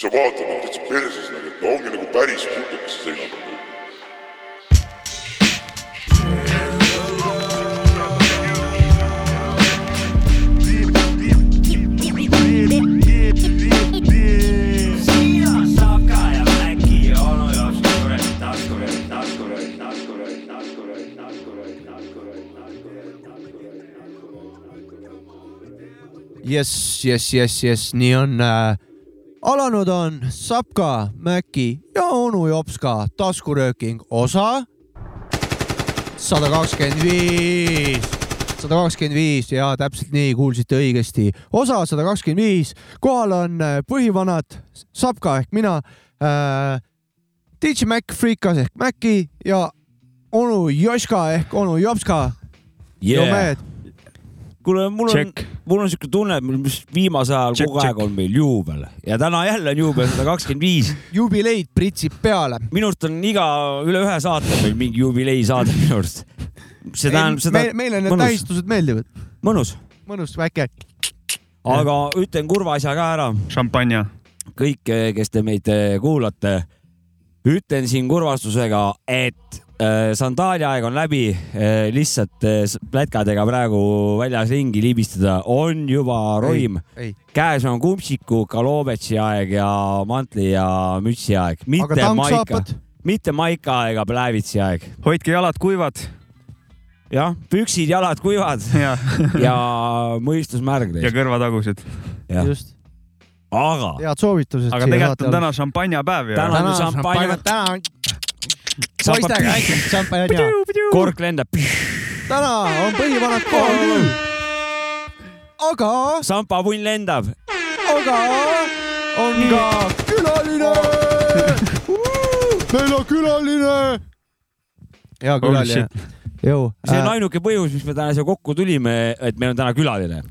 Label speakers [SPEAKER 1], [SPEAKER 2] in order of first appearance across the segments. [SPEAKER 1] sa vaatad nagu täitsa perses nagu , et no ongi nagu päris putikasse seina peal .
[SPEAKER 2] jess , jess , jess , jess , nii on äh, . alanud on Sapka , Mäki ja onu Jopska taskurööking osa sada kakskümmend viis , sada kakskümmend viis ja täpselt nii kuulsite õigesti . osa sada kakskümmend viis , kohal on äh, põhivanad Sapka ehk mina äh, , DJ Mac , Freekas ehk Mäki ja onu Joška ehk onu Jopska yeah. . mehed ,
[SPEAKER 3] kuule , mul on , mul on siuke tunne , et mul mis viimasel ajal
[SPEAKER 4] Check,
[SPEAKER 3] kogu aeg
[SPEAKER 4] check.
[SPEAKER 3] on meil juubel ja täna jälle on juubel sada kakskümmend viis .
[SPEAKER 2] jubileid pritsib peale
[SPEAKER 3] minu arust on iga , üle ühe saate meil mingi jubileisaade minu arust . see tähendab seda ,
[SPEAKER 2] meil, meile need
[SPEAKER 3] mõnus.
[SPEAKER 2] tähistused meeldivad ,
[SPEAKER 3] mõnus ,
[SPEAKER 2] mõnus väike .
[SPEAKER 3] aga ütlen kurva asja ka ära
[SPEAKER 4] šampanja .
[SPEAKER 3] kõik , kes te meid eh, kuulate , ütlen siin kurvastusega , et eh, sandaali aeg on läbi , lihtsalt eh, s- plätkadega praegu väljas ringi libistada on juba roim .
[SPEAKER 2] ei ,
[SPEAKER 3] käes on kumpsiku , kaloobetsi aeg ja mantli ja mütsi aeg ,
[SPEAKER 2] aga
[SPEAKER 3] mitte maika ,
[SPEAKER 2] tanksaapad ,
[SPEAKER 3] mitte maika ega pläävitsi aeg .
[SPEAKER 4] hoidke jalad kuivad
[SPEAKER 3] jah , püksid , jalad kuivad
[SPEAKER 4] ja ,
[SPEAKER 3] ja mõistus märg
[SPEAKER 4] ja
[SPEAKER 3] neist ,
[SPEAKER 4] kõrvatagused .
[SPEAKER 3] Jah.
[SPEAKER 2] just ,
[SPEAKER 3] aga
[SPEAKER 2] head soovitused .
[SPEAKER 4] aga tegelikult on täna šampanjapäev ju .
[SPEAKER 3] Täna-
[SPEAKER 2] täna
[SPEAKER 3] šampanjat-
[SPEAKER 2] šampanjat , täna on
[SPEAKER 3] saab-
[SPEAKER 2] poistega äkki šampanja .
[SPEAKER 3] kork lendab ,
[SPEAKER 2] täna on põhivanad kohal küll . aga ,
[SPEAKER 3] sambapunn lendab
[SPEAKER 2] aga on ka külaline . meil on külaline . hea külaline . jõu , äh,
[SPEAKER 3] see on ainuke põhjus , miks me täna siia kokku tulime , et meil on täna külaline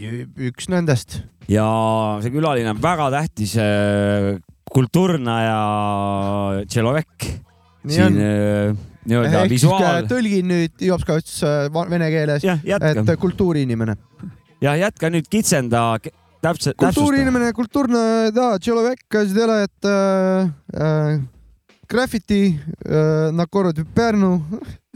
[SPEAKER 2] üks nendest .
[SPEAKER 3] ja see külaline on väga tähtis äh, kultuurnaja tšelovekk
[SPEAKER 2] nii
[SPEAKER 3] siin
[SPEAKER 2] on .
[SPEAKER 3] äh, nii-öelda
[SPEAKER 2] ehk siis
[SPEAKER 3] visuaal .
[SPEAKER 2] tõlgin nüüd Jops ka ütles äh, va- vene keeles ,
[SPEAKER 3] jah ,
[SPEAKER 2] et äh,
[SPEAKER 3] jätka
[SPEAKER 2] kultuuriinimene .
[SPEAKER 3] ja jätka nüüd kitsenda ke- täpselt , täpsusta .
[SPEAKER 2] kultuuriinimene , kultuurne , da , človek , zdela , et äh, äh, graffiti äh, , nakord Pärnu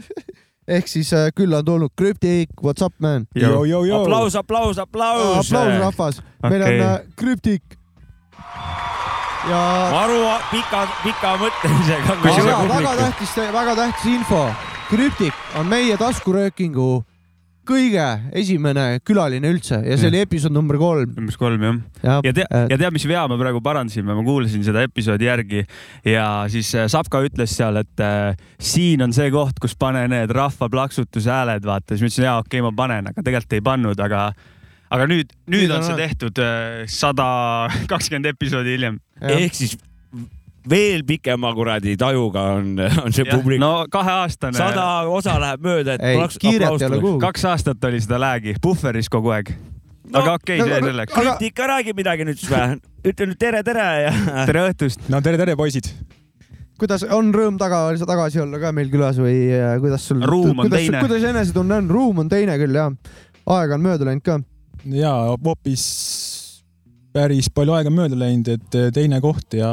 [SPEAKER 2] ehk siis äh, külla on tulnud Krüptik , what's up man ?
[SPEAKER 4] Yo, eh.
[SPEAKER 2] aplaus ,
[SPEAKER 3] aplaus , aplaus , aplaus . Äh,
[SPEAKER 2] aplaus rahvas , meil on
[SPEAKER 4] Okei.
[SPEAKER 2] äh, Krüptik . ja
[SPEAKER 3] maru pika , pika mõtlemisega .
[SPEAKER 2] väga , väga tähtis , väga tähtis info . Krüptik on meie taskuröökingu kõige esimene külaline üldse ja see oli episood number kolm .
[SPEAKER 4] umbes kolm jah . ja tea , ja tead , mis vea me praegu parandasime , ma kuulasin seda episoodi järgi ja siis äh, Sapka ütles seal , et äh, siin on see koht , kus pane need rahva plaksutuse hääled , vaata , siis ma ütlesin , jaa , okei okay, , ma panen , aga tegelikult ei pannud , aga , aga nüüd , nüüd on see tehtud äh, sada kakskümmend episoodi hiljem .
[SPEAKER 3] ehk siis veel pikema kuradi tajuga on , on see publik .
[SPEAKER 4] no kaheaastane ,
[SPEAKER 3] sada osa läheb mööda , et
[SPEAKER 2] ei , kiiret ei ole kuhugi .
[SPEAKER 4] kaks aastat oli seda läägi puhveris kogu aeg . aga okei okay, , see selleks .
[SPEAKER 2] Aga-
[SPEAKER 3] Krüpti ikka räägib midagi nüüd siis või ? ütle nüüd tere , tere ja .
[SPEAKER 4] tere õhtust .
[SPEAKER 5] no tere , tere , poisid .
[SPEAKER 2] kuidas on rõõm taga , tagasi olla ka meil külas või äh, kuidas sul ,
[SPEAKER 4] Ruum on
[SPEAKER 2] kuidas,
[SPEAKER 4] teine.
[SPEAKER 2] kuidas enesetunne on , ruum on teine küll jah , aega on mööda läinud ka .
[SPEAKER 5] ja hoopis päris palju aega on mööda läinud , et eh, teine koht ja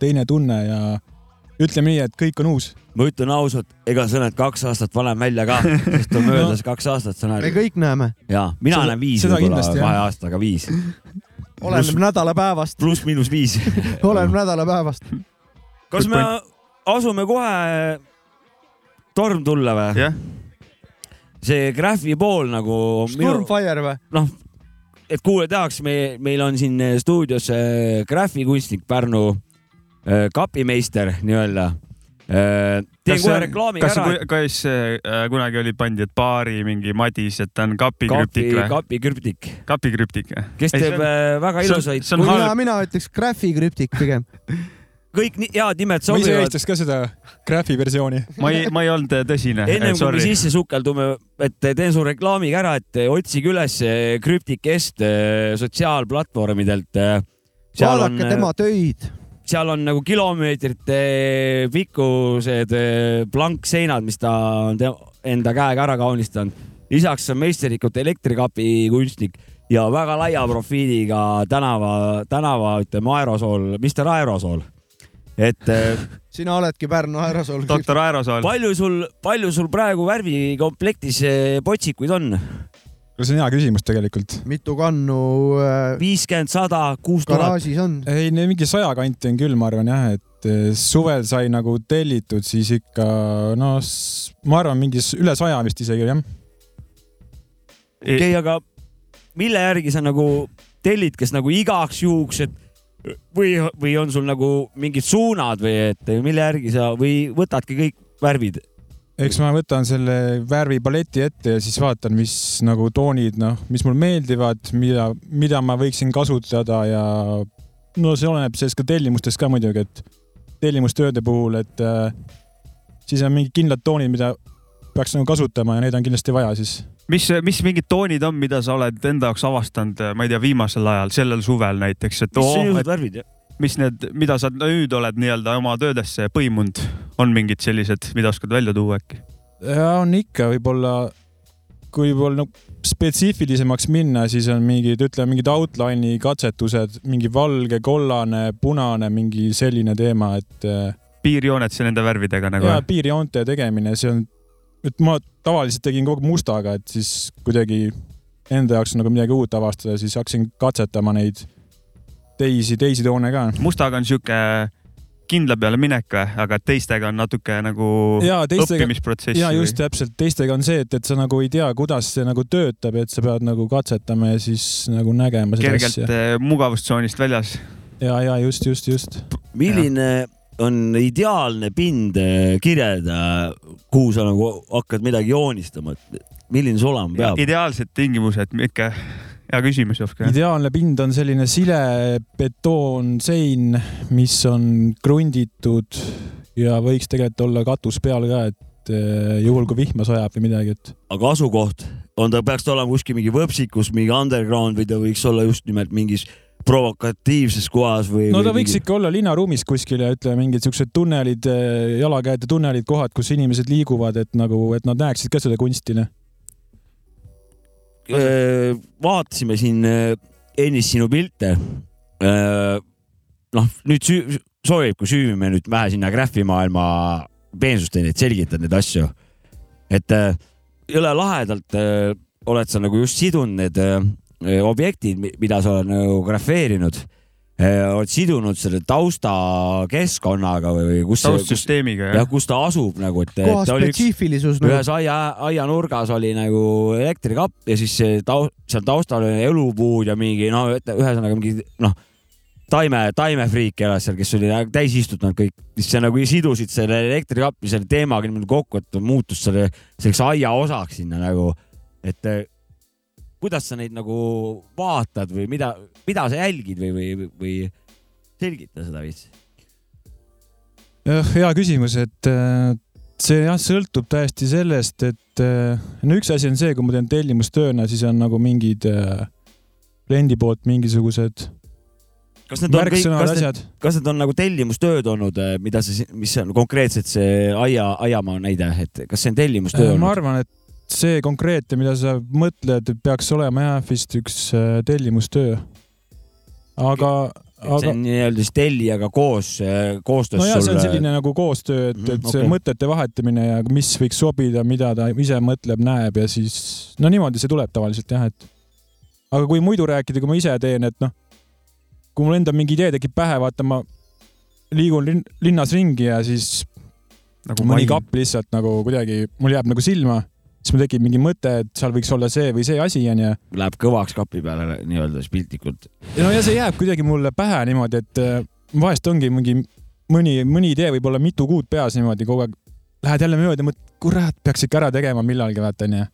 [SPEAKER 5] teine tunne ja ütleme nii , et kõik on uus .
[SPEAKER 3] ma ütlen ausalt , ega sa oled kaks aastat vanem välja ka , sest on möödas kaks aastat , sa
[SPEAKER 2] me
[SPEAKER 3] näed .
[SPEAKER 2] kõik näeme ,
[SPEAKER 3] ja mina
[SPEAKER 5] Seda-
[SPEAKER 3] olen viis
[SPEAKER 5] seda
[SPEAKER 3] võib-olla
[SPEAKER 5] kindlasti, jah.
[SPEAKER 3] kahe aastaga viis ,
[SPEAKER 2] oleneb nädalapäevast ,
[SPEAKER 3] pluss-miinus viis .
[SPEAKER 2] oleneb nädalapäevast .
[SPEAKER 3] kas me asume kohe torm tulla või ?
[SPEAKER 4] jah ,
[SPEAKER 3] see graafi pool nagu on minu ,
[SPEAKER 2] Stormfire või ?
[SPEAKER 3] et kuule tehakse , me , meil on siin eh, stuudios äh, graafikunstnik Pärnu äh, kapimeister nii-öelda . teen
[SPEAKER 4] Kas see
[SPEAKER 3] kohe
[SPEAKER 4] on-
[SPEAKER 3] reklaami
[SPEAKER 4] kas
[SPEAKER 3] ära .
[SPEAKER 4] see , kas see äh, kunagi oli pandi , et baari mingi Madis , et ta on kapikrüptik
[SPEAKER 3] kapi ,
[SPEAKER 4] või ?
[SPEAKER 3] kapikrüptik ,
[SPEAKER 4] kapikrüptik jah ?
[SPEAKER 3] kes
[SPEAKER 4] Ei, see
[SPEAKER 3] teeb
[SPEAKER 4] on-
[SPEAKER 3] äh, väga
[SPEAKER 4] see on-
[SPEAKER 3] ilusaid
[SPEAKER 4] see , on
[SPEAKER 2] mina
[SPEAKER 4] halb ,,
[SPEAKER 2] mina ütleks Graffi krüptik pigem .
[SPEAKER 3] kõik nii head nimed
[SPEAKER 5] ma ise
[SPEAKER 3] sobivad .
[SPEAKER 5] eelistaks ka seda graafi versiooni .
[SPEAKER 4] ma ei , ma ei olnud äh, tõsine ,
[SPEAKER 3] ennem kui me
[SPEAKER 4] sorry .
[SPEAKER 3] sisse sukeldume , et teen su reklaami ka ära , et otsige üles äh, Krüptik Est äh, sotsiaalplatvormidelt . seal on äh,
[SPEAKER 2] vaadake , tema töid ,
[SPEAKER 3] seal on nagu kilomeetrite pikkused äh, plankseinad , mis ta on te- enda käega ära kaunistanud . lisaks on meisterlikult elektrikapi kunstnik ja väga laia profiiliga tänava , tänava , ütleme , aerosool , Mr Aerosool . et eh,
[SPEAKER 2] sina oledki Pärnu aerosool .
[SPEAKER 4] doktor Aerosool .
[SPEAKER 3] palju sul , palju sul praegu värvikomplektis eh, potsikuid on ?
[SPEAKER 5] see on hea küsimus tegelikult .
[SPEAKER 2] mitu kannu äh,
[SPEAKER 3] viiskümmend , sada , kuus tuhat ?
[SPEAKER 2] garaažis on ?
[SPEAKER 5] ei , mingi saja kanti on küll , ma arvan jah , et eh, suvel sai nagu tellitud siis ikka no s- ma arvan , mingi s- üle saja vist isegi jah .
[SPEAKER 3] okei , aga mille järgi sa nagu tellid , kas nagu igaks juhuks , et või , või on sul nagu mingid suunad või et mille järgi sa või võtadki kõik värvid ?
[SPEAKER 5] eks ma võtan selle värvipaleti ette ja siis vaatan , mis nagu toonid , noh , mis mul meeldivad , mida , mida ma võiksin kasutada ja no see oleneb sellest ka tellimustest ka muidugi , et tellimustööde puhul , et eh, siis on mingid kindlad toonid , mida peaks nagu kasutama ja neid on kindlasti vaja siis
[SPEAKER 4] mis , mis mingid toonid on , mida sa oled enda jaoks avastanud , ma ei tea , viimasel ajal , sellel suvel näiteks , et
[SPEAKER 3] mis on
[SPEAKER 4] oo ,
[SPEAKER 3] ilusad värvid jah ?
[SPEAKER 4] mis need , mida sa nüüd oled nii-öelda oma töödesse põimunud , on mingid sellised , mida oskad välja tuua äkki ?
[SPEAKER 5] ja on ikka võib-olla , kui võib-olla no, spetsiifilisemaks minna , siis on mingid , ütleme mingid outline'i katsetused , mingi valge , kollane , punane , mingi selline teema , et äh,
[SPEAKER 4] piirjooned siis nende värvidega nagu
[SPEAKER 5] ja ? piirjoonte tegemine , see on , et ma tavaliselt tegin kogu aeg mustaga , et siis kuidagi enda jaoks nagu midagi uut avastada , siis hakkasin katsetama neid teisi , teisi toone ka .
[SPEAKER 4] mustaga on sihuke kindla peale minek või , aga teistega on natuke nagu
[SPEAKER 5] ja teistega ,
[SPEAKER 4] õppimisprotsess .
[SPEAKER 5] ja just täpselt , teistega on see , et , et sa nagu ei tea , kuidas see nagu töötab , et sa pead nagu katsetama ja siis nagu nägema seda
[SPEAKER 4] kergelt
[SPEAKER 5] asja .
[SPEAKER 4] eh, mugavustsoonist väljas .
[SPEAKER 5] ja , ja just , just , just .
[SPEAKER 3] milline on ideaalne pind eh, kirjeldada , kuhu sa nagu hakkad midagi joonistama , et milline see olema peab ?
[SPEAKER 4] ideaalsed tingimused , Mikke , hea küsimus , Jovka .
[SPEAKER 5] ideaalne pind on selline sile betoonsein , mis on krunditud ja võiks tegelikult olla katus peal ka , et eh, juhul kui vihma sajab või midagi , et
[SPEAKER 3] aga asukoht on ta , peaks ta olema kuskil mingi võpsikus , mingi underground või ta võiks olla just nimelt mingis provokatiivses kohas või ?
[SPEAKER 5] no ta võiks ikka olla linnaruumis kuskil ja ütleme , mingid siuksed tunnelid , jalakäijate tunnelid , kohad , kus inimesed liiguvad , et nagu , et nad näeksid ka seda kunsti , noh .
[SPEAKER 3] Öö, vaatasime siin öö, ennist sinu pilte . noh , nüüd süü- , soovib , kui süüvime nüüd vähe sinna graffimaailma peensusteni , et selgitad neid asju . et öö, jõle lahedalt öö, oled sa nagu just sidunud need öö, öö, objektid , mida sa oled nagu grafeerinud . oled sidunud selle taustakeskkonnaga või , või kus , kus ,
[SPEAKER 4] taustsüsteemiga ,
[SPEAKER 3] jah ,
[SPEAKER 4] jah ?
[SPEAKER 3] kus ta asub nagu , et .
[SPEAKER 2] koha spetsiifilisus nagu
[SPEAKER 3] ühes aia , aianurgas oli nagu elektrikapp ja siis see tau- , seal taustal oli elupuud ja mingi no ütle- ühesõnaga mingi noh , taime , taimefriik elas seal , kes oli nagu täis istunud kõik , siis see nagu sidusid selle elektrikapi selle teemaga niimoodi kokku , et muutus selle selleks aia osaks sinna nagu , et eh, kuidas sa neid nagu vaatad või mida , mida sa jälgid või , või , või selgita seda veits .
[SPEAKER 5] jah , hea küsimus , et äh, see jah , sõltub täiesti sellest , et äh, no üks asi on see , kui ma teen tellimustööna , siis on nagu mingid äh, kliendi poolt mingisugused
[SPEAKER 3] kas need on kõik ,
[SPEAKER 5] märksõnad ,
[SPEAKER 3] kas need
[SPEAKER 5] asjad .
[SPEAKER 3] kas need on nagu tellimustööd olnud , mida sa , mis on konkreetselt see aia , aiamaa näide , et kas see on tellimustöö
[SPEAKER 5] Äh, ma
[SPEAKER 3] olnud ?
[SPEAKER 5] arvan , et see konkreetne , mida sa mõtled , peaks olema jah vist üks äh, tellimustöö . aga ,
[SPEAKER 3] see
[SPEAKER 5] aga
[SPEAKER 3] on nii-öelda siis tellijaga koos , koostöös eh,
[SPEAKER 5] nojah , see on
[SPEAKER 3] sulle .
[SPEAKER 5] selline nagu koostöö , et ,
[SPEAKER 3] Mhm,
[SPEAKER 5] et see
[SPEAKER 3] okei.
[SPEAKER 5] mõtete vahetamine ja mis võiks sobida , mida ta ise mõtleb , näeb ja siis no niimoodi see tuleb tavaliselt jah , et aga kui muidu rääkida , kui ma ise teen , et noh , kui mul endal mingi idee tekib pähe , vaata ma liigun linn, linnas ringi ja siis
[SPEAKER 4] nagu
[SPEAKER 5] mõni
[SPEAKER 4] main .
[SPEAKER 5] kapp lihtsalt nagu kuidagi mul jääb nagu silma , siis mul tekib mingi mõte , et seal võiks olla see või see asi onju .
[SPEAKER 3] Läheb kõvaks kapi peale nii-öelda siis piltlikult .
[SPEAKER 5] no ja see jääb kuidagi mulle pähe niimoodi , et äh, vahest ongi mingi mõni , mõni idee võib olla mitu kuud peas niimoodi kogu aeg . Lähed jälle mööda , mõtled , kurat , peaks ikka ära tegema millalgi , vaata onju .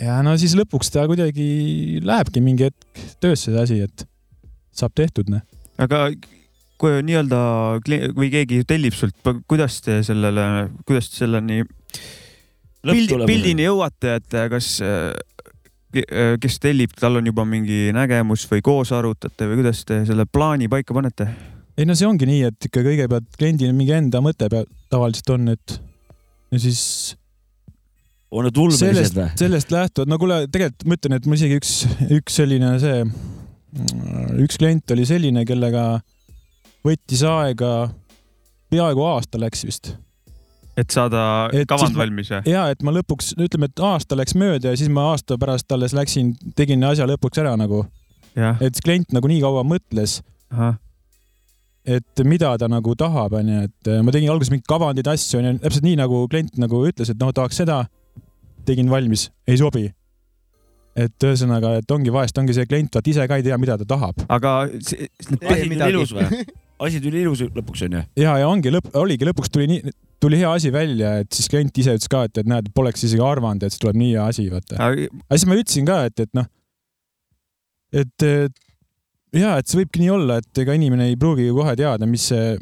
[SPEAKER 5] ja no siis lõpuks ta kuidagi lähebki mingi hetk töösse see asi , et saab tehtud noh .
[SPEAKER 4] aga kui nii-öelda kli- või keegi tellib sult , kuidas te sellele , kuidas te selleni pildi , pildini jõuate , et kas , kes tellib , tal on juba mingi nägemus või koos arutate või kuidas te selle plaani paika panete ?
[SPEAKER 5] ei no see ongi nii , et ikka kõigepealt kliendil mingi enda mõte pea- tavaliselt on , et ja siis
[SPEAKER 3] on need ulmelised
[SPEAKER 5] sellest
[SPEAKER 3] või ?,
[SPEAKER 5] sellest lähtuvalt , no kuule , tegelikult ma ütlen , et mul isegi üks , üks selline see , üks klient oli selline , kellega võttis aega , peaaegu aasta läks vist .
[SPEAKER 4] et saada
[SPEAKER 5] Et siis
[SPEAKER 4] kavand
[SPEAKER 5] ma-
[SPEAKER 4] valmis või ?
[SPEAKER 5] ja et ma lõpuks , ütleme , et aasta läks mööda ja siis ma aasta pärast alles läksin , tegin asja lõpuks ära nagu ,
[SPEAKER 4] jah ,
[SPEAKER 5] et klient nagu nii kaua mõtles ,
[SPEAKER 4] ahah ,
[SPEAKER 5] et mida ta nagu tahab , onju , et äh, ma tegin alguses mingeid kavandeid , asju , onju , täpselt nii nagu klient nagu ütles , et noh , tahaks seda , tegin valmis , ei sobi . et ühesõnaga , et ongi vahest ongi see klient , vaat ise ka ei tea , mida ta tahab .
[SPEAKER 4] aga see, need
[SPEAKER 3] asi tuli ilus või ? asi tuli ilus lõpuks onju .
[SPEAKER 5] ja , ja ongi lõpp , oligi lõpuks tuli nii , tuli hea asi välja , et siis klient ise ütles ka , et , et näed , poleks isegi arvanud , et see tuleb nii hea asi , vaata .
[SPEAKER 4] põhi- ,
[SPEAKER 5] aga siis ma ütlesin ka , et , et noh , et eh, jaa , et see võibki nii olla , et ega inimene ei pruugi ju kohe teada , mis see ,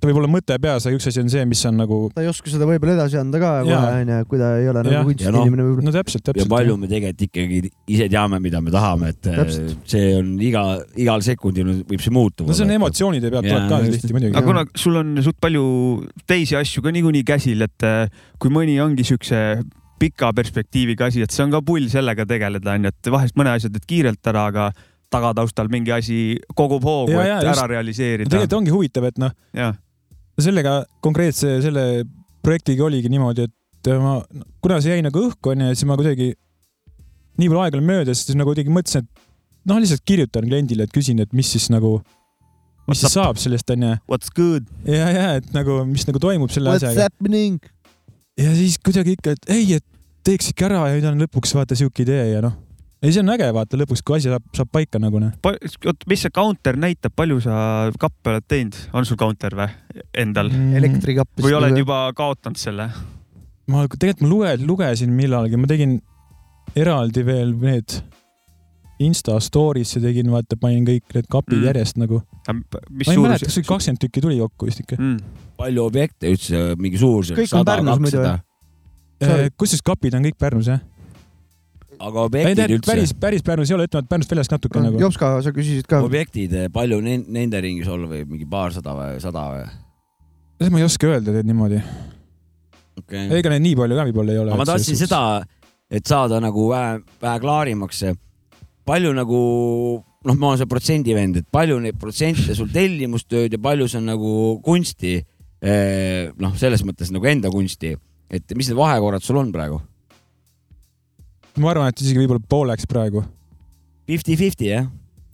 [SPEAKER 5] ta võib olla mõte peas , aga üks asi on see , mis on nagu
[SPEAKER 2] ta ei oska seda võib-olla edasi anda ka
[SPEAKER 5] Jaa.
[SPEAKER 2] kohe onju , kui ta ei ole
[SPEAKER 5] Jah.
[SPEAKER 2] nagu
[SPEAKER 3] Ja noh,
[SPEAKER 2] kunstiinimene võib-olla .
[SPEAKER 5] no täpselt ,
[SPEAKER 3] ja
[SPEAKER 5] täpselt .
[SPEAKER 3] palju me tegelikult ikkagi ise teame , mida me tahame , et eh,
[SPEAKER 2] Täpselt.
[SPEAKER 3] see on iga , igal sekundil võib see muutuda .
[SPEAKER 5] no see on . emotsioonide pealt
[SPEAKER 3] Jaa,
[SPEAKER 5] tuleb ka
[SPEAKER 3] just.
[SPEAKER 5] tihti muidugi
[SPEAKER 4] aga . kuna sul on suht palju teisi asju ka niikuinii käsil , et äh, kui mõni ongi siukse pika perspektiiviga asi , et see on ka pull sellega tegeleda , onju , et vahest mõne asja teed kiirelt ära , aga tagataustal mingi asi kogub hoogu ,
[SPEAKER 5] Ja,
[SPEAKER 4] et
[SPEAKER 5] ja,
[SPEAKER 4] ära
[SPEAKER 5] just.
[SPEAKER 4] realiseerida .
[SPEAKER 5] tegelikult ongi huvitav , et noh ,
[SPEAKER 4] jah ,
[SPEAKER 5] sellega konkreetse selle projektiga oligi niimoodi , et äh, ma , kuna see jäi nagu õhku onju , siis ma kuidagi , nii palju aega oli möödas , siis nagu kuidagi mõtlesin , et noh , lihtsalt kirjutan kliendile , et küsin , et mis siis nagu , mis siis saab sellest onju .
[SPEAKER 4] what's good ?
[SPEAKER 5] ja , ja et nagu , mis nagu toimub selle
[SPEAKER 2] What's
[SPEAKER 5] asjaga .
[SPEAKER 2] happening ?
[SPEAKER 5] ja siis kuidagi ikka , et ei , et teeks ikka ära ja nüüd on lõpuks vaata siuke idee ja noh . ei , see on äge vaata lõpuks , kui asi saab , saab paika nagu noh .
[SPEAKER 4] oot , mis see counter näitab , palju sa kappe oled teinud , on sul counter või endal
[SPEAKER 5] Mm.
[SPEAKER 2] elektrikapp . nagu-
[SPEAKER 4] või oled juba kaotanud selle ?
[SPEAKER 5] ma tegelikult ma luge- , lugesin millalgi , ma tegin eraldi veel need Insta story'sse tegin , vaata , panin kõik need kapid
[SPEAKER 4] Mm.
[SPEAKER 5] mm. järjest nagu .
[SPEAKER 4] mis
[SPEAKER 5] ma ei mäleta , kas
[SPEAKER 4] suurus
[SPEAKER 5] oli ? kakskümmend tükki tuli kokku vist ikka .
[SPEAKER 4] Mm.
[SPEAKER 3] palju objekte üldse , mingi suurus .
[SPEAKER 2] Kõik on Pärnus muidu, jah. Sorry.
[SPEAKER 5] kusjuures Äh, kapid on kõik Pärnus jah ?
[SPEAKER 3] aga
[SPEAKER 5] ei
[SPEAKER 3] objektid
[SPEAKER 5] tegelikult
[SPEAKER 3] üldse ,
[SPEAKER 5] päris , päris Pärnus ei ole , ütleme , et Pärnust väljas natuke nagu .
[SPEAKER 2] Jopska , sa küsisid ka .
[SPEAKER 3] objektid , palju ne- nende ringis olla võib , mingi paarsada või sada või ?
[SPEAKER 5] seda ma ei oska öelda tead niimoodi .
[SPEAKER 3] okei
[SPEAKER 5] ega neid nii palju ka võib-olla ei ole .
[SPEAKER 3] aga ma tahtsin seda , et saada nagu vähe , vähe klaarimaks , palju nagu noh , ma olen see protsendi vend , et palju neid protsente sul tellimustööd ja palju see on nagu kunsti . noh , selles mõttes nagu enda kunsti , et mis need vahekorrad sul on praegu ?
[SPEAKER 5] ma arvan , et isegi võib-olla pooleks praegu .
[SPEAKER 3] Fifty-fifty jah ?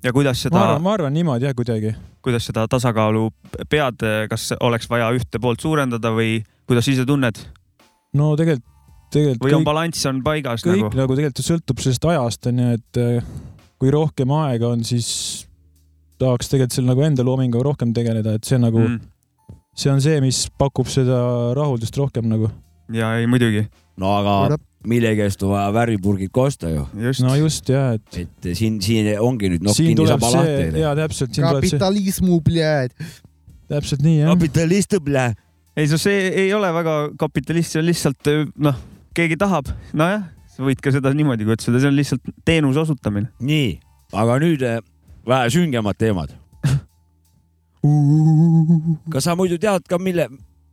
[SPEAKER 4] ja kuidas
[SPEAKER 5] ma
[SPEAKER 4] seda ,
[SPEAKER 5] arvan , ma arvan niimoodi jah , kuidagi .
[SPEAKER 4] kuidas seda tasakaalu pead , kas oleks vaja ühte poolt suurendada või kuidas ise tunned ?
[SPEAKER 5] no tegelikult , tegelikult
[SPEAKER 4] või on balanss on paigas
[SPEAKER 5] kõik
[SPEAKER 4] nagu
[SPEAKER 5] nagu, ? nagu tegelikult sõltub sellest ajast onju , et eh, kui rohkem aega on , siis tahaks tegelikult seal nagu enda loominguga rohkem tegeleda , et see nagu mm. , see on see , mis pakub seda rahuldust rohkem nagu .
[SPEAKER 4] ja ei muidugi ,
[SPEAKER 3] no aga mille käest on vaja värvipurgid ka osta ju ,
[SPEAKER 4] just
[SPEAKER 5] no
[SPEAKER 4] no, .
[SPEAKER 5] just ja , et
[SPEAKER 3] et siin , siin ongi nüüd
[SPEAKER 5] no,
[SPEAKER 3] nokk
[SPEAKER 5] siin
[SPEAKER 3] kinni
[SPEAKER 5] tuleb
[SPEAKER 3] saba
[SPEAKER 5] see
[SPEAKER 3] lahti ,.
[SPEAKER 5] ja täpselt , siin tuleb see ,
[SPEAKER 2] kapitalismu , bled .
[SPEAKER 5] täpselt nii jah .
[SPEAKER 3] kapitalist õble .
[SPEAKER 4] ei , see ei ole väga kapitalist , see on lihtsalt noh , keegi tahab , nojah , sa võid ka seda niimoodi kutsuda , see on lihtsalt teenuse osutamine .
[SPEAKER 3] nii , aga nüüd eh, vähe süngemad teemad . kas sa muidu tead ka , mille ,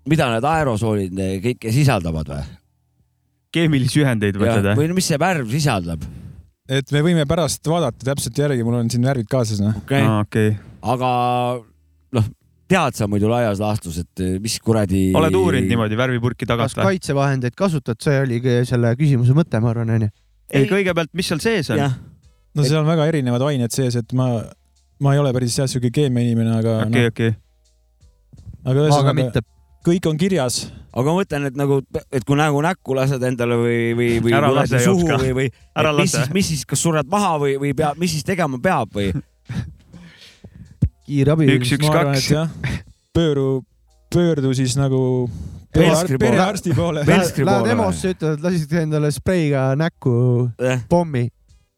[SPEAKER 3] mida need aerosoolid eh, kõike sisaldavad või ?
[SPEAKER 4] keemilisi ühendeid mõtled või ?
[SPEAKER 3] või no mis see värv sisaldab
[SPEAKER 5] et me võime pärast vaadata täpselt järgi , mul on siin värvid kaasas noh .
[SPEAKER 3] okay. ?
[SPEAKER 4] aa , okei .
[SPEAKER 3] aga noh , tead sa muidu laias laastus , et eh, mis kuradi .
[SPEAKER 4] oled uurinud ? niimoodi värvipurki
[SPEAKER 2] kas
[SPEAKER 4] tagant või ?
[SPEAKER 2] kaitsevahendeid kasutad , see oligi selle küsimuse mõte , ma arvan onju .
[SPEAKER 4] ei , kõigepealt , mis seal sees on ?
[SPEAKER 3] jah ,
[SPEAKER 5] no seal on väga erinevad ained sees , et ma , ma ei ole päris jah siuke keemiainimene , aga
[SPEAKER 4] okei , okei .
[SPEAKER 5] noh , aga
[SPEAKER 2] aga
[SPEAKER 5] ühesõnaga
[SPEAKER 2] mitte .
[SPEAKER 5] kõik on kirjas
[SPEAKER 3] aga ma mõtlen , et nagu , et kui nagu näkku lased endale või , või , või
[SPEAKER 4] Ära
[SPEAKER 3] kuradi
[SPEAKER 4] lase,
[SPEAKER 3] suhu
[SPEAKER 4] Jopska.
[SPEAKER 3] või , või
[SPEAKER 4] Ära
[SPEAKER 3] et mis
[SPEAKER 4] lase.
[SPEAKER 3] siis , mis siis , kas sured maha või , või peab , mis siis tegema peab või ?
[SPEAKER 2] kiirabi .
[SPEAKER 4] üks , üks , kaks .
[SPEAKER 5] pööru , pöördu siis nagu
[SPEAKER 3] Perearsti
[SPEAKER 5] perear-
[SPEAKER 3] poole.
[SPEAKER 5] perearsti poole .
[SPEAKER 3] Velskri
[SPEAKER 2] Lähed
[SPEAKER 3] poole
[SPEAKER 2] EMO-sse , ütlevad , lasid endale spreiga näkku
[SPEAKER 3] või ?
[SPEAKER 2] pommi .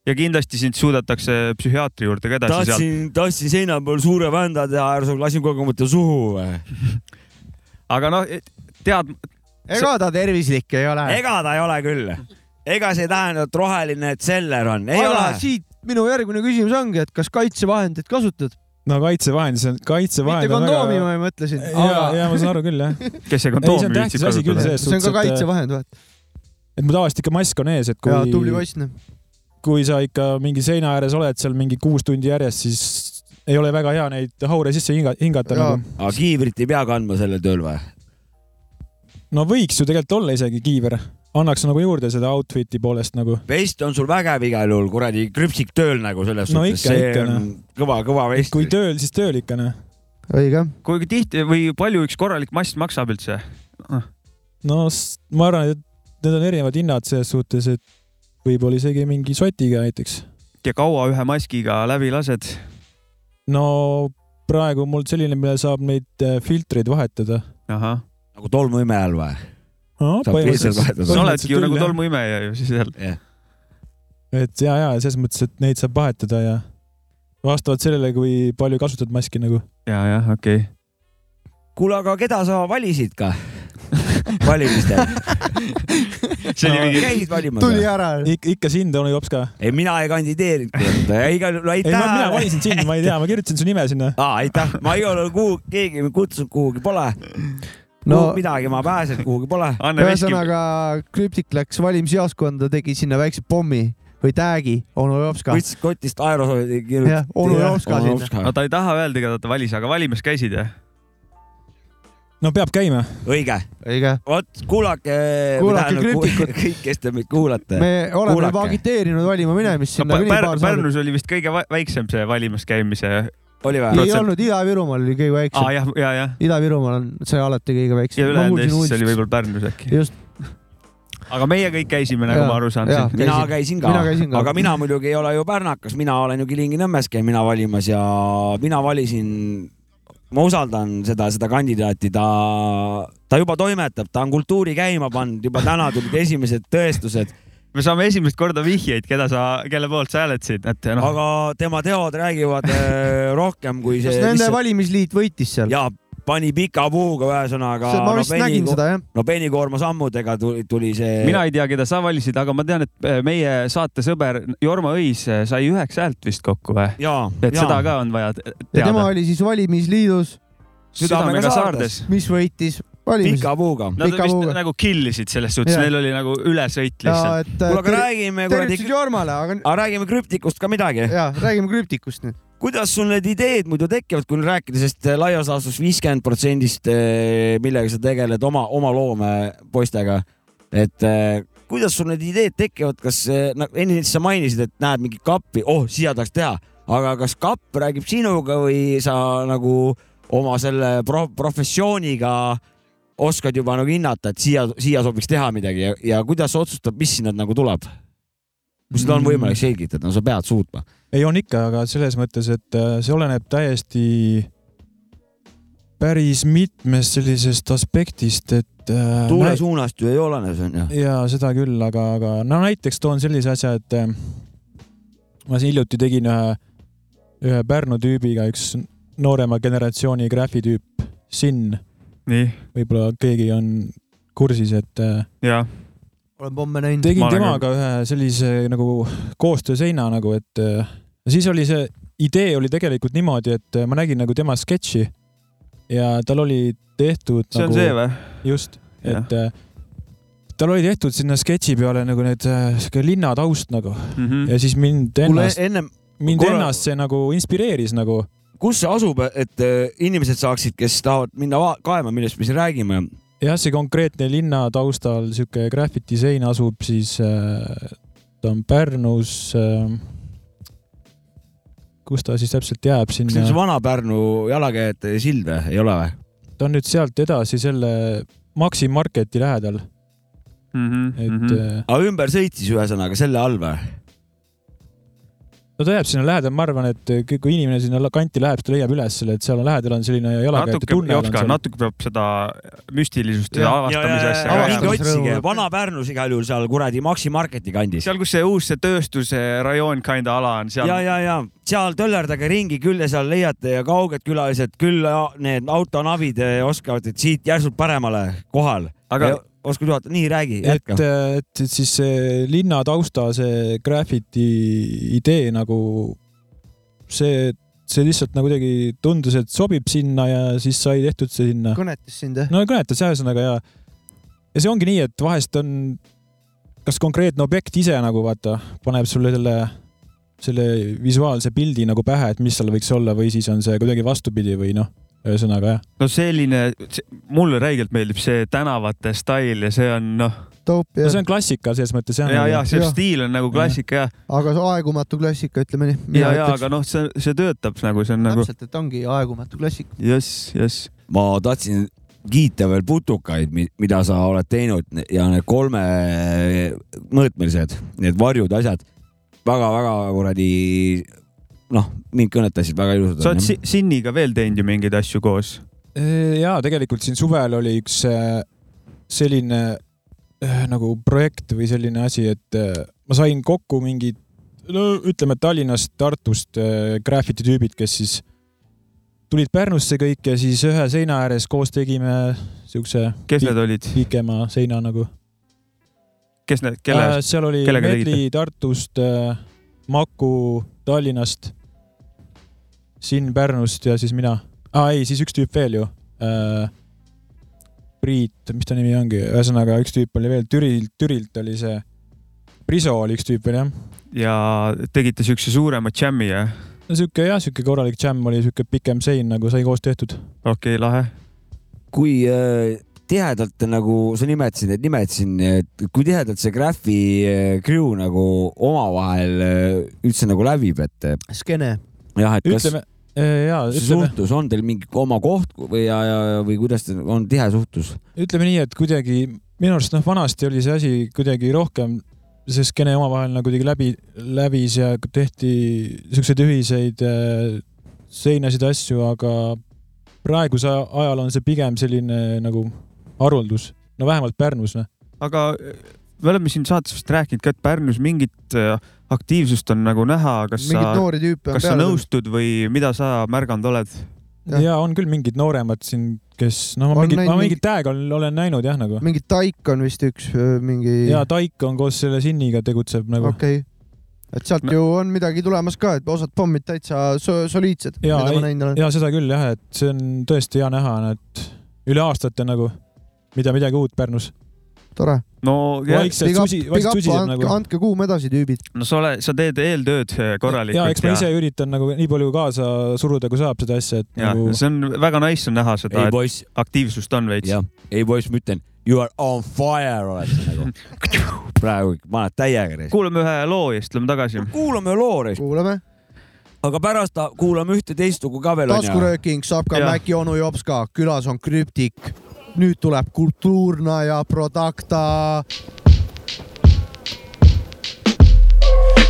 [SPEAKER 4] ja kindlasti sind suudetakse psühhiaatri juurde ka edasi sealt .
[SPEAKER 3] tahtsin , tahtsin seina peal suure vända teha , äärmisel lasin kogemata suhu või ?
[SPEAKER 4] aga noh , tead ,
[SPEAKER 2] ega ta tervislik ei ole .
[SPEAKER 3] ega ta ei ole küll . ega see ei tähenda , et roheline seller on , ei
[SPEAKER 2] aga
[SPEAKER 3] ole .
[SPEAKER 2] siit minu järgmine küsimus ongi , et kas kaitsevahendeid kasutad ?
[SPEAKER 5] no kaitsevahend , see on kaitsevahend .
[SPEAKER 2] mitte kondoomi , ma mõtlesin ,
[SPEAKER 5] ja ,
[SPEAKER 2] aga
[SPEAKER 5] ja ma saan aru küll jah .
[SPEAKER 4] kes see
[SPEAKER 5] ei , see
[SPEAKER 4] kondoomi
[SPEAKER 5] on
[SPEAKER 4] viitsib
[SPEAKER 5] tähtis asi küll
[SPEAKER 4] kasutada .
[SPEAKER 5] selles
[SPEAKER 2] see on
[SPEAKER 5] suhtes ,
[SPEAKER 2] ka
[SPEAKER 5] et ,
[SPEAKER 2] kaitsevahend , vaata .
[SPEAKER 5] et mul tavaliselt ikka mask on ees , et
[SPEAKER 2] ja
[SPEAKER 5] kui ,
[SPEAKER 2] tubli poiss . noh.
[SPEAKER 5] kui sa ikka mingi seina ääres oled seal mingi kuus tundi järjest , siis ei ole väga hea neid haure sisse hinga- hingata
[SPEAKER 2] Jaa.
[SPEAKER 5] nagu .
[SPEAKER 3] aga kiivrit ei pea kandma sellel tööl või ?
[SPEAKER 5] no võiks ju tegelikult olla isegi kiiver , annaks nagu juurde seda outfit'i poolest nagu .
[SPEAKER 3] vest on sul vägev igal juhul , kuradi krüpsik tööl nagu selles
[SPEAKER 5] No
[SPEAKER 3] suhtes ,
[SPEAKER 5] ikka,
[SPEAKER 3] see
[SPEAKER 5] ikka,
[SPEAKER 3] on kõva , kõva vest .
[SPEAKER 5] kui tööl , siis tööl ikka noh .
[SPEAKER 2] õige .
[SPEAKER 4] kui tihti või palju üks korralik mass maksab üldse ?
[SPEAKER 5] no s- ma arvan , et need on erinevad hinnad selles suhtes , et võib-olla isegi mingi sotiga näiteks .
[SPEAKER 4] ja kaua ühe maskiga läbi lased ?
[SPEAKER 5] no praegu mul selline , millel saab neid eh, filtreid vahetada .
[SPEAKER 4] ahah ,
[SPEAKER 3] nagu tolmuime ajal või ? Saab filtreid vahetada.
[SPEAKER 4] sa oledki ju nagu . tolmuimeja ju siis jälle .
[SPEAKER 5] et ja , ja selles mõttes , et neid saab vahetada ja vastavalt sellele , kui palju kasutad maski nagu .
[SPEAKER 4] ja , jah , okei okay. .
[SPEAKER 3] kuule , aga keda sa valisid ka valimistel ?
[SPEAKER 4] see oli mingi ,
[SPEAKER 3] käisid valimas
[SPEAKER 2] tuli
[SPEAKER 3] või ?
[SPEAKER 2] ära .
[SPEAKER 5] Ik ikka sind , onu jops ka .
[SPEAKER 3] ei , mina ei kandideerinud . igal juhul
[SPEAKER 5] ei , mina
[SPEAKER 3] aitäh .
[SPEAKER 5] valisin sind , ma ei tea , ma kirjutasin su nime sinna .
[SPEAKER 3] aa , aitäh , ma igal juhul kuhugi , keegi mind kutsunud kuhugi pole no.
[SPEAKER 2] no .
[SPEAKER 3] midagi ma pääsen , kuhugi pole .
[SPEAKER 4] Anne Veski ,
[SPEAKER 2] ühesõnaga Krüptik läks valimisjaoskonda , tegi sinna väikse pommi või täägi onu Jopska .
[SPEAKER 3] võtsid kotist aerosooli
[SPEAKER 2] jah , onu
[SPEAKER 5] jah,
[SPEAKER 2] Jopska sinna .
[SPEAKER 4] no
[SPEAKER 3] kirjutasid .
[SPEAKER 4] ta ei taha öelda , keda ta valis , aga valimas käisid jah ?
[SPEAKER 5] no peab käima .
[SPEAKER 3] õige ,
[SPEAKER 2] õige .
[SPEAKER 3] vot kuulake .
[SPEAKER 2] Kuulake Krüptikut.
[SPEAKER 3] kõik , kes te meid kuulate .
[SPEAKER 2] me oleme
[SPEAKER 3] Kuulake.
[SPEAKER 2] juba agiteerinud valima minemist
[SPEAKER 4] no,
[SPEAKER 2] sinna
[SPEAKER 4] Pär-
[SPEAKER 2] küll
[SPEAKER 4] Pär,
[SPEAKER 2] nagu paar saadet .
[SPEAKER 4] Pärnus oli vist kõige va- väiksem see valimas käimise .
[SPEAKER 3] oli või ?
[SPEAKER 2] ei
[SPEAKER 4] protsent.
[SPEAKER 2] olnud , Ida-Virumaal oli kõige väiksem
[SPEAKER 4] aa . jah , ja , jah .
[SPEAKER 2] Ida-Virumaal on see alati kõige
[SPEAKER 4] ja
[SPEAKER 2] väiksem .
[SPEAKER 4] ülejäänud Eestis oli . võib-olla Pärnus äkki .
[SPEAKER 2] just ,
[SPEAKER 4] aga meie kõik käisime , nagu
[SPEAKER 2] Jaa,
[SPEAKER 4] ma aru saan
[SPEAKER 2] jaa. .
[SPEAKER 3] mina
[SPEAKER 2] Käisin-
[SPEAKER 3] käisin ka
[SPEAKER 2] mina käisin , ka.
[SPEAKER 3] aga mina muidugi ei ole ju pärnakas , mina olen ju Kilingi-Nõmmes , käin mina valimas ja mina valisin , ma usaldan seda , seda kandidaati , ta , ta juba toimetab , ta on kultuuri käima pannud , juba täna tulid esimesed tõestused ,
[SPEAKER 4] me saame esimest korda vihjeid , keda sa , kelle poolt sa hääletasid , et noh ,
[SPEAKER 3] aga tema teod räägivad eh, rohkem kui see
[SPEAKER 2] kas . nende valimisliit võitis seal ?
[SPEAKER 3] ja pani pika puuga , ühesõnaga .
[SPEAKER 2] ma vist nägin seda jah .
[SPEAKER 3] no penikoorma sammudega tuli , tuli see .
[SPEAKER 4] mina ei tea , keda sa valisid , aga ma tean , et eh, meie saatesõber Jorma Õis eh, sai üheksa häält vist kokku või ?
[SPEAKER 3] ja ,
[SPEAKER 4] et
[SPEAKER 3] ja
[SPEAKER 4] ja. seda . ka on vaja te-
[SPEAKER 2] ja tema
[SPEAKER 4] teada .
[SPEAKER 2] oli siis valimisliidus ,
[SPEAKER 4] südamega
[SPEAKER 3] Südamega
[SPEAKER 4] saardes .
[SPEAKER 2] mis võitis valimis- .
[SPEAKER 3] pika puuga .
[SPEAKER 4] Nad
[SPEAKER 2] Pika
[SPEAKER 4] vist
[SPEAKER 2] puuga.
[SPEAKER 4] nagu kill isid selles suhtes ,
[SPEAKER 2] Jaa.
[SPEAKER 4] neil oli nagu ülesõit
[SPEAKER 2] ja
[SPEAKER 4] lihtsalt .
[SPEAKER 2] et .
[SPEAKER 3] kuule , aga räägime kuradi
[SPEAKER 2] tervitused , Jormale , aga
[SPEAKER 3] aga räägime krüptikust ka midagi .
[SPEAKER 2] ja räägime krüptikust nüüd .
[SPEAKER 3] kuidas sul need ideed muidu tekivad , kui nüüd rääkida sellest äh, laias laastus viiskümmend protsendist , millega sa tegeled oma , oma loomepoistega , et eh, kuidas sul need ideed tekivad , kas eh, nagu enne sa mainisid , et näed mingit kappi , oh siia tahaks teha , aga kas kapp räägib sinuga või sa nagu oma selle pro professiooniga oskad juba nagu hinnata , et siia , siia sobiks teha midagi ja, ja kuidas sa otsustad , mis sinna nagu tuleb ? kui seda on võimalik selgitada , no sa pead suutma .
[SPEAKER 5] ei , on ikka , aga selles mõttes , et äh, see oleneb täiesti päris mitmest sellisest aspektist , et äh,
[SPEAKER 3] tuule
[SPEAKER 5] näi-
[SPEAKER 3] suunast ju ei olene , see on ju .
[SPEAKER 5] ja seda küll , aga , aga no näiteks toon sellise asja , et äh, ma siin hiljuti tegin ühe , ühe Pärnu tüübiga , üks noorema generatsiooni graafitüüp , Sinn ,
[SPEAKER 4] nii ,
[SPEAKER 5] võib-olla keegi on kursis , et äh,
[SPEAKER 4] jah .
[SPEAKER 2] olen pomme näinud .
[SPEAKER 5] tegin
[SPEAKER 4] Ma olen
[SPEAKER 5] temaga ühe sellise nagu koostööseina nagu , et äh, siis oli see idee oli tegelikult niimoodi , et äh, ma nägin nagu tema sketši ja tal oli tehtud
[SPEAKER 4] see on
[SPEAKER 5] nagu,
[SPEAKER 4] see või ?
[SPEAKER 5] just , et äh, tal oli tehtud sinna sketši peale nagu need äh, sihuke linna taust nagu
[SPEAKER 4] Mhm.
[SPEAKER 5] ja siis mind
[SPEAKER 3] kuule
[SPEAKER 4] e-,
[SPEAKER 5] ennast ,
[SPEAKER 3] ennem ,
[SPEAKER 5] mind
[SPEAKER 3] korra-
[SPEAKER 5] ennast see nagu inspireeris nagu
[SPEAKER 3] kus see asub , et äh, inimesed saaksid , kes tahavad minna va- kaema , millest me siin räägime ,
[SPEAKER 5] jah , see konkreetne linna taustal sihuke graffiti sein asub siis , ta on Pärnus . kus ta siis täpselt jääb
[SPEAKER 3] kas see on see
[SPEAKER 5] sinna ,
[SPEAKER 3] Vana-Pärnu jalakäijate sild või , ei ole või ?
[SPEAKER 5] ta on nüüd sealt edasi selle Maxi Marketi lähedal ,
[SPEAKER 4] Mhm.
[SPEAKER 5] et
[SPEAKER 3] Mhm.
[SPEAKER 5] mm
[SPEAKER 4] et .
[SPEAKER 5] -hmm.
[SPEAKER 3] aga ümber sõitis ühesõnaga selle all või ?
[SPEAKER 5] no ta jääb sinna lähedal , ma arvan , et kõik- kui inimene sinna la- kanti läheb , siis ta leiab üles selle , et seal on lähedal on selline jalakäijate
[SPEAKER 4] natuke ,
[SPEAKER 5] tunnel on
[SPEAKER 4] Jopska ,
[SPEAKER 5] seal .
[SPEAKER 4] natuke peab seda müstilisust ja
[SPEAKER 2] Jah.
[SPEAKER 4] avastamise asja ka
[SPEAKER 2] Avastamisrõõmu.
[SPEAKER 3] minge
[SPEAKER 4] jätma .
[SPEAKER 3] otsige , Vana-Pärnus igal juhul seal kuradi Maxi Marketi kandis .
[SPEAKER 4] seal , kus see uus see tööstuse rajoon kinda ala on , seal
[SPEAKER 3] ja , ja , ja seal töllerdage ringi küll ja seal leiate ja kauged külalised küll ja need autonavid eh, oskavad , et siit järsult paremale kohal .
[SPEAKER 4] Aga-
[SPEAKER 3] oskad juhatada , nii räägi ,
[SPEAKER 5] et ,
[SPEAKER 3] jätka .
[SPEAKER 5] et et siis see linna tausta , see graffiti idee nagu see , see lihtsalt nagu kuidagi tundus , et sobib sinna ja siis sai tehtud see sinna .
[SPEAKER 2] kõnetas sind jah ?
[SPEAKER 5] no kõnetas jah , ühesõnaga ja , ja see ongi nii , et vahest on kas konkreetne objekt ise nagu vaata paneb sulle selle , selle visuaalse pildi nagu pähe , et mis seal võiks olla või siis on see kuidagi vastupidi või noh , ühesõnaga jah .
[SPEAKER 4] no selline , mulle räigelt meeldib see tänavate stail ja see on noh ,
[SPEAKER 2] dope
[SPEAKER 5] no
[SPEAKER 2] jah
[SPEAKER 5] see on klassika selles mõttes jah .
[SPEAKER 4] ja , ja see
[SPEAKER 2] Jah.
[SPEAKER 4] stiil on nagu klassika ja ,
[SPEAKER 2] aga see aegumatu klassika , ütleme nii .
[SPEAKER 4] ja , ja aga noh , see , see töötab nagu see on nagu
[SPEAKER 2] täpselt , et ongi aegumatu klassika .
[SPEAKER 4] jess , jess .
[SPEAKER 3] ma tahtsin kiita veel putukaid , mida sa oled teinud ja need kolme mõõtmelised , need varjud , asjad väga-väga kuradi noh , mind kõnetasid väga
[SPEAKER 4] sa oled
[SPEAKER 3] ilusad .
[SPEAKER 4] Si- Sinniga veel teinud ju mingeid asju koos ?
[SPEAKER 5] ja Äh, tegelikult siin suvel oli üks äh, selline äh, nagu projekt või selline asi , et äh, ma sain kokku mingid , no ütleme Tallinnast , Tartust äh, graffiti tüübid , kes siis tulid Pärnusse kõik ja siis ühe seina ääres koos tegime siukse
[SPEAKER 4] kes need olid ,
[SPEAKER 5] pikema seina nagu .
[SPEAKER 4] kes need , kelle ,
[SPEAKER 5] Äh, seal oli
[SPEAKER 4] kellega
[SPEAKER 5] Medli Tartust , Maku Tallinnast , Sinn Pärnust ja siis mina ah, . ei , siis üks tüüp veel ju . Priit , mis ta nimi ongi , ühesõnaga üks tüüp oli veel , Türilt , Türilt oli see , Priso oli üks tüüp veel jah .
[SPEAKER 4] ja tegite siukse suurema jam'i jah ?
[SPEAKER 5] no sihuke jah , sihuke korralik džämm oli , sihuke pikem sein nagu sai koos tehtud .
[SPEAKER 4] okei okay, , lahe .
[SPEAKER 3] kui äh, tihedalt nagu sa nimetasid , et nimetasin , et kui tihedalt see Graffi äh, crew nagu omavahel äh, üldse nagu läbib , et
[SPEAKER 2] skeene .
[SPEAKER 3] jah , et kas
[SPEAKER 5] ütleme , jaa ,
[SPEAKER 3] see
[SPEAKER 5] ütleme
[SPEAKER 3] suhtlus on teil mingi oma koht või , ja , ja või kuidas te- on tihe suhtlus ?
[SPEAKER 5] ütleme nii , et kuidagi minu arust noh , vanasti oli see asi kuidagi rohkem , see skeene omavahel nagu kuidagi läbi , läbis ja tehti siukseid ühiseid äh, seinasid , asju , aga praeguse ajal on see pigem selline nagu haruldus , no vähemalt Pärnus noh .
[SPEAKER 4] aga eh, me oleme siin saates vist rääkinud ka , et Pärnus mingit äh, aktiivsust on nagu näha , kas
[SPEAKER 2] mingeid
[SPEAKER 4] sa ,
[SPEAKER 2] noori tüüpe on
[SPEAKER 4] kas sa
[SPEAKER 2] peal .
[SPEAKER 4] nõustud või mida sa märganud oled ?
[SPEAKER 2] Jah.
[SPEAKER 5] ja on küll mingid nooremad siin , kes noh , ma
[SPEAKER 2] On
[SPEAKER 5] mingit ,
[SPEAKER 2] näinud
[SPEAKER 5] ma
[SPEAKER 2] mingi-
[SPEAKER 5] mingit täiega olen, olen näinud jah nagu .
[SPEAKER 2] mingi Taik on vist üks öö, mingi .
[SPEAKER 5] ja Taik on koos selle Sinniga tegutseb nagu .
[SPEAKER 2] okei okay. . et sealt
[SPEAKER 4] No-
[SPEAKER 2] ju on midagi tulemas ka , et osad pommid täitsa so soliidsed , mida
[SPEAKER 5] Jaa,
[SPEAKER 2] ma
[SPEAKER 5] ei-
[SPEAKER 2] näinud olen .
[SPEAKER 5] ja seda küll jah , et see on tõesti hea näha , et üle aastate nagu , mida midagi uut Pärnus .
[SPEAKER 2] tore .
[SPEAKER 4] no jah ,
[SPEAKER 5] vaikselt susi , vaikselt susiseb nagu .
[SPEAKER 2] andke kuum edasi , tüübid .
[SPEAKER 4] no sa oled , sa teed eeltööd eh, korralikult
[SPEAKER 5] ja eks ma ise üritan nagu nii palju kaasa suruda , kui saab seda asja , et
[SPEAKER 4] ja
[SPEAKER 5] nagu
[SPEAKER 4] see on väga nice on näha seda ,
[SPEAKER 3] ei
[SPEAKER 4] et
[SPEAKER 3] poiss ,
[SPEAKER 4] aktiivsust on veits .
[SPEAKER 3] jah , ei poiss , ma ütlen , you are on fire oled sa nagu . praegu paned täiega reis .
[SPEAKER 4] kuulame ühe loo ja siis tuleme tagasi .
[SPEAKER 3] kuulame loo reis ,
[SPEAKER 2] kuulame .
[SPEAKER 3] aga pärast ta- kuulame ühte-teist lugu ka veel onju .
[SPEAKER 2] taskurööking , saab ka
[SPEAKER 4] Jah.
[SPEAKER 2] Mäki onu Jopska , külas on krüptik . nüüd tuleb Kultuurna ja Producta .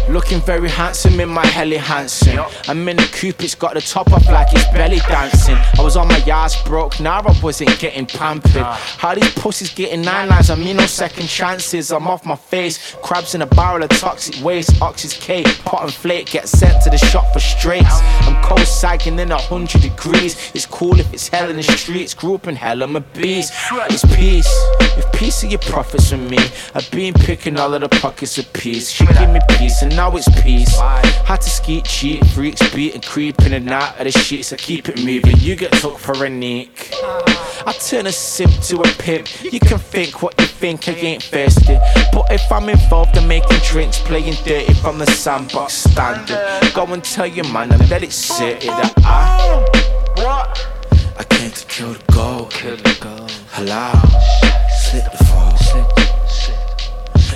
[SPEAKER 6] Looking very handsome in my Helly Hansen. I'm in a coupe, it's got the top off like it's belly dancing. I was on my ass broke, now I wasn't getting pampered. How these pussies getting nine lines? I mean, no second chances. I'm off my face, crabs in a barrel of toxic waste. Ox's cake, pot and flake, get sent to the shop for straights. I'm cold sagging in a hundred degrees. It's cool if it's hell in the streets. Grew up in hell, I'm a beast. It's peace. If peace are your profits from me, I've been picking all of the pockets of peace. She give me peace, and now it's peace. Had to skeet, cheat, freaks, beat, and creep in and out of the sheets. I keep it moving, you get took for a neek. I turn a simp to a pimp. You can think what you think, I ain't thirsty. But if I'm involved, I'm making drinks, playing dirty from the sandbox standing. Go and tell your man, and let it sit that I. What? I came to kill the gold. Kill the gold. Hello. Slip the fall.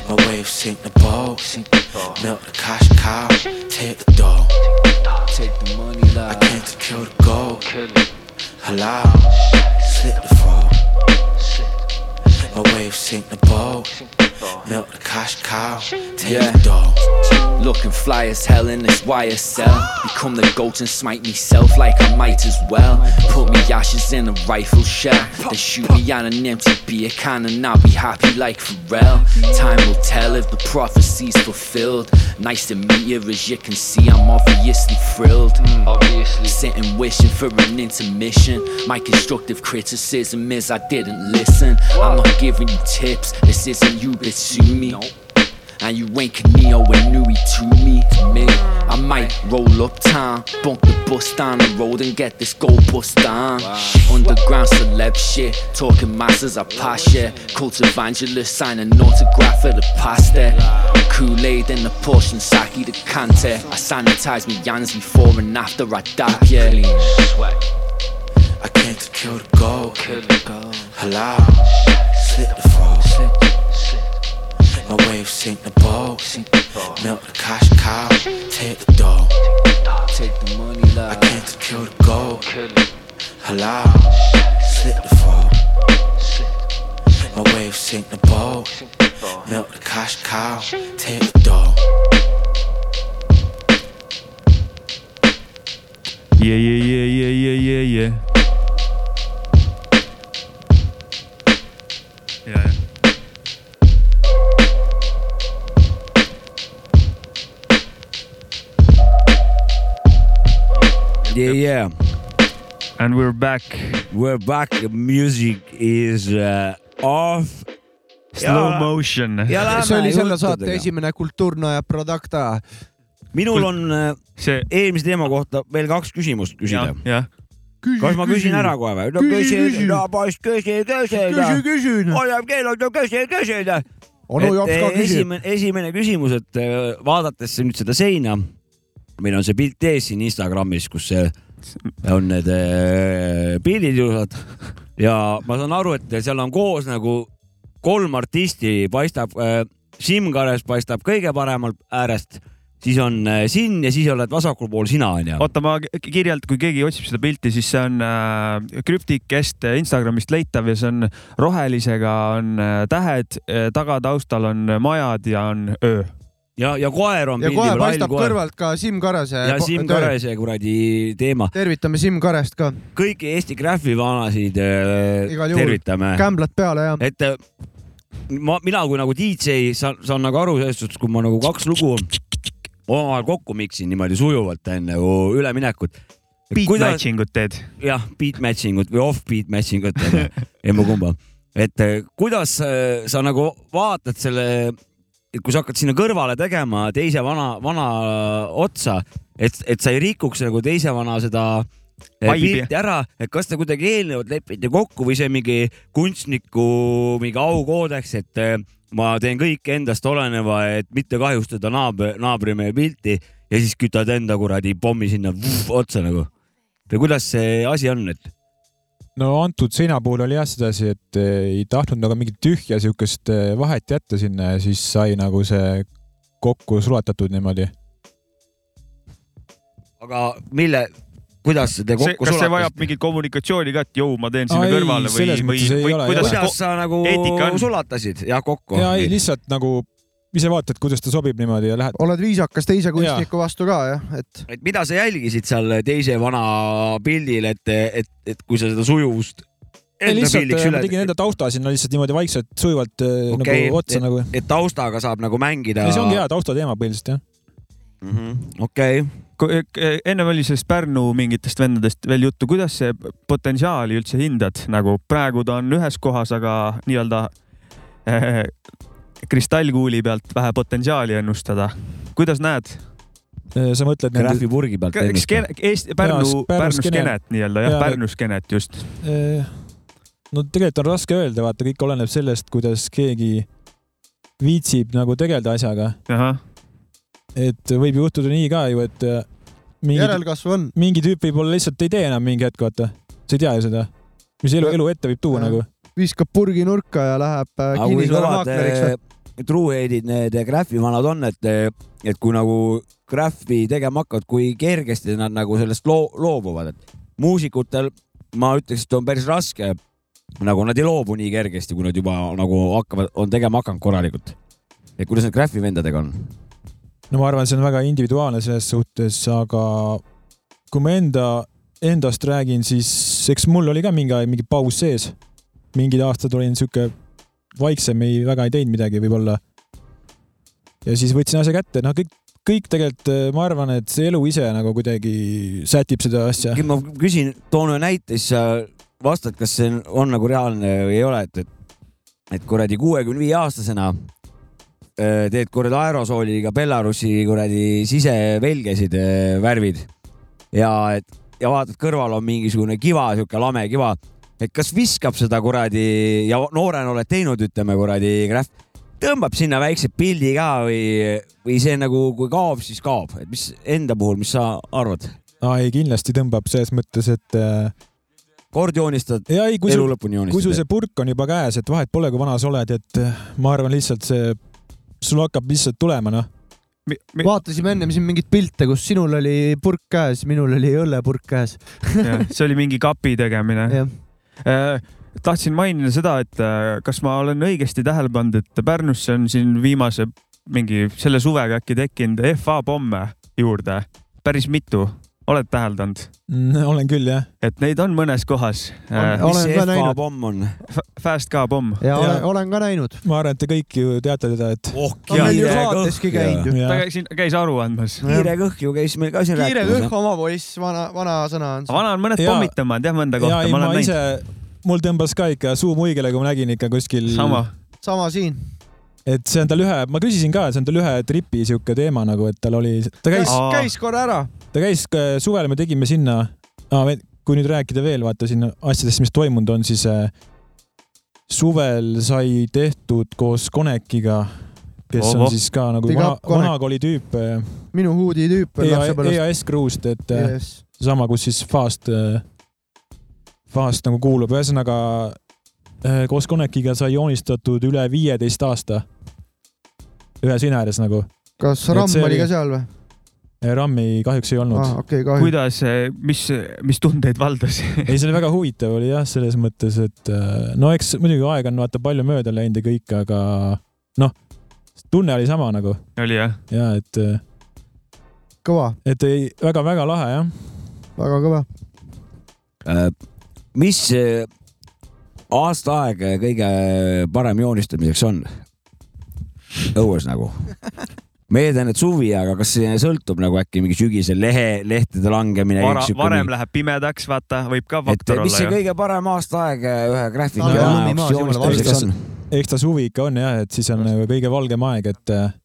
[SPEAKER 6] My wave sink the boat. Sink the Milk the cash cow. Take the dough. Take the money I came to kill the gold. Kill Hello. Slip the fall. My wave sink the boat. Milk the cash cow. Take the dough.
[SPEAKER 7] Looking fly as hell in this wire cell. Become the goat and smite myself like I might as well. Put me ashes in a rifle shell. They shoot me on an empty beer can and I'll be happy like Pharrell. Time will tell if the prophecy's fulfilled. Nice to meet you, as you can see, I'm obviously thrilled. Obviously. Sitting wishing for an intermission. My constructive criticism is I didn't listen. I'm not giving you tips, this isn't you, bitch, sue me. And you ain't Neo and Nui to me, me. I might roll up town, bump the bus down the road and get this gold bus down. Under underground celeb shit. Talking masses, I pass yeah. Cult evangelist, sign an autograph for the pasta. Kool-Aid and the portion, sake the cante. I sanitize me hands before and after I dap, yeah.
[SPEAKER 6] I came to kill the gold. Hello. Slit the frog. My wave sink the bowl. Milk the cash cow. Take the dough.
[SPEAKER 7] Take the money,
[SPEAKER 6] I
[SPEAKER 7] love.
[SPEAKER 6] came to kill the gold. Hello. Slit the frog. My wave sink the bowl. Milk the cash cow. Take the dough.
[SPEAKER 4] yeah , yeah , yeah , yeah , yeah , yeah , yeah . ja , jah .
[SPEAKER 3] yeah , yeah .
[SPEAKER 4] And we are back .
[SPEAKER 3] We're back , music is uh, off .
[SPEAKER 4] Slow motion .
[SPEAKER 2] see oli selle saate . esimene Kultuurna ja Producta .
[SPEAKER 3] minul on uh,
[SPEAKER 4] see ,
[SPEAKER 3] eelmise teema kohta veel kaks küsimust
[SPEAKER 4] jah
[SPEAKER 3] küsida .,
[SPEAKER 4] jah .
[SPEAKER 3] kas ma küsin ära kohe või ? no
[SPEAKER 2] Küsi,
[SPEAKER 3] küsi
[SPEAKER 2] küsi. ,
[SPEAKER 3] no poiss , küsi , küsi .
[SPEAKER 2] küsi , küsin .
[SPEAKER 3] oleme keelanud , küsi , küsi
[SPEAKER 2] onu Jops Oh, ka
[SPEAKER 3] eh,
[SPEAKER 2] küsib .
[SPEAKER 3] esimene , esimene küsimus , et eh, vaadates nüüd seda seina , meil on see pilt ees siin Instagramis , kus eh, on need eh, pildid ilusad ja ma saan aru , et seal on koos nagu kolm artisti , paistab eh, Simkares paistab kõige paremalt äärest , siis on eh, Sin ja siis oled vasakul pool sina onju .
[SPEAKER 4] oota , ma kirjalt , kui keegi otsib seda pilti , siis see on äh, krüptikest Instagramist leitav ja see on rohelisega on äh, tähed , tagataustal on majad ja on öö .
[SPEAKER 3] ja , ja koer on
[SPEAKER 2] ja
[SPEAKER 3] pildi
[SPEAKER 2] kohe
[SPEAKER 3] peal , hall
[SPEAKER 2] paistab eh,
[SPEAKER 3] koer .
[SPEAKER 2] kõrvalt ka Siim Karase
[SPEAKER 3] ja
[SPEAKER 2] po-
[SPEAKER 3] Siim
[SPEAKER 2] töö.
[SPEAKER 3] Karese kuradi teema ,
[SPEAKER 2] tervitame Siim Karest ka ,
[SPEAKER 3] kõiki Eesti Graffi vanasid eh,
[SPEAKER 2] Igal juhul.
[SPEAKER 3] tervitame
[SPEAKER 2] kämblad peale ja .
[SPEAKER 3] et äh, ma , mina kui nagu DJ saan , saan nagu aru selles suhtes , kui ma nagu kaks lugu omavahel kokku miksin niimoodi sujuvalt enne nagu üleminekut .
[SPEAKER 4] beat matching ut teed .
[SPEAKER 3] jah , beat matching ut või off beat matching ut , emba-kumba . et äh, kuidas äh, sa nagu vaatad selle , et kui sa hakkad sinna kõrvale tegema teise vana , vana otsa , et , et sa ei rikuks nagu teise vana seda äh,
[SPEAKER 4] Vibe'i.
[SPEAKER 3] pilti ära , et kas te kuidagi eelnevalt lepite kokku või see mingi kunstniku mingi aukoodeks , et äh, ma teen kõik endast oleneva , et mitte kahjustada naabri , naabrimehe pilti ja siis kütad enda kuradi pommi sinna vuh, otsa nagu või kuidas see asi on , et
[SPEAKER 5] no antud seina puhul oli jah sedasi , et eh, ei tahtnud nagu mingit tühja siukest eh, vahet jätta sinna ja siis sai nagu see kokku sulatatud niimoodi .
[SPEAKER 3] aga mille , kuidas te
[SPEAKER 4] see ,
[SPEAKER 3] kokku
[SPEAKER 4] kas see vajab
[SPEAKER 3] sulatasite ?
[SPEAKER 4] mingit kommunikatsiooni ka , et jõu , ma teen sinna
[SPEAKER 5] Ai,
[SPEAKER 4] kõrvale või
[SPEAKER 5] selles ,
[SPEAKER 4] või
[SPEAKER 5] mõttes ei ,
[SPEAKER 4] või
[SPEAKER 5] ole,
[SPEAKER 4] kuidas
[SPEAKER 5] jah.
[SPEAKER 3] kuidas
[SPEAKER 4] see ,
[SPEAKER 3] sa nagu
[SPEAKER 4] eetika on?
[SPEAKER 3] sulatasid ja kokku ?
[SPEAKER 5] ja ei , lihtsalt nagu ise vaatad , kuidas ta sobib niimoodi ja lähed .
[SPEAKER 2] oled viisakas teise kunstniku vastu ka jah , et
[SPEAKER 3] et mida sa jälgisid seal teise vana pildil , et , et , et kui sa seda sujuvust enda
[SPEAKER 5] lihtsalt
[SPEAKER 3] pildiks
[SPEAKER 5] eh,
[SPEAKER 3] üle
[SPEAKER 5] ma tegin , enda tausta sinna lihtsalt niimoodi vaikselt sujuvalt okay,
[SPEAKER 3] Okei,
[SPEAKER 5] nagu otsa nagu .
[SPEAKER 3] et taustaga saab nagu mängida .
[SPEAKER 5] see ongi hea taustateema põhiliselt jah .
[SPEAKER 3] hea . okei ,
[SPEAKER 4] eh, ennem oli sellest Pärnu mingitest vendadest veel juttu , kuidas see potentsiaali üldse hindad , nagu praegu ta on ühes kohas , aga nii-öelda eh, kristallkuuli pealt vähe potentsiaali ennustada . kuidas näed
[SPEAKER 5] Äh, sa mõtled nende ,
[SPEAKER 3] Graffi purgi pealt
[SPEAKER 4] K-
[SPEAKER 3] ennustan .
[SPEAKER 4] skeene , Eesti , Pärnu ,
[SPEAKER 5] Jaa, Pärnu
[SPEAKER 4] Pärnu
[SPEAKER 5] skeene.
[SPEAKER 4] skeenet nii-öelda jah ,
[SPEAKER 5] Jaa,
[SPEAKER 4] Pärnu skeenet just .
[SPEAKER 5] Äh, no tegelikult on raske öelda , vaata , kõik oleneb sellest , kuidas keegi viitsib nagu tegeleda asjaga ,
[SPEAKER 4] ahah ,
[SPEAKER 5] et võib juhtuda nii ka ju , et eh, mingid
[SPEAKER 2] järelkasv on .
[SPEAKER 5] mingi tüüp võib-olla lihtsalt ei tee enam mingi hetk , vaata . sa ei tea ju seda , mis elu , elu ette võib tuua
[SPEAKER 2] Jah.
[SPEAKER 5] nagu .
[SPEAKER 2] viskab purgi nurka ja läheb äh,
[SPEAKER 3] aga kui kõvad
[SPEAKER 2] kinnisvaramaakleriks või ?
[SPEAKER 3] eh, truuheadid need eh, Graffi vanad on , et , et kui nagu Graffi tegema hakkavad , kui kergesti nad nagu sellest loo- , loobuvad , et muusikutel ma ütleks , et on päris raske , nagu nad ei loobu nii kergesti , kui nad juba nagu hakkavad , on tegema hakanud korralikult . et kuidas need Graffi vendadega on ?
[SPEAKER 5] no ma arvan , see on väga individuaalne selles suhtes , aga kui ma enda , endast räägin , siis eks mul oli ka mingi , mingi paus sees . mingid aastad olin sihuke vaiksem , ei , väga ei teinud midagi võib-olla . ja siis võtsin asja kätte , noh , kõik , kõik tegelikult eh, ma arvan , et see elu ise nagu kuidagi sätib seda asja .
[SPEAKER 3] ma küsin , toon ühe näite , siis sa vastad , kas see on, on nagu reaalne või ei ole , et , et , et kuradi kuuekümne viie aastasena öö, teed kuradi aerosooliga Belarusi kuradi sisevelgesid äh, öö, värvid ja et ja vaatad , kõrval on mingisugune kiva , sihuke lame kiva et kas viskab seda kuradi ja noorena oled teinud , ütleme kuradi graff , tõmbab sinna väikse pildi ka või , või see nagu , kui kaob , siis kaob , et mis enda puhul , mis sa arvad ?
[SPEAKER 5] Ah, ei , kindlasti tõmbab selles mõttes , et äh,
[SPEAKER 3] kord joonistad ,
[SPEAKER 5] ja ei , kui
[SPEAKER 3] elu
[SPEAKER 5] sul ,
[SPEAKER 3] lõpuni
[SPEAKER 5] kui sul see
[SPEAKER 3] joonistad .
[SPEAKER 5] purk on juba käes , et vahet pole , kui vana sa oled , et äh, ma arvan lihtsalt see , sul hakkab lihtsalt tulema , noh .
[SPEAKER 2] vaatasime ennem siin mingeid pilte , kus sinul oli purk käes , minul oli õllepurk käes .
[SPEAKER 4] see oli mingi kapi tegemine .
[SPEAKER 2] jah ,
[SPEAKER 4] Eh, tahtsin mainida seda , et eh, kas ma olen õigesti tähele pannud , et Pärnusse on siin viimase mingi selle suvega äkki tekkinud FA pomme juurde päris mitu , oled täheldanud ?
[SPEAKER 5] Mm, olen küll , jah .
[SPEAKER 4] et neid on mõnes kohas .
[SPEAKER 2] On-
[SPEAKER 3] mis
[SPEAKER 2] Olen
[SPEAKER 3] see
[SPEAKER 2] ka
[SPEAKER 3] FA
[SPEAKER 2] näinud.
[SPEAKER 3] pomm on ?
[SPEAKER 4] Fast K pomm .
[SPEAKER 2] ja olen,
[SPEAKER 5] Ja.
[SPEAKER 2] olen ka näinud .
[SPEAKER 5] ma arvan , et te kõik ju teate teda , et
[SPEAKER 3] oh ,
[SPEAKER 2] on meil ju saateski käinud ju .
[SPEAKER 4] ta
[SPEAKER 5] ja,
[SPEAKER 4] käis , käis aru andmas .
[SPEAKER 3] kiire kõhk ju käis meil ka siin
[SPEAKER 2] kiire
[SPEAKER 3] rääkimas
[SPEAKER 2] kõhk , oma poiss , vana , vana sõna on see .
[SPEAKER 4] vana on mõned
[SPEAKER 5] Jaa.
[SPEAKER 4] pommitama on jah mõnda
[SPEAKER 5] ja
[SPEAKER 4] kohta ,
[SPEAKER 5] ei ,
[SPEAKER 4] ma
[SPEAKER 5] ma
[SPEAKER 4] olen näinud .
[SPEAKER 5] ise , mul tõmbas ka ikka suu muigele , kui ma nägin ikka kuskil ,
[SPEAKER 4] sama .
[SPEAKER 2] sama siin .
[SPEAKER 5] et see on tal ühe , ma küsisin ka , see on tal ühe tripi sihuke teema nagu , et tal oli , ta käis ,
[SPEAKER 4] Aa.
[SPEAKER 2] käis korra ära .
[SPEAKER 5] ta käis ka- suvel , me tegime sinna ah, , kui nüüd rääkida veel vaata sinna asjadest , mis toimunud on , siis äh, suvel sai tehtud koos Konekiga , kes
[SPEAKER 4] Ohoh.
[SPEAKER 5] on siis ka nagu
[SPEAKER 2] Big
[SPEAKER 5] vana
[SPEAKER 2] up, , Konek.
[SPEAKER 5] vanakooli tüüp äh, E
[SPEAKER 2] minu huudi tüüp on
[SPEAKER 5] EA-
[SPEAKER 2] lapsepõlvest .
[SPEAKER 5] EAS Kruust , et äh,
[SPEAKER 2] Yes.
[SPEAKER 5] sama , kus siis Fast , Fast nagu kuulub , ühesõnaga äh, koos Konekiga sai joonistatud üle viieteist aasta ühes Inares nagu .
[SPEAKER 2] kas
[SPEAKER 5] Et
[SPEAKER 2] Ramm
[SPEAKER 5] see
[SPEAKER 2] oli
[SPEAKER 5] oli-
[SPEAKER 2] ka seal või ?
[SPEAKER 5] RAM-i kahjuks ei olnud
[SPEAKER 2] aa ,
[SPEAKER 5] ah. .
[SPEAKER 2] okei , kahju .
[SPEAKER 4] kuidas , mis , mis tundeid valdas ?
[SPEAKER 5] ei , see oli väga huvitav oli jah , selles mõttes , et äh, no eks muidugi aega on vaata palju mööda läinud ja kõik , aga noh , tunne oli sama nagu
[SPEAKER 4] oli jah ?
[SPEAKER 5] ja et ,
[SPEAKER 2] kõva ,
[SPEAKER 5] et ei väga, , väga-väga lahe jah .
[SPEAKER 2] väga kõva .
[SPEAKER 3] Äh, mis äh, aasta aeg kõige parem joonistamiseks on ? õues nagu ? ma eeldan , et suvi , aga kas see sõltub nagu äkki mingi sügisel lehe , lehtede langemine ?
[SPEAKER 4] vara , varem läheb pimedaks , vaata , võib ka
[SPEAKER 3] et äh,
[SPEAKER 4] faktor
[SPEAKER 3] mis
[SPEAKER 4] olla
[SPEAKER 3] see
[SPEAKER 4] ju .
[SPEAKER 3] kõige parem aastaaeg ühe graafiku
[SPEAKER 5] Talvel on
[SPEAKER 2] lumi maas, jumala
[SPEAKER 3] joonistamiseks
[SPEAKER 5] valgeks.
[SPEAKER 3] on ?
[SPEAKER 5] eks ta suvi ikka on jah , et siis on nagu kõige valgem aeg , et äh,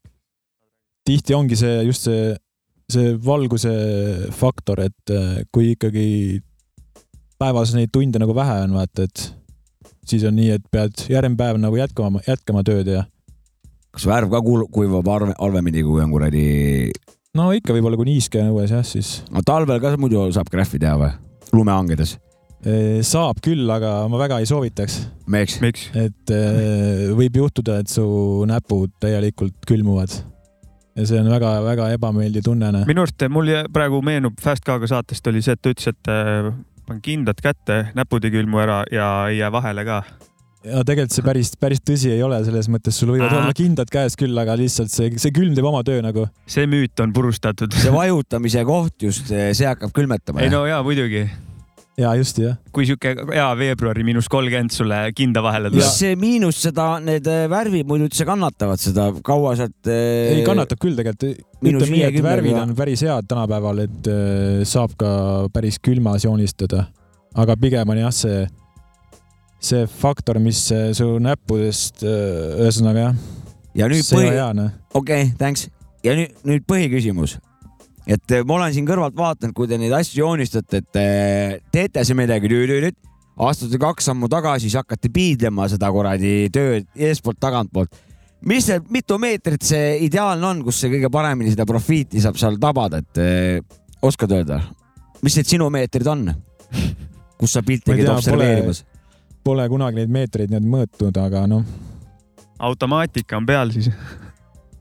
[SPEAKER 5] tihti ongi see just see , see valguse faktor , et äh, kui ikkagi päevas neid tunde nagu vähe on , vaata , et siis on nii , et pead järgmine päev nagu jätkama , jätkama tööd ja
[SPEAKER 3] kas värv ka kuul- kuivab arve , halvemini , kui on kuradi ,
[SPEAKER 5] no ikka võib-olla kui niiske on õues jah , siis
[SPEAKER 3] no talvel ka muidu saab graafi teha või ? lumehangedes ,
[SPEAKER 5] eh, saab küll , aga ma väga ei soovitaks ,
[SPEAKER 3] meeks .
[SPEAKER 4] miks ?
[SPEAKER 5] et eh, võib juhtuda , et su näpud täielikult külmuvad . ja see on väga-väga ebameeldiv tunne . noh.
[SPEAKER 4] minu arust eh, mul jä- praegu meenub Fast K-ga saatest oli see , et ta ütles , et äh, pan kindad kätte , näpud ei külmu ära ja ei jää vahele ka .
[SPEAKER 5] ja tegelikult see päris , päris tõsi ei ole , selles mõttes sul võivad
[SPEAKER 4] Aa.
[SPEAKER 5] olla kindad käes küll , aga lihtsalt see , see külm teeb oma töö nagu .
[SPEAKER 4] see müüt on purustatud .
[SPEAKER 3] see vajutamise koht just , see hakkab külmetama .
[SPEAKER 4] ei no jaa , muidugi .
[SPEAKER 5] ja just jah .
[SPEAKER 4] kui sihuke jaa , veebruari miinus kolmkümmend sulle kinda vahele
[SPEAKER 3] mis
[SPEAKER 5] Ja-
[SPEAKER 4] tuleb .
[SPEAKER 3] see miinus seda , need äh, värvid muidu üldse kannatavad seda , kaua sealt . eh,
[SPEAKER 5] ei kannatab küll tegelikult .
[SPEAKER 3] miinus
[SPEAKER 5] ütleme nii , et
[SPEAKER 3] 50
[SPEAKER 5] värvid
[SPEAKER 3] ja-
[SPEAKER 5] on päris head tänapäeval , et äh, saab ka päris külmas joonistada . aga pigem on jah , see , see faktor , mis äh, su näppudest , ühesõnaga jah ,
[SPEAKER 3] ja nüüd
[SPEAKER 5] see ei
[SPEAKER 3] põhi ,
[SPEAKER 5] ole hea noh .
[SPEAKER 3] okei okay, , thanks . ja nüüd , nüüd põhiküsimus . et äh, ma olen siin kõrvalt vaadanud , kui te neid asju joonistate , et äh, teete siin midagi , astute kaks sammu tagasi , siis hakkate piidlema seda kuradi tööd eespoolt-tagantpoolt . mis see , mitu meetrit see ideaalne on , kus see kõige paremini seda profiiti saab seal tabada , et äh, oskad öelda , mis need sinu meetrid on ? kus sa pilti
[SPEAKER 5] Ma ei
[SPEAKER 3] käid
[SPEAKER 5] tea, pole-
[SPEAKER 3] observeerimas ?
[SPEAKER 5] Pole kunagi neid meetreid nii-öelda mõõtnud , aga noh ,
[SPEAKER 4] automaatika on peal siis .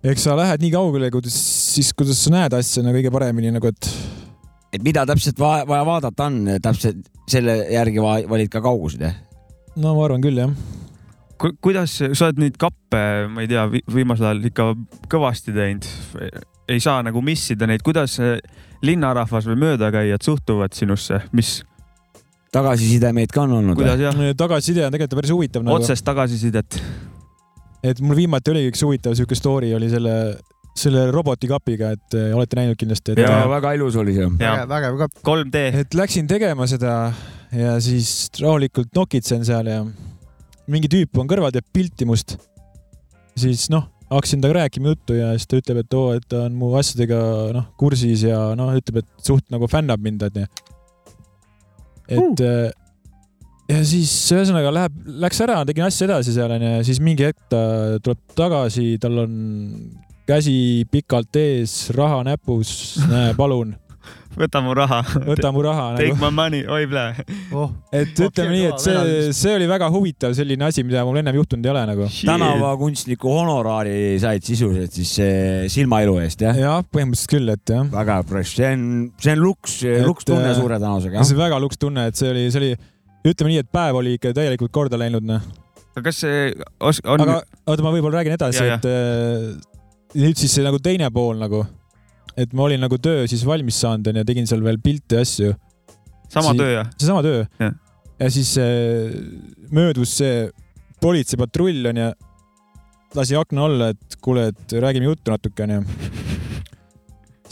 [SPEAKER 5] eks sa lähed nii kaugele , kuidas siis , kuidas sa näed asja nagu kõige paremini nagu , et
[SPEAKER 3] et mida täpselt vaja, vaja vaadata on , täpselt selle järgi va valid ka kaugused jah ?
[SPEAKER 5] no ma arvan küll jah
[SPEAKER 4] Ku- , kuidas , sa oled neid kappe , ma ei tea , viimasel ajal ikka kõvasti teinud . ei saa nagu miss ida neid , kuidas äh, linnarahvas või möödakäijad suhtuvad sinusse , mis ,
[SPEAKER 3] tagasiside meid ka on olnud või ?
[SPEAKER 4] kuidas jah ,
[SPEAKER 5] tagasiside on tegelikult päris huvitav nagu ,
[SPEAKER 4] otsest tagasisidet .
[SPEAKER 5] et mul viimati oli üks huvitav siuke story oli selle , selle robotikapiga , et eh, olete näinud kindlasti , et
[SPEAKER 4] Jaa.
[SPEAKER 3] väga ilus oli see .
[SPEAKER 4] jaa ,
[SPEAKER 2] vägev , vägev kapp .
[SPEAKER 4] 3D
[SPEAKER 5] et läksin tegema seda ja siis rahulikult nokitsen seal ja mingi tüüp on kõrval , teeb pilti must . siis noh , hakkasin temaga rääkima juttu ja siis ta ütleb , et oo , et ta on mu asjadega noh kursis ja noh , ütleb , et suht nagu fännab mind onju . et uh. ja siis ühesõnaga läheb , läks ära , tegin asja edasi seal onju ja siis mingi hetk ta tuleb tagasi , tal on käsi pikalt ees , raha näpus , näe palun ,
[SPEAKER 4] võta mu raha .
[SPEAKER 5] võta mu raha
[SPEAKER 4] Take
[SPEAKER 5] nagu .
[SPEAKER 4] my money , oi plee .
[SPEAKER 2] oh ,
[SPEAKER 5] et ütleme nii , et see , see oli väga huvitav selline asi , mida mul ennem juhtunud ei ole nagu .
[SPEAKER 3] tänavakunstniku honoraari said sisuliselt siis eh, silmailu eest jah ?
[SPEAKER 5] jah , põhimõtteliselt küll , et jah .
[SPEAKER 3] väga fresh , see on , see on luks , luks tunne
[SPEAKER 5] äh,
[SPEAKER 3] suure tänavusega .
[SPEAKER 5] see on väga luks tunne , et see oli , see oli , ütleme nii , et päev oli ikka täielikult korda läinud noh .
[SPEAKER 4] aga kas see os- , on
[SPEAKER 5] aga , oota , ma võib-olla räägin edasi ,
[SPEAKER 4] Jaa,
[SPEAKER 5] et äh, nüüd siis see nagu teine pool nagu , et ma olin nagu töö siis valmis saanud onju , tegin seal veel pilte ja asju ,
[SPEAKER 4] sama
[SPEAKER 5] siin-
[SPEAKER 4] töö jah ?
[SPEAKER 5] seesama töö
[SPEAKER 4] Jah. .
[SPEAKER 5] ja siis äh, möödus see politseipatrull onju , lasi akna alla , et kuule , et räägime juttu natuke onju .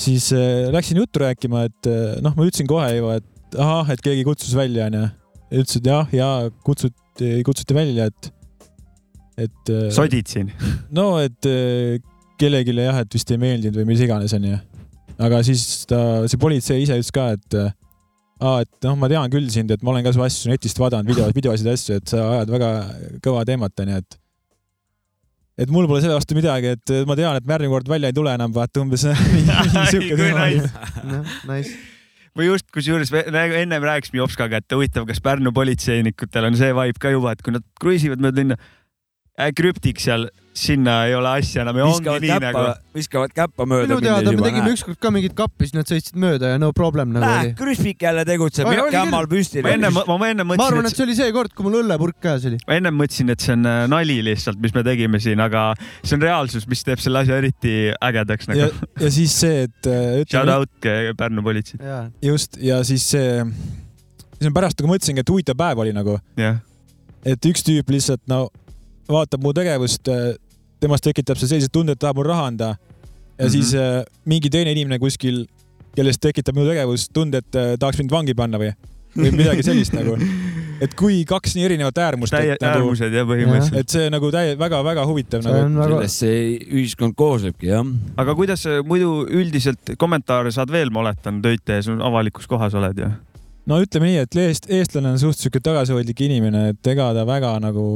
[SPEAKER 5] siis äh, läksin juttu rääkima , et äh, noh , ma ütlesin kohe juba , et ahah , et keegi kutsus välja onju , ütles , et jah , ja kutsuti , kutsuti välja , et , et äh,
[SPEAKER 4] sodid siin ?
[SPEAKER 5] no et eh, kellelegi jah , et vist ei meeldinud või mis iganes onju . aga siis ta , see politsei ise ütles ka , et eh, aa , et noh , ma tean küll sind , et ma olen ka su asju netist vaadanud , video , videosid ja asju , et sa ajad väga kõva teemat onju , et et mul pole selle vastu midagi , et eh, ma tean , et ma järgmine kord välja ei tule enam , vaata umbes
[SPEAKER 4] Ai, kui nice.
[SPEAKER 5] niisugune .
[SPEAKER 2] nice .
[SPEAKER 4] või just , kusjuures me- nagu ennem rääkisime Jopskaga , et huvitav , kas Pärnu politseinikutel on see vibe ka juba , et kui nad kruiisivad mööda linna äh, , krüptik seal , sinna ei ole asja enam ja ongi
[SPEAKER 3] viskavad
[SPEAKER 4] nii
[SPEAKER 3] käppa
[SPEAKER 4] nagu ,,
[SPEAKER 3] viskavad käppa mööda .
[SPEAKER 2] minu teada me tegime . ükskord ka mingit kappi , siis nad sõitsid mööda ja no problem nagu
[SPEAKER 3] Läh ,
[SPEAKER 2] oli .
[SPEAKER 3] krüspik jälle tegutseb
[SPEAKER 2] Oi, , oli
[SPEAKER 3] kämmal püsti .
[SPEAKER 4] ma enne , ma enne
[SPEAKER 2] ma arvan , et
[SPEAKER 4] mõtlesin ,
[SPEAKER 2] see oli see kord , kui mul õllepurk käes oli .
[SPEAKER 4] et ma enne mõtlesin , et see on äh, nali lihtsalt , mis me tegime siin , aga see on reaalsus , mis teeb selle asja eriti ägedaks
[SPEAKER 5] ja
[SPEAKER 4] nagu .
[SPEAKER 5] ja siis see , et eh,
[SPEAKER 4] Shout
[SPEAKER 5] ütleme
[SPEAKER 4] out eh, Pärnu politsei ,
[SPEAKER 2] jaa ,
[SPEAKER 5] just ja siis see , siis ma pärast nagu mõtlesingi , et huvitav päev oli nagu
[SPEAKER 4] jah .
[SPEAKER 5] et üks tüüp lihtsalt no vaatab mu tegevust , temast tekitab see sellise tunde , et tahab mul raha anda . ja mm
[SPEAKER 4] Mhm.
[SPEAKER 5] -hmm. siis äh, mingi teine inimene kuskil , kellest tekitab minu tegevus tunde , et äh, tahaks mind vangi panna või , või midagi sellist nagu . et kui kaks nii erinevat äärmust ,
[SPEAKER 4] täie
[SPEAKER 5] et , nagu ,
[SPEAKER 4] äärmused jah , põhimõtteliselt .
[SPEAKER 5] et see nagu täie- , väga-väga huvitav
[SPEAKER 2] see
[SPEAKER 5] nagu .
[SPEAKER 2] on väga ,
[SPEAKER 3] sellest see ühiskond koosnebki jah .
[SPEAKER 4] aga kuidas sa muidu üldiselt kommentaare saad veel , ma oletan , töid tehes , avalikus kohas oled ja ?
[SPEAKER 5] no ütleme nii , et eest- , eestlane on suht sihuke tagasihoidlik inimene , et ega ta väga nagu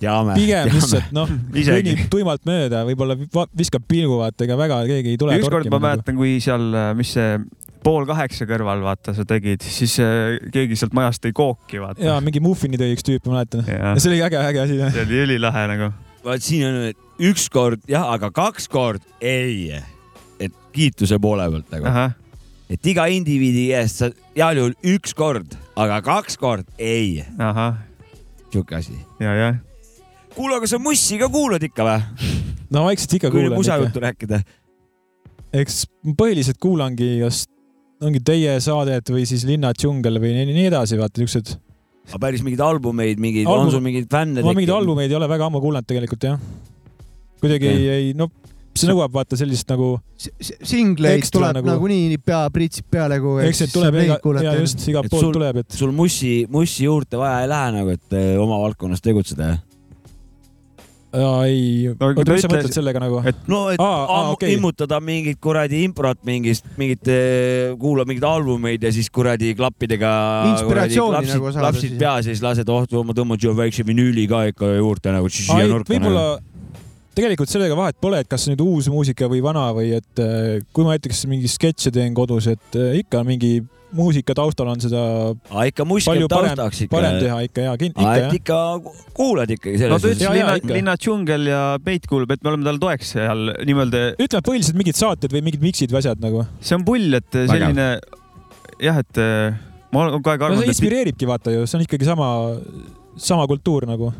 [SPEAKER 3] teame .
[SPEAKER 5] pigem lihtsalt noh ,
[SPEAKER 4] Äh, Isegi.
[SPEAKER 5] kõnnib tuimalt mööda , võib-olla va- viskab pilgu , vaata ega väga keegi ei tule . nagu.
[SPEAKER 4] ükskord ma . mäletan , kui seal , mis see pool kaheksa kõrval , vaata , sa tegid , siis äh, keegi sealt majast tõi kooki , vaata .
[SPEAKER 5] ja mingi muffini tõi üks tüüp , ma mäletan .
[SPEAKER 4] ja
[SPEAKER 5] ja see oli äge , äge asi .
[SPEAKER 4] see oli ülilahe nagu .
[SPEAKER 3] vaat siin on et üks kord jah , aga kaks kord ei . et kiituse poole pealt nagu , et iga indiviidi eest sa heal juhul üks kord , aga kaks kord ei ,
[SPEAKER 4] ahah ,
[SPEAKER 3] sihuke asi .
[SPEAKER 4] ja , ja .
[SPEAKER 3] kuule , aga sa Mussi ka kuulad ikka või ?
[SPEAKER 5] no vaikselt ikka
[SPEAKER 3] kui
[SPEAKER 5] kuulan ikka .
[SPEAKER 3] musajuttu rääkida .
[SPEAKER 5] eks põhiliselt kuulangi , kas ongi teie saadet või siis Linna džungel või nii, nii edasi , vaata niisugused .
[SPEAKER 3] aga päris mingeid albumeid , mingeid ,
[SPEAKER 5] Album-
[SPEAKER 3] on sul mingeid fänne ?
[SPEAKER 5] ma mingeid albumeid ei ole väga ammu kuulanud tegelikult jah . kuidagi ei , ei noh , see nõuab vaata sellist nagu ,
[SPEAKER 2] s- s- singleid
[SPEAKER 5] Ekstra
[SPEAKER 2] tuleb
[SPEAKER 5] nagu-
[SPEAKER 2] nagunii pea pritsib peale kogu aeg .
[SPEAKER 5] eks neid tuleb iga , ja just igalt
[SPEAKER 3] Et
[SPEAKER 5] poolt
[SPEAKER 3] sul-
[SPEAKER 5] tuleb , et
[SPEAKER 3] sul Mussi , Mussi juurte vaja ei lähe nagu , et eh, oma valdkonnas tegutseda ?
[SPEAKER 5] ja, ei .
[SPEAKER 4] aga
[SPEAKER 5] oota ,
[SPEAKER 4] ta
[SPEAKER 5] mis sa
[SPEAKER 4] ütles-
[SPEAKER 5] mõtled sellega nagu
[SPEAKER 4] et- ?
[SPEAKER 3] no et
[SPEAKER 5] Aa, aa,
[SPEAKER 3] ammu-
[SPEAKER 5] okei.
[SPEAKER 3] immutada mingit kuradi improt mingist , mingit , kuulad mingeid albumeid ja siis kuradi klappidega .
[SPEAKER 2] Inspiratsiooni nagu saada
[SPEAKER 3] klapsid
[SPEAKER 2] siis.
[SPEAKER 3] peas ja siis lased ohtu , ma tõmban siia väikse vinüüli ka ikka juurde nagu
[SPEAKER 5] Ai,
[SPEAKER 3] siia nurka .
[SPEAKER 5] võib-olla tegelikult sellega vahet pole , et kas nüüd uus muusika või vana või et äh, kui ma näiteks mingi sketše teen kodus , et äh, ikka mingi muusika taustal on seda
[SPEAKER 3] aga ikka muskli
[SPEAKER 5] palju parem
[SPEAKER 3] taustaks , ikka .
[SPEAKER 5] parem teha ikka ja ikka
[SPEAKER 3] Aa,
[SPEAKER 5] jah
[SPEAKER 3] et . ikka ku- kuulad ikkagi
[SPEAKER 4] no
[SPEAKER 3] selles
[SPEAKER 4] ta
[SPEAKER 3] suhtes
[SPEAKER 4] ütles
[SPEAKER 5] Jaa, jaa,
[SPEAKER 4] linna ,
[SPEAKER 5] ikka.
[SPEAKER 4] linna džungel ja Peit kuulub , et me oleme talle toeks seal nii-öelda ,
[SPEAKER 5] ütleme põhiliselt mingid saated või mingid miksid või asjad nagu .
[SPEAKER 4] see on pull , et selline jah , et äh, ma olen kogu aeg
[SPEAKER 5] no see
[SPEAKER 4] arvanud , et
[SPEAKER 5] inspireeribki vaata ju , see on ikkagi sama , sama kultuur nagu .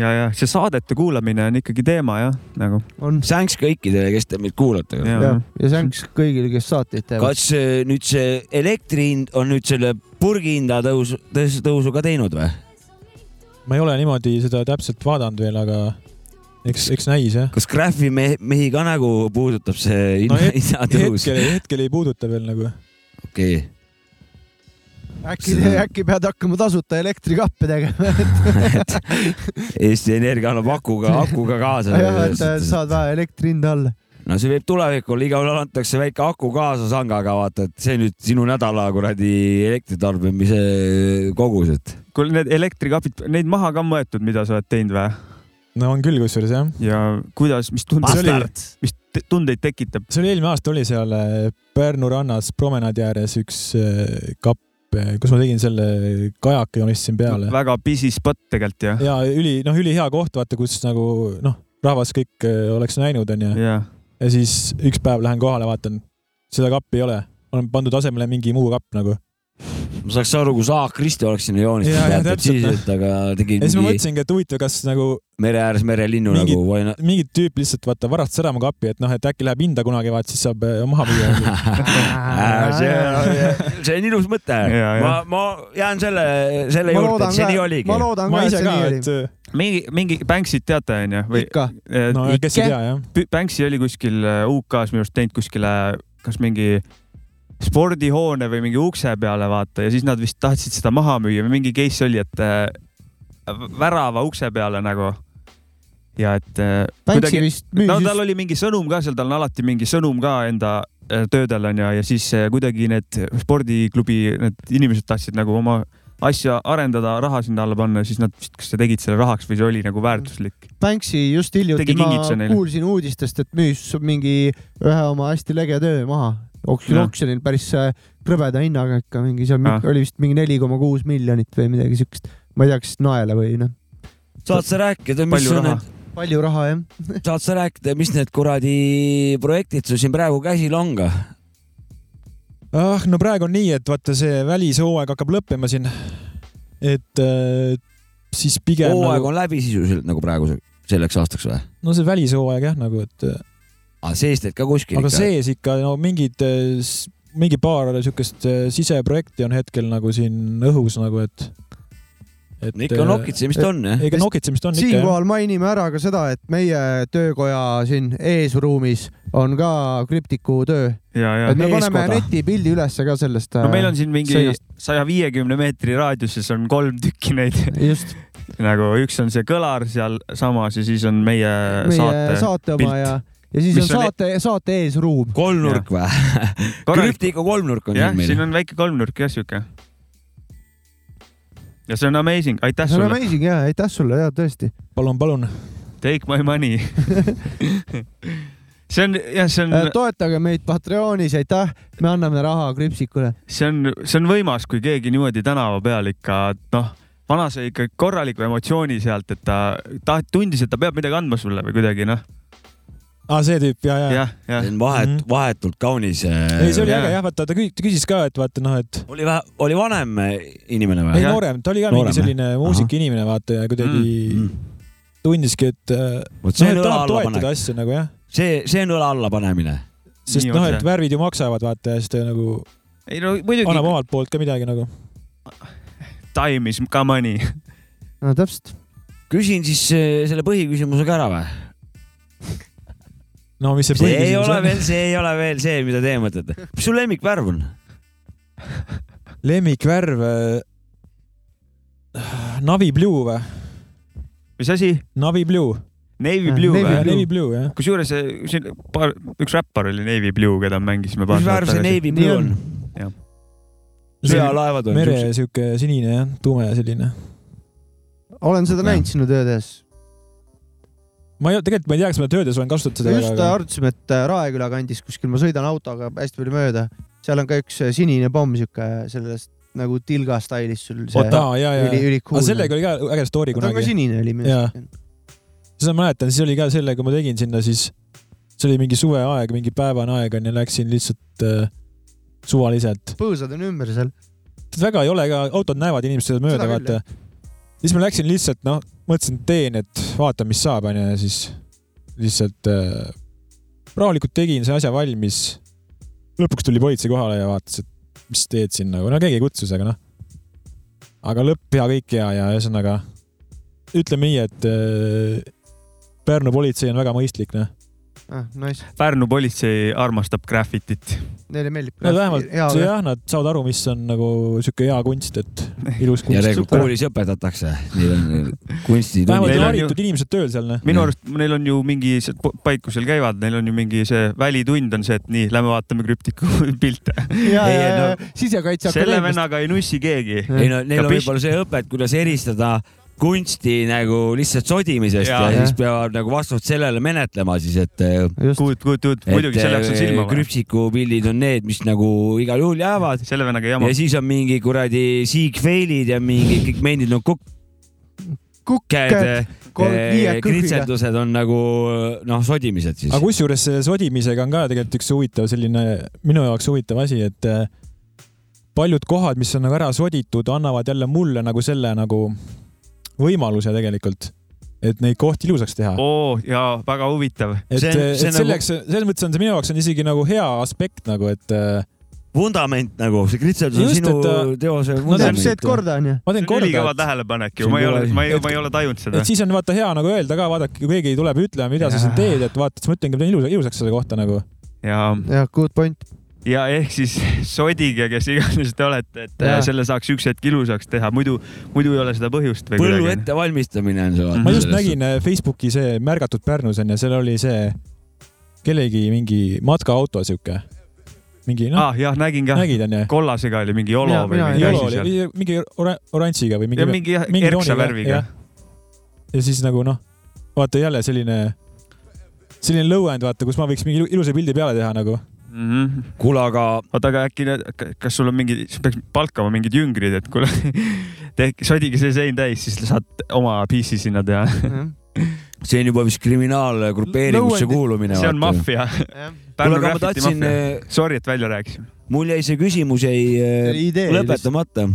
[SPEAKER 4] ja , ja see saadete kuulamine on ikkagi teema jah , nagu .
[SPEAKER 2] on
[SPEAKER 3] sänks kõikidele , kes te meid kuulate .
[SPEAKER 2] ja , ja sänks kõigile , kes saateid teevad .
[SPEAKER 3] kas eh, nüüd see elektri hind on nüüd selle purgi hinda tõus , tõusu ka teinud või ?
[SPEAKER 5] ma ei ole niimoodi seda täpselt vaadanud veel , aga eks , eks näis jah .
[SPEAKER 3] kas Graffi mehi, mehi ka nagu puudutab see
[SPEAKER 5] No
[SPEAKER 3] hinna,
[SPEAKER 5] het-
[SPEAKER 3] hinnatõus ?
[SPEAKER 5] hetkel , hetkel ei puuduta veel nagu .
[SPEAKER 3] okei ,
[SPEAKER 2] äkki , äkki pead hakkama tasuta elektrikappe tegema ,
[SPEAKER 3] Eesti Energia annab akuga , akuga
[SPEAKER 2] jah , et
[SPEAKER 3] kaasa .
[SPEAKER 2] saad vähe elektri hinda alla .
[SPEAKER 3] no see võib tulevikul , igaühel antakse väike aku kaasa sangaga , vaata , et see nüüd sinu nädala kuradi elektritarbimise kogus , et
[SPEAKER 4] kuule , need elektrikapid , neid maha ka on võetud , mida sa oled teinud või ?
[SPEAKER 5] no on küll , kusjuures jah .
[SPEAKER 4] ja kuidas , mis
[SPEAKER 5] See oli-
[SPEAKER 4] tundeid , mis te- tundeid tekitab ?
[SPEAKER 5] see oli eelmine aasta oli seal eh, Pärnu rannas promenaadi ääres üks eh, kapp , kus ma tegin selle kajaka joonistasin peale .
[SPEAKER 4] väga busy spot tegelikult ju .
[SPEAKER 5] ja üli , noh , ülihea koht , vaata , kus nagu noh , rahvas kõik eh, oleks näinud , onju .
[SPEAKER 4] jah ,
[SPEAKER 5] ja siis üks päev lähen kohale , vaatan , seda kappi ei ole , olen pandud asemele mingi muu kapp nagu .
[SPEAKER 3] ma saaks aru , kui sa A. Kristi oleks sinna
[SPEAKER 5] Jaa, jaa,
[SPEAKER 3] joonistanud , et
[SPEAKER 5] täpselt,
[SPEAKER 3] siis ,
[SPEAKER 5] noh.
[SPEAKER 3] et aga tegi
[SPEAKER 5] ja siis ma
[SPEAKER 3] mingi
[SPEAKER 5] mõtlesingi , et huvitav , kas nagu
[SPEAKER 3] mere ääres merelinnu
[SPEAKER 5] mingi-
[SPEAKER 3] nagu või noh ,
[SPEAKER 5] mingi tüüp lihtsalt vaata varastas ära mu kapi , et noh , et äkki läheb hinda kunagi , vaat siis saab eh, maha müüa .
[SPEAKER 3] see , see on ilus mõte .
[SPEAKER 4] Jaa,
[SPEAKER 3] ma
[SPEAKER 4] jah. ,
[SPEAKER 3] ma jään selle ,
[SPEAKER 2] ma
[SPEAKER 3] selle juurde ,
[SPEAKER 2] loodan
[SPEAKER 3] et see nii
[SPEAKER 2] ka , ma
[SPEAKER 3] oligi .
[SPEAKER 2] loodan
[SPEAKER 5] ma
[SPEAKER 2] ka , et
[SPEAKER 5] ise
[SPEAKER 2] see
[SPEAKER 5] ka ,
[SPEAKER 2] nii
[SPEAKER 5] et
[SPEAKER 2] oli .
[SPEAKER 4] mingi , mingi Banksit teate onju või ?
[SPEAKER 2] ikka ,
[SPEAKER 5] no
[SPEAKER 4] no,
[SPEAKER 5] kes ei tea jah .
[SPEAKER 4] Banksi oli kuskil äh, UK-s minu arust teinud kuskile , kas mingi spordihoone või mingi ukse peale vaata ja siis nad vist tahtsid seda maha müüa või mingi case oli , et äh, värava ukse peale nagu . ja et äh,
[SPEAKER 2] Banksy
[SPEAKER 4] kuidagi ,
[SPEAKER 2] vist müüs
[SPEAKER 4] no
[SPEAKER 2] just
[SPEAKER 4] tal oli mingi sõnum ka seal , tal on alati mingi sõnum ka enda äh, töödel onju ja siis äh, kuidagi need spordiklubi need inimesed tahtsid nagu oma asja arendada , raha sinna alla panna ja siis nad vist , kas sa tegid selle rahaks või see oli nagu väärtuslik .
[SPEAKER 2] Banksy just hiljuti
[SPEAKER 4] Tegi
[SPEAKER 2] ma
[SPEAKER 4] kingituse neile.
[SPEAKER 2] kuulsin uudistest , et müüs mingi ühe oma hästi lege töö maha Auction-
[SPEAKER 4] Jah.
[SPEAKER 2] oksjonil päris äh, krõbeda hinnaga ikka mingi seal
[SPEAKER 4] Ah.
[SPEAKER 2] ah. oli vist mingi neli koma kuus miljonit või midagi siukest , ma ei tea , kas naela või noh ,
[SPEAKER 3] saad sa rääkida , mis
[SPEAKER 4] palju
[SPEAKER 3] on
[SPEAKER 4] raha
[SPEAKER 3] need ,?
[SPEAKER 2] palju raha jah .
[SPEAKER 3] saad sa rääkida , mis need kuradi projektid sul siin praegu käsil on ka ?
[SPEAKER 5] ah , no praegu on nii , et vaata see välishooaeg hakkab lõppema siin . et äh, siis pigem
[SPEAKER 3] hooaeg
[SPEAKER 5] nagu,
[SPEAKER 3] on läbi sisuliselt nagu praegu se- selleks aastaks või ?
[SPEAKER 5] no see välishooaeg jah , nagu et äh,
[SPEAKER 3] aga seest teed ka kuskil
[SPEAKER 5] aga sees ikka no mingid , mingi paar siukest äh, siseprojekti on hetkel nagu siin õhus nagu , et . et
[SPEAKER 3] ikka . ikka . nokitsemist on jah ?
[SPEAKER 5] ega nokitsemist on ikka jah .
[SPEAKER 2] siinkohal mainime ära ka seda , et meie töökoja siin eesruumis on ka krüptiku töö ,
[SPEAKER 4] ja , ja
[SPEAKER 2] et me paneme
[SPEAKER 5] Eeskoda.
[SPEAKER 2] netipildi ülesse ka sellest . äh,
[SPEAKER 4] no meil on siin mingi
[SPEAKER 2] seinast.
[SPEAKER 4] saja viiekümne meetri raadiuses on kolm tükki neid
[SPEAKER 2] just
[SPEAKER 4] nagu üks on see kõlar sealsamas ja siis on meie,
[SPEAKER 2] meie saate,
[SPEAKER 4] äh, saate .
[SPEAKER 2] saate oma
[SPEAKER 4] pilt.
[SPEAKER 2] ja , ja siis
[SPEAKER 4] Mis
[SPEAKER 2] on
[SPEAKER 4] on-
[SPEAKER 2] saate , saate eesruum .
[SPEAKER 3] kolmnurk või ? krüptika kolmnurk on
[SPEAKER 4] jah
[SPEAKER 3] siin , meil
[SPEAKER 4] siin . on väike kolmnurk jah , sihuke . ja see on amazing , aitäh
[SPEAKER 2] see on
[SPEAKER 4] sulle ,
[SPEAKER 2] amazing ja aitäh sulle ja tõesti .
[SPEAKER 5] palun , palun .
[SPEAKER 4] take my money . see on jah , see on ,
[SPEAKER 2] Äh, toetage meid Patreonis , aitäh , me anname raha krüpsikule .
[SPEAKER 4] see on , see on võimas , kui keegi niimoodi tänava peal ikka noh , vana sai ikka korraliku emotsiooni sealt , et ta taht- , tundis , et ta peab midagi andma sulle või kuidagi noh ,
[SPEAKER 5] aa , Ah, see tüüp ja , ja, ja. .
[SPEAKER 4] jah , jah
[SPEAKER 3] see . on vahet
[SPEAKER 5] Mhm. ,
[SPEAKER 3] vahetult kaunis .
[SPEAKER 5] ei , see oli
[SPEAKER 4] Jaa.
[SPEAKER 5] äge jah , vaata ta kü- ta küsis ka , et vaata noh , et
[SPEAKER 3] oli vähe , oli vanem äh, inimene
[SPEAKER 5] ei
[SPEAKER 3] või ?
[SPEAKER 4] Jah.
[SPEAKER 5] noorem , ta oli ka
[SPEAKER 3] Noorem,
[SPEAKER 5] mingi selline muusikainimene , vaata ja kuidagi mm, mm. tundiski , et äh,
[SPEAKER 3] vot
[SPEAKER 5] noh ,
[SPEAKER 3] see
[SPEAKER 5] et
[SPEAKER 3] on õla
[SPEAKER 5] tahab toetada
[SPEAKER 3] allapanek ,
[SPEAKER 5] asja nagu jah ,
[SPEAKER 3] see , see on õla allapanemine .
[SPEAKER 5] sest
[SPEAKER 4] Nii on
[SPEAKER 5] noh , et
[SPEAKER 4] see.
[SPEAKER 5] värvid ju maksavad , vaata ja siis ta nagu
[SPEAKER 4] ei no muidugi
[SPEAKER 5] annab omalt poolt ka midagi nagu .
[SPEAKER 4] time is ka money .
[SPEAKER 2] no täpselt .
[SPEAKER 3] küsin siis eh, selle põhiküsimuse ka ära või ?
[SPEAKER 5] no mis see
[SPEAKER 3] see ei
[SPEAKER 5] põhiküsimus
[SPEAKER 3] ole
[SPEAKER 5] on ?
[SPEAKER 3] veel , see ei ole veel see , mida teie mõtlete . mis su lemmikvärv on ?
[SPEAKER 5] lemmikvärv äh, . Navi Blue või ?
[SPEAKER 4] mis asi ?
[SPEAKER 5] Navi Blue .
[SPEAKER 4] Navy
[SPEAKER 2] Jah,
[SPEAKER 4] Blue
[SPEAKER 2] Navy
[SPEAKER 4] või ?
[SPEAKER 5] Navi Blue jah .
[SPEAKER 4] kusjuures see- siin paar , üks räppar oli Navy Blue , keda me mängisime paar
[SPEAKER 3] mis värv see ? navy blue on ? sõjalaevad on
[SPEAKER 5] mere
[SPEAKER 3] siuksed .
[SPEAKER 5] siuke sinine jah , tume selline .
[SPEAKER 2] olen seda
[SPEAKER 3] Jah.
[SPEAKER 2] näinud sinu töö tehes .
[SPEAKER 5] ma ei , tegelikult ma ei tea , kas ma töödes olen kasutanud seda
[SPEAKER 2] just
[SPEAKER 5] aga-
[SPEAKER 2] arutasime , et äh, Raeküla kandis kuskil , ma sõidan autoga hästi palju mööda , seal on ka üks äh, sinine pomm , sihuke sellest nagu tilga stailis sul see
[SPEAKER 5] oota , aa ja ,
[SPEAKER 2] üli ,
[SPEAKER 5] ja ,
[SPEAKER 2] üli
[SPEAKER 5] aga
[SPEAKER 2] cool .
[SPEAKER 5] sellega oli ka äge story
[SPEAKER 2] ta on ka
[SPEAKER 5] kunagi .
[SPEAKER 2] sinine oli minu
[SPEAKER 5] Jaa.
[SPEAKER 2] arust .
[SPEAKER 5] seda ma mäletan , siis oli ka selle , kui ma tegin sinna , siis see oli mingi suveaeg , mingi päevane aeg onju , läksin lihtsalt äh, suvaliselt .
[SPEAKER 2] põõsad on ümber seal .
[SPEAKER 5] väga ei ole ka , autod näevad inimesed seda mööda ,
[SPEAKER 2] Seda küll,
[SPEAKER 5] vaata . siis ma läksin lihtsalt , noh , mõtlesin , et teen , et vaatan , mis saab onju ja siis lihtsalt äh, rahulikult tegin see asja valmis . lõpuks tuli politsei kohale ja vaatas , et mis teed siin nagu , no keegi ei kutsus , aga noh . aga lõpp hea , kõik hea ja ühesõnaga ütleme nii , et äh, Pärnu politsei on väga mõistlik , noh .
[SPEAKER 2] ah, . Nice ,
[SPEAKER 4] Pärnu politsei armastab graffitit .
[SPEAKER 2] neile meeldib .
[SPEAKER 5] no vähemalt jah , nad saavad aru , mis on nagu sihuke hea kunst , et ilus
[SPEAKER 3] ja
[SPEAKER 5] kunst .
[SPEAKER 3] tegelikult koolis õpetatakse , neil on äh,
[SPEAKER 5] vähemalt
[SPEAKER 3] kunstitunnid .
[SPEAKER 5] on
[SPEAKER 4] Neil on ju-
[SPEAKER 5] haritud inimesed tööl seal , noh .
[SPEAKER 4] minu arust neil on ju mingi see po- paik , kus seal käivad , neil on ju mingi see välitund on see , et nii , lähme vaatame krüptiku pilte .
[SPEAKER 2] ja , ja ,
[SPEAKER 3] Ei,
[SPEAKER 2] ja
[SPEAKER 3] no- ,
[SPEAKER 2] sisekaitse
[SPEAKER 4] selle
[SPEAKER 2] akadeemiast .
[SPEAKER 4] vennaga ei nussi keegi .
[SPEAKER 3] ei no neil
[SPEAKER 4] Ja
[SPEAKER 3] on
[SPEAKER 4] pist-
[SPEAKER 3] võib-olla see õpe , et kuidas eristada kunsti nagu lihtsalt sodimisest ja,
[SPEAKER 4] Jaa.
[SPEAKER 3] ja siis peavad nagu vastavalt sellele menetlema siis , et .
[SPEAKER 2] just ,
[SPEAKER 4] kujut , kujut , kujut , muidugi selle jaoks on
[SPEAKER 3] eh,
[SPEAKER 4] silma vaja .
[SPEAKER 3] krüpsikupildid on need , mis nagu igal juhul jäävad
[SPEAKER 4] selle vennaga ei jama
[SPEAKER 3] ja . siis on mingi kuradi siigfeilid ja mingi kõik mendid , no kukk- ,
[SPEAKER 2] kukked , kolm , viie kõhviga .
[SPEAKER 3] Äh, kritseldused on nagu noh , sodimised siis
[SPEAKER 5] aga . kusjuures see sodimisega on ka tegelikult üks huvitav selline minu jaoks huvitav asi , et äh, paljud kohad , mis on nagu ära soditud , annavad jälle mulle nagu selle nagu võimaluse tegelikult , et neid kohti ilusaks teha .
[SPEAKER 4] oo , jaa , väga huvitav .
[SPEAKER 5] et,
[SPEAKER 3] Oh, see
[SPEAKER 5] see,
[SPEAKER 3] on-
[SPEAKER 5] et
[SPEAKER 3] see on nagu-
[SPEAKER 5] selleks , selles mõttes on see minu jaoks on isegi nagu hea aspekt nagu , et äh,
[SPEAKER 3] vundament nagu , see kritseldus on
[SPEAKER 5] Just,
[SPEAKER 3] sinu
[SPEAKER 5] et, äh,
[SPEAKER 3] teose
[SPEAKER 5] no
[SPEAKER 2] see on see ,
[SPEAKER 3] vundament
[SPEAKER 2] et . korda on ju .
[SPEAKER 5] ma teen
[SPEAKER 4] see on ülikõva
[SPEAKER 5] korda ,
[SPEAKER 4] tähelepanek
[SPEAKER 3] See
[SPEAKER 4] ju ,
[SPEAKER 3] on
[SPEAKER 4] ma ei ole ,
[SPEAKER 3] kõva-
[SPEAKER 4] ma ei ,
[SPEAKER 5] et-
[SPEAKER 4] ma ei ole tajunud
[SPEAKER 5] et,
[SPEAKER 4] seda
[SPEAKER 5] et . siis on vaata hea nagu öelda ka , vaadake , kui keegi tuleb ütlema , mida sa siin
[SPEAKER 2] Jaa.
[SPEAKER 5] teed , et vaata , et sa mõtle endale ilusa , ilusaks selle kohta nagu .
[SPEAKER 4] ja ,
[SPEAKER 2] jah , good point .
[SPEAKER 4] ja ehk siis sodige , kes iganes te olete , et äh,
[SPEAKER 2] Jaa.
[SPEAKER 4] selle saaks üks hetk ilusaks teha , muidu , muidu ei ole seda põhjust või
[SPEAKER 3] põllu
[SPEAKER 4] kuidagi .
[SPEAKER 3] ettevalmistamine on see vaata .
[SPEAKER 5] ma just nägin äh, Facebooki see Märgatud Pärnus on ja seal oli see kellegi mingi matkaauto sihuke , mingi noh ,
[SPEAKER 4] ah jah , nägin ka .
[SPEAKER 5] nägid onju .
[SPEAKER 4] kollasega oli mingi jolo
[SPEAKER 2] Mina-
[SPEAKER 4] või
[SPEAKER 2] mina ei
[SPEAKER 4] mingi
[SPEAKER 5] jolo
[SPEAKER 4] asi
[SPEAKER 5] oli
[SPEAKER 4] seal .
[SPEAKER 5] või mingi ora- oranžiga või mingi .
[SPEAKER 4] ja mingi jah, erksa värviga ..
[SPEAKER 5] ja siis nagu noh , vaata jälle selline , selline lõuend , vaata , kus ma võiks mingi ilu- ilusa pildi peale teha nagu .
[SPEAKER 3] kuule , aga
[SPEAKER 4] Mm-hmm. oota , aga äkki need , kas sul on mingi , sa peaks palkama mingid jüngrid , et kuule , tehke , sodige see sein täis , siis saad oma PC sinna teha .
[SPEAKER 3] see on juba vist kriminaalgrupeeringusse
[SPEAKER 2] Nõuendi-
[SPEAKER 3] kuulumine .
[SPEAKER 4] see on . maffia .
[SPEAKER 2] Äh,
[SPEAKER 3] kuule ,
[SPEAKER 4] Pärnu
[SPEAKER 3] aga ma
[SPEAKER 4] graffiti
[SPEAKER 3] tahtsin , eh,
[SPEAKER 4] maffia . Sorry , et välja rääkisin .
[SPEAKER 3] mul jäi see küsimus jäi
[SPEAKER 2] idee
[SPEAKER 3] äh, . lõpetamata .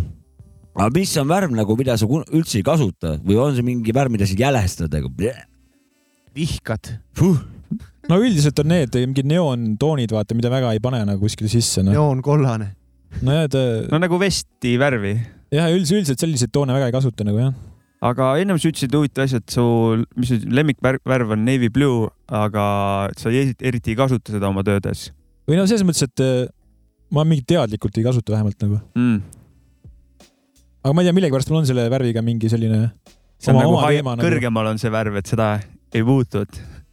[SPEAKER 3] aga mis on värv nagu , mida sa kun- üldse ei kasuta või on see mingi värv , mida sa jälestad nagu ?
[SPEAKER 2] vihkad .
[SPEAKER 5] no üldiselt on need mingid neoontoonid , vaata , mida väga ei pane nagu kuskile sisse , noh .
[SPEAKER 2] joon kollane .
[SPEAKER 5] nojah , et äh,
[SPEAKER 4] no nagu vesti värvi .
[SPEAKER 5] jah , üldiselt , üldiselt selliseid toone väga ei kasuta nagu jah .
[SPEAKER 4] aga ennem sa ütlesid huvitav asja , et su , mis nüüd lemmikvärv on navy blue , aga sa ei, eriti ei kasuta seda oma töödes
[SPEAKER 5] või no selles mõttes , et äh, ma mingit teadlikult ei kasuta vähemalt nagu .
[SPEAKER 4] mm. .
[SPEAKER 5] aga ma ei tea , millegipärast mul on selle värviga mingi selline ,
[SPEAKER 4] see
[SPEAKER 5] Oma-
[SPEAKER 4] on oma, nagu
[SPEAKER 5] oma
[SPEAKER 4] hai-
[SPEAKER 5] teema nagu.
[SPEAKER 4] kõrgemal on see värv , et seda ei puutud .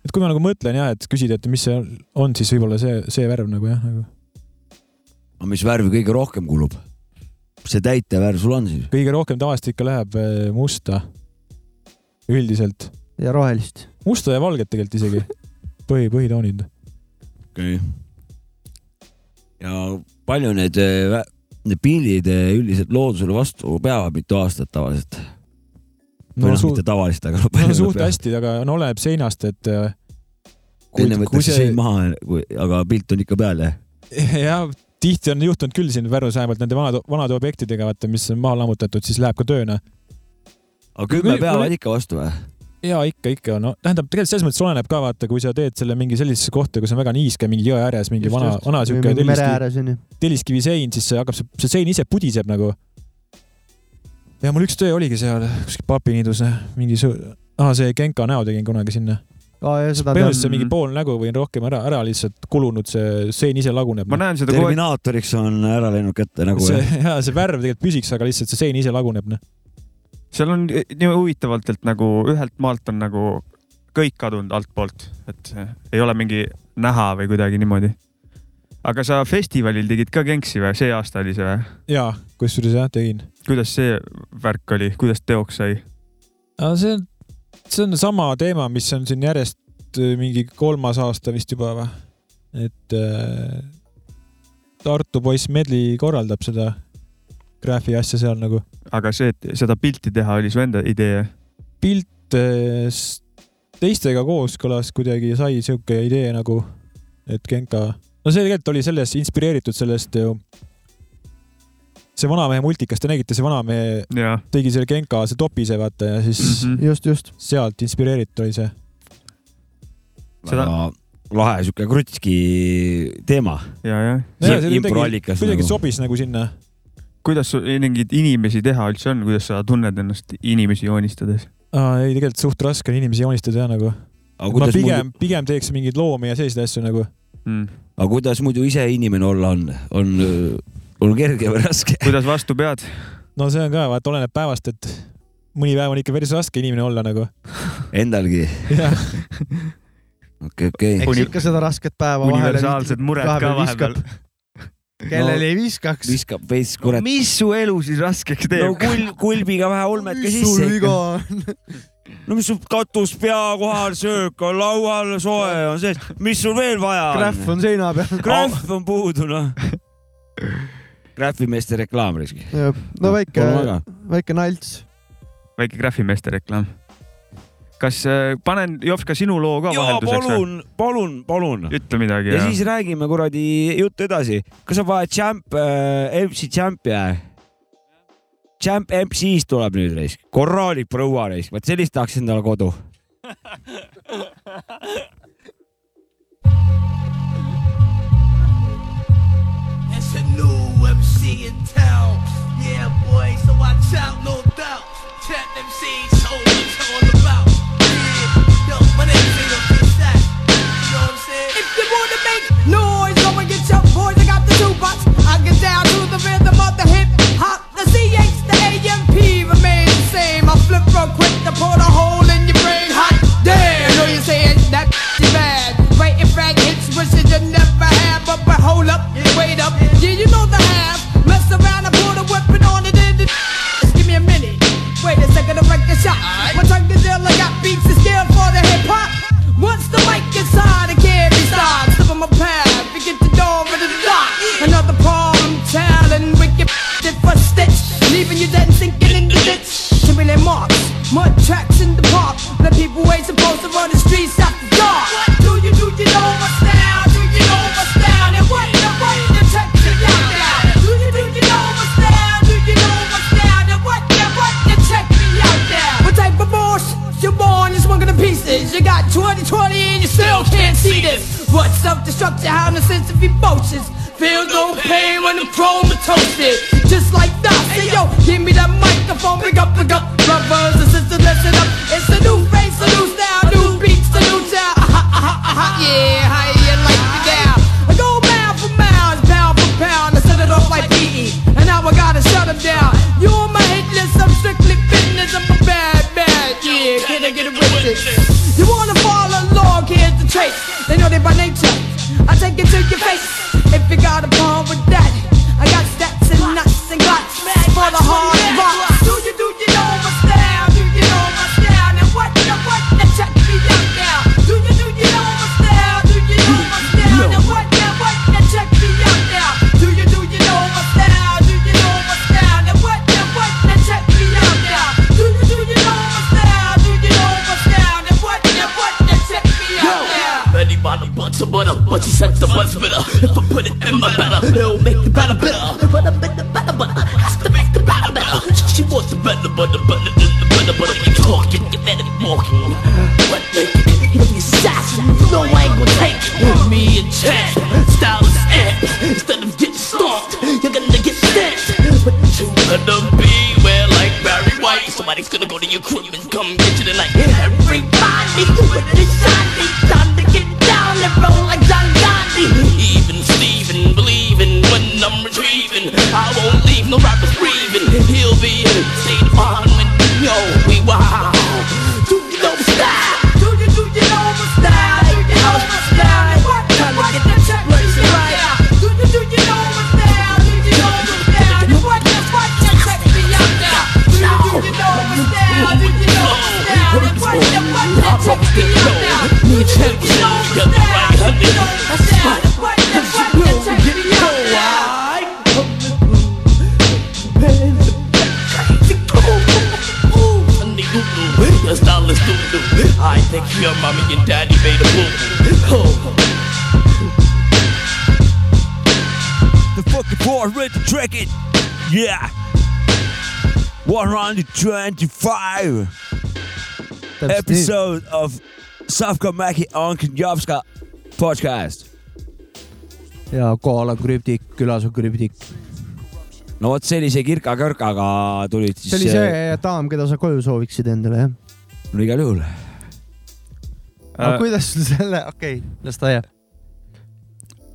[SPEAKER 5] et kui ma nagu mõtlen jah , et küsid , et mis see on , siis võib-olla see , see värv nagu jah nagu. ,
[SPEAKER 3] aga mis värvi kõige rohkem kulub ? see täitevärv sul on siis ?
[SPEAKER 5] kõige rohkem tavaliselt ikka läheb äh, musta . üldiselt
[SPEAKER 2] ja rohelist .
[SPEAKER 5] musta ja valget tegelikult isegi põhi , põhitoonid .
[SPEAKER 3] okei okay. . ja palju need , need pildid äh, üldiselt loodusele vastu peavad , mitu aastat tavaliselt ? või
[SPEAKER 5] no
[SPEAKER 3] noh ,
[SPEAKER 5] suht
[SPEAKER 3] mitte , tavaliselt , aga no
[SPEAKER 5] no
[SPEAKER 3] palju
[SPEAKER 5] suht . hästi , aga no oleneb seinast , et äh, kui-
[SPEAKER 3] enne
[SPEAKER 5] kui
[SPEAKER 3] võetakse
[SPEAKER 5] see-
[SPEAKER 3] sein maha , aga pilt on ikka peal , jah ?
[SPEAKER 5] jah , tihti on juhtunud küll siin Pärnus vähemalt nende vanade , vanade objektidega , vaata , mis on maha lammutatud , siis läheb ka tööna .
[SPEAKER 3] aga kümme
[SPEAKER 5] Kui-
[SPEAKER 3] päeva
[SPEAKER 5] kui-
[SPEAKER 3] ikka vastu või ?
[SPEAKER 5] ja ikka , ikka , no tähendab , tegelikult selles mõttes oleneb ka vaata , kui sa teed selle mingi sellisesse kohta , kus on väga niiske , mingi jõe ääres , mingi vana , vana siuke
[SPEAKER 2] mere
[SPEAKER 5] telliskivi ,
[SPEAKER 2] ääres onju .
[SPEAKER 5] telliskivi sein , siis see hakkab , see sein ise pudiseb nagu . ja mul üks töö oligi seal kuskil papiniidus , mingi su- , ah see Genka näo tegin kunagi sinna .
[SPEAKER 2] aa ja seda tean .
[SPEAKER 5] põhimõtteliselt see mingi pool nägu või rohkem ära , ära lihtsalt kulunud , see sein ise laguneb .
[SPEAKER 4] ma näen seda kogu aeg ,
[SPEAKER 3] Terminaatoriks on ära läinud kätte nagu
[SPEAKER 5] see
[SPEAKER 3] jah .
[SPEAKER 5] ja see värv tegelikult püsiks , aga lihtsalt see sein ise laguneb , noh .
[SPEAKER 4] seal on eh, nii huvitavalt , et nagu ühelt maalt on nagu kõik kadunud altpoolt , et eh, ei ole mingi näha või kuidagi niimoodi . aga sa festivalil tegid ka kenksi või , see aasta oli see või ?
[SPEAKER 5] jaa , kusjuures jah , tegin .
[SPEAKER 4] kuidas see värk oli , kuidas teoks sai ?
[SPEAKER 5] aga see on , see on sama teema , mis on siin järjest äh, mingi kolmas aasta vist juba või ? et äh, Tartu poiss Medli korraldab seda graafi asja seal nagu .
[SPEAKER 4] aga see , et seda pilti teha , oli su enda idee ?
[SPEAKER 5] pilt äh, s- teistega kooskõlas kuidagi sai sihuke idee nagu , et Genka , no see tegelikult oli sellest inspireeritud sellest ju . see vanamehe multikas , te nägite , see vanamehe
[SPEAKER 4] jaa .
[SPEAKER 5] tegi selle Genka , see topise vaata ja siis mm -hmm.
[SPEAKER 2] just , just .
[SPEAKER 5] sealt inspireeritud oli see .
[SPEAKER 4] Seda-
[SPEAKER 3] väga lahe siuke krutski teema .
[SPEAKER 4] ja , ja .
[SPEAKER 5] Nojah, see oli
[SPEAKER 3] improallikas
[SPEAKER 5] kuidagi
[SPEAKER 3] nagu .
[SPEAKER 5] sobis nagu sinna .
[SPEAKER 4] kuidas sul mingeid inimesi teha üldse on , kuidas sa tunned ennast inimesi joonistades ?
[SPEAKER 5] ei , tegelikult suht raske on inimesi joonistada jah nagu . ma
[SPEAKER 3] aga kuidas
[SPEAKER 5] pigem
[SPEAKER 3] muidu ,
[SPEAKER 5] muidu... pigem teeks mingeid loomi ja selliseid asju nagu .
[SPEAKER 4] mm. .
[SPEAKER 3] aga kuidas muidu ise inimene olla on , on , on kerge või raske ?
[SPEAKER 4] kuidas vastu pead ?
[SPEAKER 5] no see on ka , vaata , oleneb päevast , et mõni päev on ikka päris raske inimene olla nagu .
[SPEAKER 3] Endalgi ?
[SPEAKER 5] jah ,
[SPEAKER 3] okei , okei .
[SPEAKER 4] Uni-
[SPEAKER 2] eks ikka seda rasket päeva vahele
[SPEAKER 4] universaalsed mured ka
[SPEAKER 2] vahepeal
[SPEAKER 4] vahepeal .
[SPEAKER 2] kellel no, ei viskaks .
[SPEAKER 3] viskab veits , kurat .
[SPEAKER 4] mis su elu siis raskeks
[SPEAKER 3] no
[SPEAKER 4] teeb ?
[SPEAKER 3] kul- , kulbiga vähe ulmet ka
[SPEAKER 2] mis sul
[SPEAKER 3] sisse .
[SPEAKER 2] viga on ?
[SPEAKER 3] no mis sul katus pea kohal , söök on laual , soe on sees , mis sul veel vaja
[SPEAKER 2] krähv
[SPEAKER 3] on ?
[SPEAKER 2] on seina peal .
[SPEAKER 3] krähv on puudu , noh . krähvimeeste reklaam risk .
[SPEAKER 2] no väike , väike nalts .
[SPEAKER 4] väike Graffimeeste reklaam . kas äh, panen , Jops , ka sinu loo ka
[SPEAKER 3] jaa ,
[SPEAKER 4] vahelduseks või ?
[SPEAKER 3] palun , palun , palun .
[SPEAKER 4] ütle midagi
[SPEAKER 3] ja siis räägime kuradi juttu edasi . kas on vaja Champ äh, , MC Champi või ? Champ MC-st tuleb nüüd reisk , korralik proua reisk , vot sellist tahaks endale kodu .
[SPEAKER 8] It's a new MC in town. Yeah, boy, so watch out, no doubt. Chat MCs, show what it's all about. Yeah, yo, my name ain't no bitch that. You know what I'm saying?
[SPEAKER 9] If you wanna make noise, go and get your boys. I got the jukebox. I get down to the rhythm of the hip hop. The CH, the AMP remain the same. I flip real quick to put a hole in your brain. Hot damn, know you saying that is bad. Waiting frag hits, wishes you never had. But, but hold up, wait up. Yeah, you know the half. Mess around and put a weapon on it in the. Just give me a minute. Wait a second to break the shot. My tongue is ill, I got beats to scale for the hip hop. Once the mic gets hot, it can't be stopped. Slip on my path, we get the door ready to lock. Another palm talon, wicked shit for stitch. Leaving you dead and sinking in the ditch. Chamberlain marks, mud tracks in the park. The people ain't supposed to run the streets after dark. What do you do? You know my style. Do you know my style? And what the fuck? You check it out now. Do you do you know my style? Do you know my style? And what the fuck? You check me out now. What type of boss? You're born, you're swung to pieces. You got 2020 and you still can't see this. What self-destruction, how the sense of emotions. Feel no pain when the chrome is toasted. Just like that. Hey yo, give me that microphone, pick up, pick up. Brothers and sisters, listen up. It's a new race, a new style, new beats, a new style. Aha, aha, aha, yeah, how you like me now? I go mile for miles, pound for pound. I set it off like PE, and now I gotta shut him down. You on my hit list, I'm strictly fitness, I'm a bad man. Yeah, can I get a witness? You wanna follow along, here's the trace. They know they by nature. I take it to your face. If you got a problem with that, I got stats and nuts and guts for the hard rock. Do you do you know my style? Do you know my style? And what the what the check me out now? Do you do you know my style? Do you know my style? And what the what the check me out now? Do you do you know my style? Do you know my style? And what the what the check me out now? Do you do you know my style? Do you know my style? And what the what the check me out now?
[SPEAKER 8] Ready by the bunch of butter, bunch of sex, the buzz bitter. If I put it in my batter, it'll make the batter bitter. But I make the batter butter, has to make the batter better. She wants the better butter, better than the better butter. You talking, you better walking. What the if you sassy, you know I ain't gonna take it. me a chance. Style is amped, instead of getting stomped, you're gonna get stamped. But you gonna be where like Barry White. Somebody's gonna go to your crib and come get you tonight. Everybody doing the shiny, time to get down and roll like John Gotti. Even Steven believing when I'm retrieving. I won't leave no rappers breathing. He'll be in a state of mind when yo we wow. Do you know style?
[SPEAKER 9] Do you do you know my style? Do you know my style? And What the what the check me out? Do you do you know my style? Do you know my style? And What the what the check me out now? Do you do you know my style? Do you know my style? And What the what the check me out now? Do you do you know my style? Do you know my style? And What the what the check me out now?
[SPEAKER 8] Your style is doo-doo I think your mommy and daddy made a boo Oh,
[SPEAKER 3] The fucking bar ready to track it , yeah . One hundred twenty five episode of Savka Mäki Anki Jopska podcast .
[SPEAKER 2] ja kohal on krüptik , külas on krüptik .
[SPEAKER 3] no vot sellise kirka-kõrkaga tulid siis . äh,
[SPEAKER 2] see oli see daam , keda sa koju sooviksid endale , jah ?
[SPEAKER 3] no igal juhul .
[SPEAKER 4] Äh,
[SPEAKER 2] aga kuidas sul selle , okei okay, , las ta jääb ,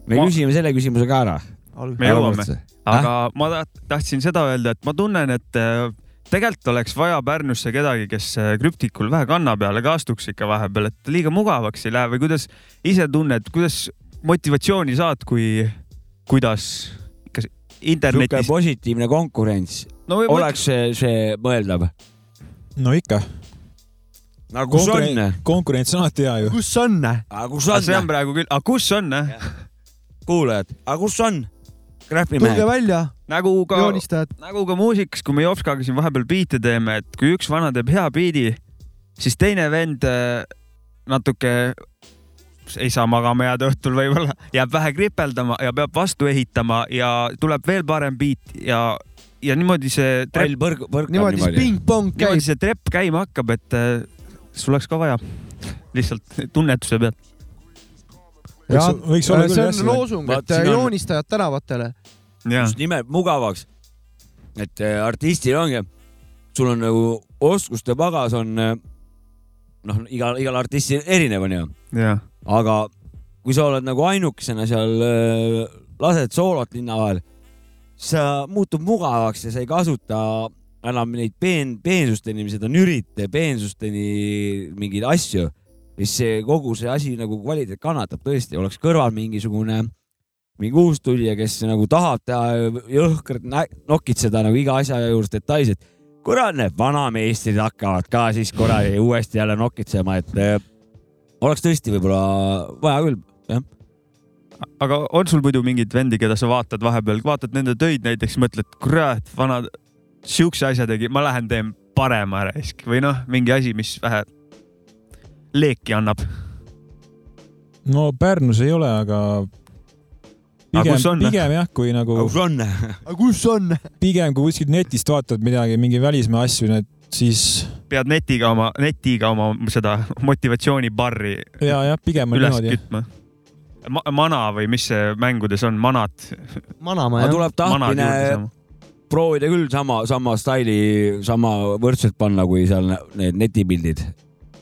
[SPEAKER 3] me
[SPEAKER 4] Ma-
[SPEAKER 3] küsime selle küsimuse ka ära .
[SPEAKER 2] olgu .
[SPEAKER 4] Me jõuame. . aga
[SPEAKER 3] Äh?
[SPEAKER 4] ma ta- tahtsin seda öelda , et ma tunnen , et äh, tegelikult oleks vaja Pärnusse kedagi , kes äh, krüptikul vähe kanna peale ka astuks ikka vahepeal , et liiga mugavaks ei lähe või kuidas ise tunned , kuidas motivatsiooni saad , kui , kuidas , kas
[SPEAKER 3] niisugune
[SPEAKER 4] internetis ?
[SPEAKER 3] positiivne konkurents ,
[SPEAKER 4] no või-
[SPEAKER 3] oleks see , see mõeldav ?
[SPEAKER 5] no ikka .
[SPEAKER 3] aga kus on ?
[SPEAKER 5] konkurents on alati hea ju .
[SPEAKER 2] kus on ?
[SPEAKER 3] aga kus
[SPEAKER 4] aga see on
[SPEAKER 3] on ?
[SPEAKER 4] praegu küll , aga kus on , eh?
[SPEAKER 3] kuulajad , aga kus on ?
[SPEAKER 2] tulge
[SPEAKER 3] graafimehed ,
[SPEAKER 2] välja ,
[SPEAKER 4] nagu ka ,
[SPEAKER 2] joonistajad .
[SPEAKER 4] nagu ka muusikas , kui me Jopskaga siin vahepeal biite teeme , et kui üks vana teeb hea biidi , siis teine vend äh, natuke ei saa magama jääda õhtul võib-olla , jääb vähe kripeldama ja peab vastu ehitama ja tuleb veel parem biit ja , ja niimoodi see trepp ,
[SPEAKER 3] pall põrg- , põrkab
[SPEAKER 2] niimoodi siis
[SPEAKER 3] niimoodi .
[SPEAKER 2] ping-pong käib
[SPEAKER 4] niimoodi . see trepp käima hakkab , et äh, sul oleks ka vaja lihtsalt tunnetuse pealt .
[SPEAKER 5] Võiks-
[SPEAKER 2] Jah,
[SPEAKER 5] võiks olla küll,
[SPEAKER 2] Äh, see
[SPEAKER 5] jah,
[SPEAKER 2] on
[SPEAKER 5] selline-
[SPEAKER 2] loosung ,
[SPEAKER 3] Vaat
[SPEAKER 2] et äh,
[SPEAKER 3] siin on-
[SPEAKER 2] joonistajad tänavatele .
[SPEAKER 4] ja ,
[SPEAKER 3] just nimelt mugavaks . et äh, artistil ongi , sul on nagu oskuste pagas on äh, noh , igal , igal artistil erinev onju ,
[SPEAKER 4] ja ,
[SPEAKER 3] aga kui sa oled nagu ainukesena seal äh, lased soolot linna vahel , sa muutud mugavaks ja sa ei kasuta enam neid peen- , peensusteni , mis need on , ürite peensusteni mingeid asju , siis see kogu see asi nagu kvaliteet kannatab tõesti , oleks kõrval mingisugune mingi uus tulija , kes nagu tahab teha jõhkralt nä- nokitseda nagu iga asja juures detailselt . kurat , need vanameistrid hakkavad ka siis kuradi uuesti jälle nokitsema , et eh, oleks tõesti võib-olla vaja küll , jah .
[SPEAKER 4] aga on sul muidu mingeid vendi , keda sa vaatad vahepeal , vaatad nende töid näiteks , mõtled , kurat , vana , siukse asja tegi , ma lähen teen parema raisk või noh , mingi asi , mis vähe leeki annab .
[SPEAKER 5] no Pärnus ei ole , aga
[SPEAKER 4] Aga kus
[SPEAKER 5] pigem
[SPEAKER 4] on? ,
[SPEAKER 5] pigem jah , kui nagu ,
[SPEAKER 3] kus on ?
[SPEAKER 2] aga kus on ?
[SPEAKER 5] pigem kui kuskilt netist vaatad midagi , mingi välismaa asju , need siis
[SPEAKER 4] pead netiga oma , netiga oma seda motivatsioonibarri
[SPEAKER 5] ja , jah , pigem on
[SPEAKER 4] üles
[SPEAKER 5] niimoodi .
[SPEAKER 4] kütma Ma . mana või mis see mängudes on , manad ,
[SPEAKER 2] manama
[SPEAKER 3] aga
[SPEAKER 2] jah .
[SPEAKER 3] tuleb
[SPEAKER 4] manad
[SPEAKER 3] tahtmine
[SPEAKER 4] juurde saama .
[SPEAKER 3] proovida küll sama , sama staili , sama võrdselt panna , kui seal ne- need netipildid .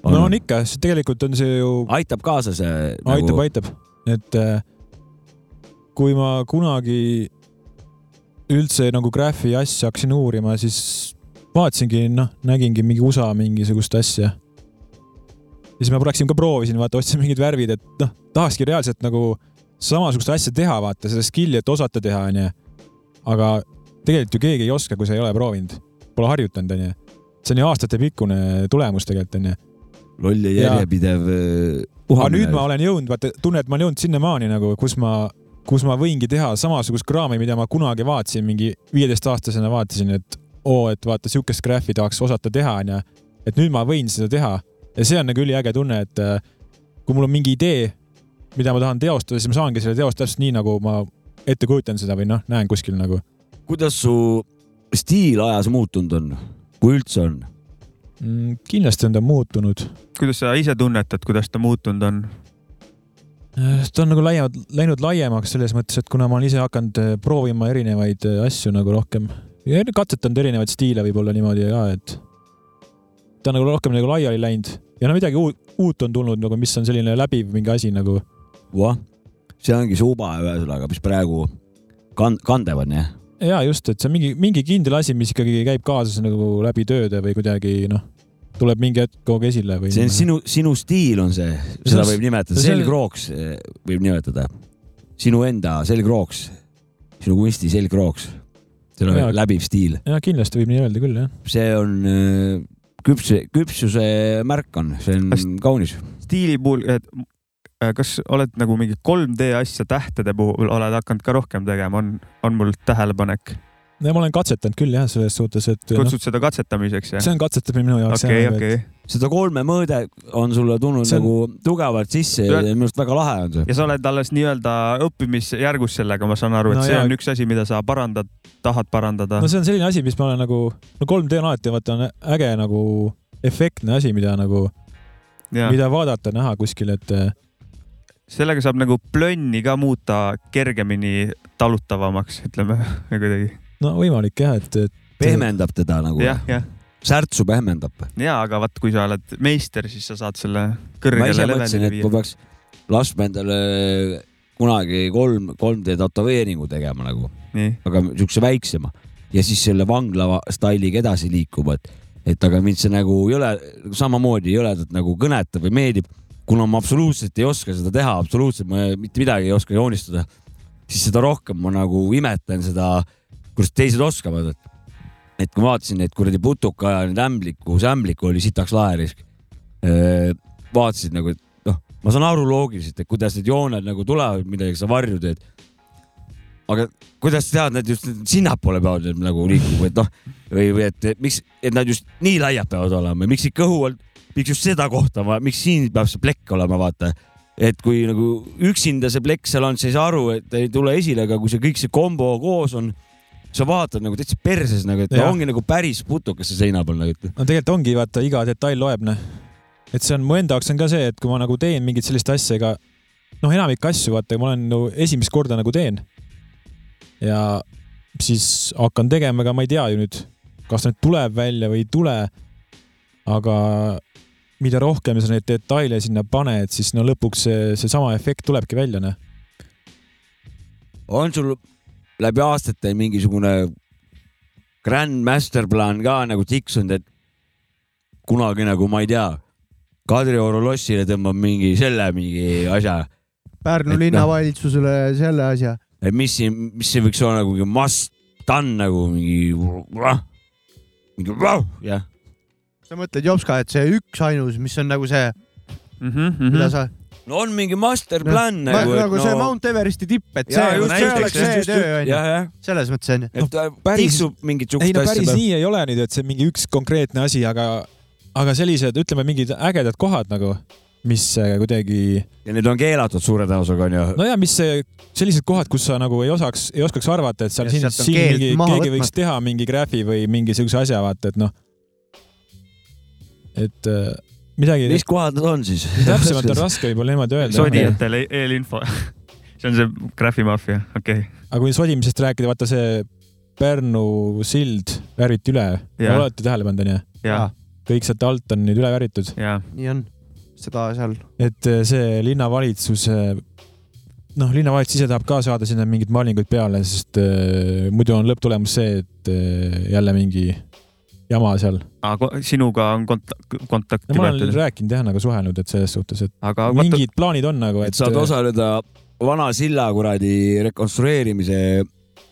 [SPEAKER 5] no on ikka , sest tegelikult on see ju ,
[SPEAKER 3] aitab kaasa see nagu
[SPEAKER 5] aitab , aitab , et äh, kui ma kunagi üldse nagu graafi asja hakkasin uurima , siis vaatasingi , noh , nägingi mingi USA mingisugust asja . ja siis ma läksin ka proovisin , vaata , ostsin mingid värvid , et noh , tahakski reaalselt nagu samasugust asja teha , vaata seda skill'i , et osata teha , onju . aga tegelikult ju keegi ei oska , kui sa ei ole proovinud , pole harjutanud , onju . see on ju aastatepikkune tulemus tegelikult , onju .
[SPEAKER 3] loll ja
[SPEAKER 5] Jaa.
[SPEAKER 3] järjepidev eh,
[SPEAKER 5] aga nüüd ma
[SPEAKER 3] puhamine .
[SPEAKER 5] olen jõudnud , vaata , tunnen , et ma olen jõudnud sinnamaani nagu , kus ma , kus ma võingi teha samasugust kraami , mida ma kunagi vaatasin , mingi viieteistaastasena vaatasin , et oo , et vaata , sihukest graafi tahaks osata teha , onju . et nüüd ma võin seda teha ja see on nagu üliäge tunne , et äh, kui mul on mingi idee , mida ma tahan teostada , siis ma saangi selle teost täpselt nii , nagu ma ette kujutan seda või noh , näen kuskil nagu
[SPEAKER 3] kuidas su stiil ajas muutunud on , kui üldse on ?
[SPEAKER 5] mm, . kindlasti on ta muutunud .
[SPEAKER 4] kuidas sa ise tunnetad , kuidas ta muutunud on ?
[SPEAKER 5] ta on nagu laiemalt läinud laiemaks selles mõttes , et kuna ma olen ise hakanud eh, proovima erinevaid eh, asju nagu rohkem ja enne katsetanud erinevaid stiile võib-olla niimoodi ka , et ta on nagu rohkem nagu laiali läinud ja no midagi uut, uut on tulnud nagu , mis on selline läbiv mingi asi nagu .
[SPEAKER 3] vah , see ongi see uba ühesõnaga , mis praegu kan- , kandev on jah .
[SPEAKER 5] ja just , et see on mingi mingi kindel asi , mis ikkagi käib kaasas nagu läbi tööde või kuidagi noh , tuleb mingi hetk kogu aeg esile või .
[SPEAKER 3] see on sinu , sinu stiil on see , seda
[SPEAKER 5] on-
[SPEAKER 3] võib nimetada ,
[SPEAKER 5] see on-
[SPEAKER 3] selgrooks eh, võib nimetada . sinu enda selgrooks , sinu kunsti selgrooks . see on
[SPEAKER 5] Jaa.
[SPEAKER 3] läbiv stiil ,
[SPEAKER 5] ja kindlasti võib nii öelda küll jah .
[SPEAKER 3] see on eh, küpse , küpsuse märk on , see on
[SPEAKER 4] Kas-
[SPEAKER 3] kaunis .
[SPEAKER 4] stiili puhul , et äh, kas oled nagu mingi 3D asja tähtede puhul oled hakanud ka rohkem tegema , on , on mul tähelepanek ,
[SPEAKER 5] ja ma olen katsetanud küll jah , selles suhtes , et noh,
[SPEAKER 4] kutsud seda katsetamiseks jah ?
[SPEAKER 5] see nagu, on katsetamine minu jaoks .
[SPEAKER 4] okei , okei .
[SPEAKER 3] seda kolme mõõde on sulle tulnud
[SPEAKER 5] See
[SPEAKER 3] on...
[SPEAKER 5] on-
[SPEAKER 3] nagu tugevalt sisse ja
[SPEAKER 4] Ja-
[SPEAKER 3] minu arust väga lahe on see .
[SPEAKER 4] ja sa oled alles nii-öelda õppimisjärgus sellega , ma saan aru , et
[SPEAKER 5] No
[SPEAKER 4] no see
[SPEAKER 5] jaa.
[SPEAKER 4] on üks asi , mida sa parandad , tahad parandada
[SPEAKER 5] no . see on selline asi , mis ma olen nagu , no 3D on alati vaata on äge nagu efektne asi , mida nagu ,
[SPEAKER 4] ja
[SPEAKER 5] mida vaadata , näha kuskil , et eh,
[SPEAKER 4] sellega saab nagu plönni ka muuta kergemini talutavamaks , ütleme kuidagi .
[SPEAKER 5] no võimalik jah , et , et
[SPEAKER 3] pehmendab teda nagu .
[SPEAKER 4] jah , jah .
[SPEAKER 3] särtsu pehmendab .
[SPEAKER 4] ja , aga vaat , kui sa oled meister , siis sa saad selle
[SPEAKER 3] ma
[SPEAKER 4] kõrgele
[SPEAKER 3] ise mõtlesin ,
[SPEAKER 4] levelile
[SPEAKER 3] et
[SPEAKER 4] viia
[SPEAKER 3] ma . peaks laskma endale kunagi kolm , 3D tätoveeringu tegema nagu ,
[SPEAKER 4] nii ,
[SPEAKER 3] aga siukse väiksema ja siis selle vangla stailiga edasi liikuma , et , et aga mind see nagu jõle , samamoodi jõledalt nagu kõnetab või meeldib . kuna ma absoluutselt ei oska seda teha , absoluutselt ma mitte midagi ei oska joonistada , siis seda rohkem ma nagu imetlen seda , kuidas teised oskavad , et et kui ma vaatasin neid kuradi putuka ja neid ämbliku , see ämblik oli sitaks lahe risk . vaatasid nagu , et noh , ma saan aru loogiliselt , et kuidas need jooned nagu tulevad , millega sa varju teed . aga kuidas sa tead , nad just sinnapoole peavad nüüd nagu liikuma , et noh , või , või et et miks , et nad just nii laiad peavad olema , miks siit kõhu all , miks just seda kohta , miks siin peab see plekk olema , vaata et kui nagu üksinda see plekk seal on , sa ei saa aru , et ei tule esile , aga kui see kõik see kombo koos on , sa vaatad nagu täitsa perses nagu , et ta
[SPEAKER 5] Jah.
[SPEAKER 3] ongi nagu päris putukas see seina peal nagu , et
[SPEAKER 5] no tegelikult ongi , vaata iga detail loeb , noh . et see on mu enda jaoks on ka see , et kui ma nagu teen mingit sellist asja , ega noh , enamik asju , vaata , ma olen nagu esimest korda nagu teen . ja siis hakkan tegema , ega ma ei tea ju nüüd , kas ta nüüd tuleb välja või ei tule . aga mida rohkem sa neid detaile sinna paned , siis no lõpuks see , seesama efekt tulebki välja , noh .
[SPEAKER 3] on sul läbi aastate mingisugune grand master plaan ka nagu tiksunud , et kunagi nagu ma ei tea , Kadrioru lossile tõmbab mingi selle mingi asja ,
[SPEAKER 2] Pärnu
[SPEAKER 3] Et noh.
[SPEAKER 2] linnavalitsusele selle asja .
[SPEAKER 3] et mis siin , mis siin võiks olla nagu mingi must done nagu mingi , mingi vau, jah .
[SPEAKER 2] sa mõtled , Jopska , et see üksainus , mis on nagu see ,
[SPEAKER 4] Mhm, Hmm.
[SPEAKER 2] mida sa ,
[SPEAKER 3] no on mingi master plan nagu , et
[SPEAKER 2] nagu see
[SPEAKER 3] no
[SPEAKER 2] Mount Everesti tipp , et
[SPEAKER 3] jaa,
[SPEAKER 2] see ,
[SPEAKER 3] just
[SPEAKER 2] see
[SPEAKER 3] näiteks,
[SPEAKER 2] oleks
[SPEAKER 3] just-
[SPEAKER 2] see
[SPEAKER 3] just-
[SPEAKER 2] töö onju ,
[SPEAKER 3] jah , jah ,
[SPEAKER 2] selles mõttes onju . Noh,
[SPEAKER 3] et ta
[SPEAKER 5] päris-
[SPEAKER 3] tiksub mingit
[SPEAKER 5] ei
[SPEAKER 3] siukest
[SPEAKER 5] no päris
[SPEAKER 3] asja .
[SPEAKER 5] nii ei ole nüüd , et see mingi üks konkreetne asi , aga , aga sellised , ütleme , mingid ägedad kohad nagu , mis äh, kuidagi ,
[SPEAKER 3] ja need on keelatud suure tõenäosusega onju .
[SPEAKER 5] no ja mis see- sellised kohad , kus sa nagu ei osaks , ei oskaks arvata , et seal
[SPEAKER 2] Ja
[SPEAKER 5] siin ,
[SPEAKER 2] sealt on
[SPEAKER 5] siin
[SPEAKER 2] keeld
[SPEAKER 5] mingi ,
[SPEAKER 2] maha
[SPEAKER 5] keegi võiks
[SPEAKER 2] võtmata.
[SPEAKER 5] teha mingi graafi või mingi siukse asja , vaata , et noh . et äh, midagi
[SPEAKER 3] mis kohad need on siis ?
[SPEAKER 5] täpsemalt on raske võib-olla niimoodi öelda .
[SPEAKER 4] sodijatele e- eelinfo . see on see Graffi Mafia , okei okay. .
[SPEAKER 5] aga kui sodimisest rääkida , vaata see Pärnu sild värviti üle ,
[SPEAKER 4] Jaa.
[SPEAKER 5] olete tähele pannud , onju ?
[SPEAKER 4] ja ,
[SPEAKER 5] kõik sealt alt on nüüd üle värvitud .
[SPEAKER 4] ja ,
[SPEAKER 2] nii on , seda seal ,
[SPEAKER 5] et äh, see linnavalitsuse , noh , linnavalitsus ise tahab ka saada sinna mingeid mallinguid peale , sest äh, muidu on lõpptulemus see , et äh, jälle mingi jama seal .
[SPEAKER 4] aga sinuga on kont- , kontakti
[SPEAKER 5] ma olen
[SPEAKER 4] võetud ,
[SPEAKER 5] rääkinud jah , nagu suhelnud , et selles suhtes , et
[SPEAKER 4] aga vaata ,
[SPEAKER 5] mingid plaanid on nagu ,
[SPEAKER 3] et saad osaleda vana silla kuradi rekonstrueerimise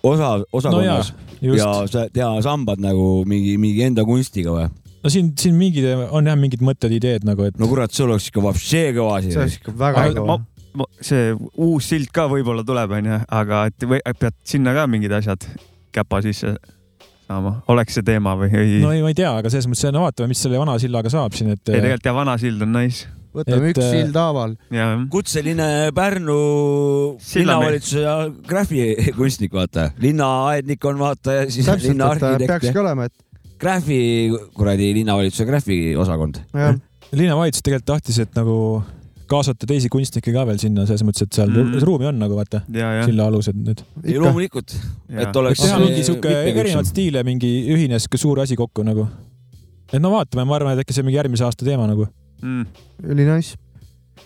[SPEAKER 3] osa ,
[SPEAKER 5] no jaa
[SPEAKER 3] osakonnas , no ja
[SPEAKER 5] just ,
[SPEAKER 3] sa teha sambad nagu mingi , mingi enda kunstiga või ?
[SPEAKER 5] no siin , siin mingid on jah mingid mõtted , ideed nagu , et
[SPEAKER 3] no kurat , see oleks ikka vapšee kõva asi
[SPEAKER 2] see . oleks ikka väga
[SPEAKER 4] Aga
[SPEAKER 2] kõva .
[SPEAKER 4] see uus sild ka võib-olla tuleb , onju , aga et või et pead sinna ka mingid asjad käpa sisse saama , oleks see teema või ei
[SPEAKER 5] no
[SPEAKER 4] no, ?
[SPEAKER 5] ei , ma ei tea , aga selles mõttes , no vaatame , mis selle vana sillaga saab siin , et äh,
[SPEAKER 4] ei , tegelikult jah , vana sild on nice
[SPEAKER 2] võtame
[SPEAKER 5] et,
[SPEAKER 2] üks
[SPEAKER 5] äh,
[SPEAKER 2] sild haaval .
[SPEAKER 4] ja ,
[SPEAKER 3] kutseline Pärnu
[SPEAKER 4] Sillamees.
[SPEAKER 3] linnavalitsuse ja graafikunstnik , vaata . linnaaednik on vaata ja siis
[SPEAKER 2] täpselt , et äh,
[SPEAKER 3] linnaarhitekt
[SPEAKER 2] peakski
[SPEAKER 3] ja
[SPEAKER 2] olema , et
[SPEAKER 3] graafi , kuradi linnavalitsuse graafiosakond .
[SPEAKER 2] jah ,
[SPEAKER 5] linnavalitsus tegelikult tahtis , et nagu kaasata teisi kunstnikke ka veel sinna , selles mõttes , et seal
[SPEAKER 4] Mhm.
[SPEAKER 5] mm. ruumi on nagu vaata ,
[SPEAKER 4] ja , ja ,
[SPEAKER 5] silla alused need .
[SPEAKER 3] ei
[SPEAKER 2] ikka .
[SPEAKER 3] loomulikult ,
[SPEAKER 4] ja
[SPEAKER 3] et . oleks .
[SPEAKER 5] võiks teha mingi sihuke erinevaid stiile , mingi ühines ka suur asi kokku nagu . et no vaatame , ma arvan , et äkki see on mingi järgmise aasta teema nagu .
[SPEAKER 4] Mm.
[SPEAKER 2] üli nice .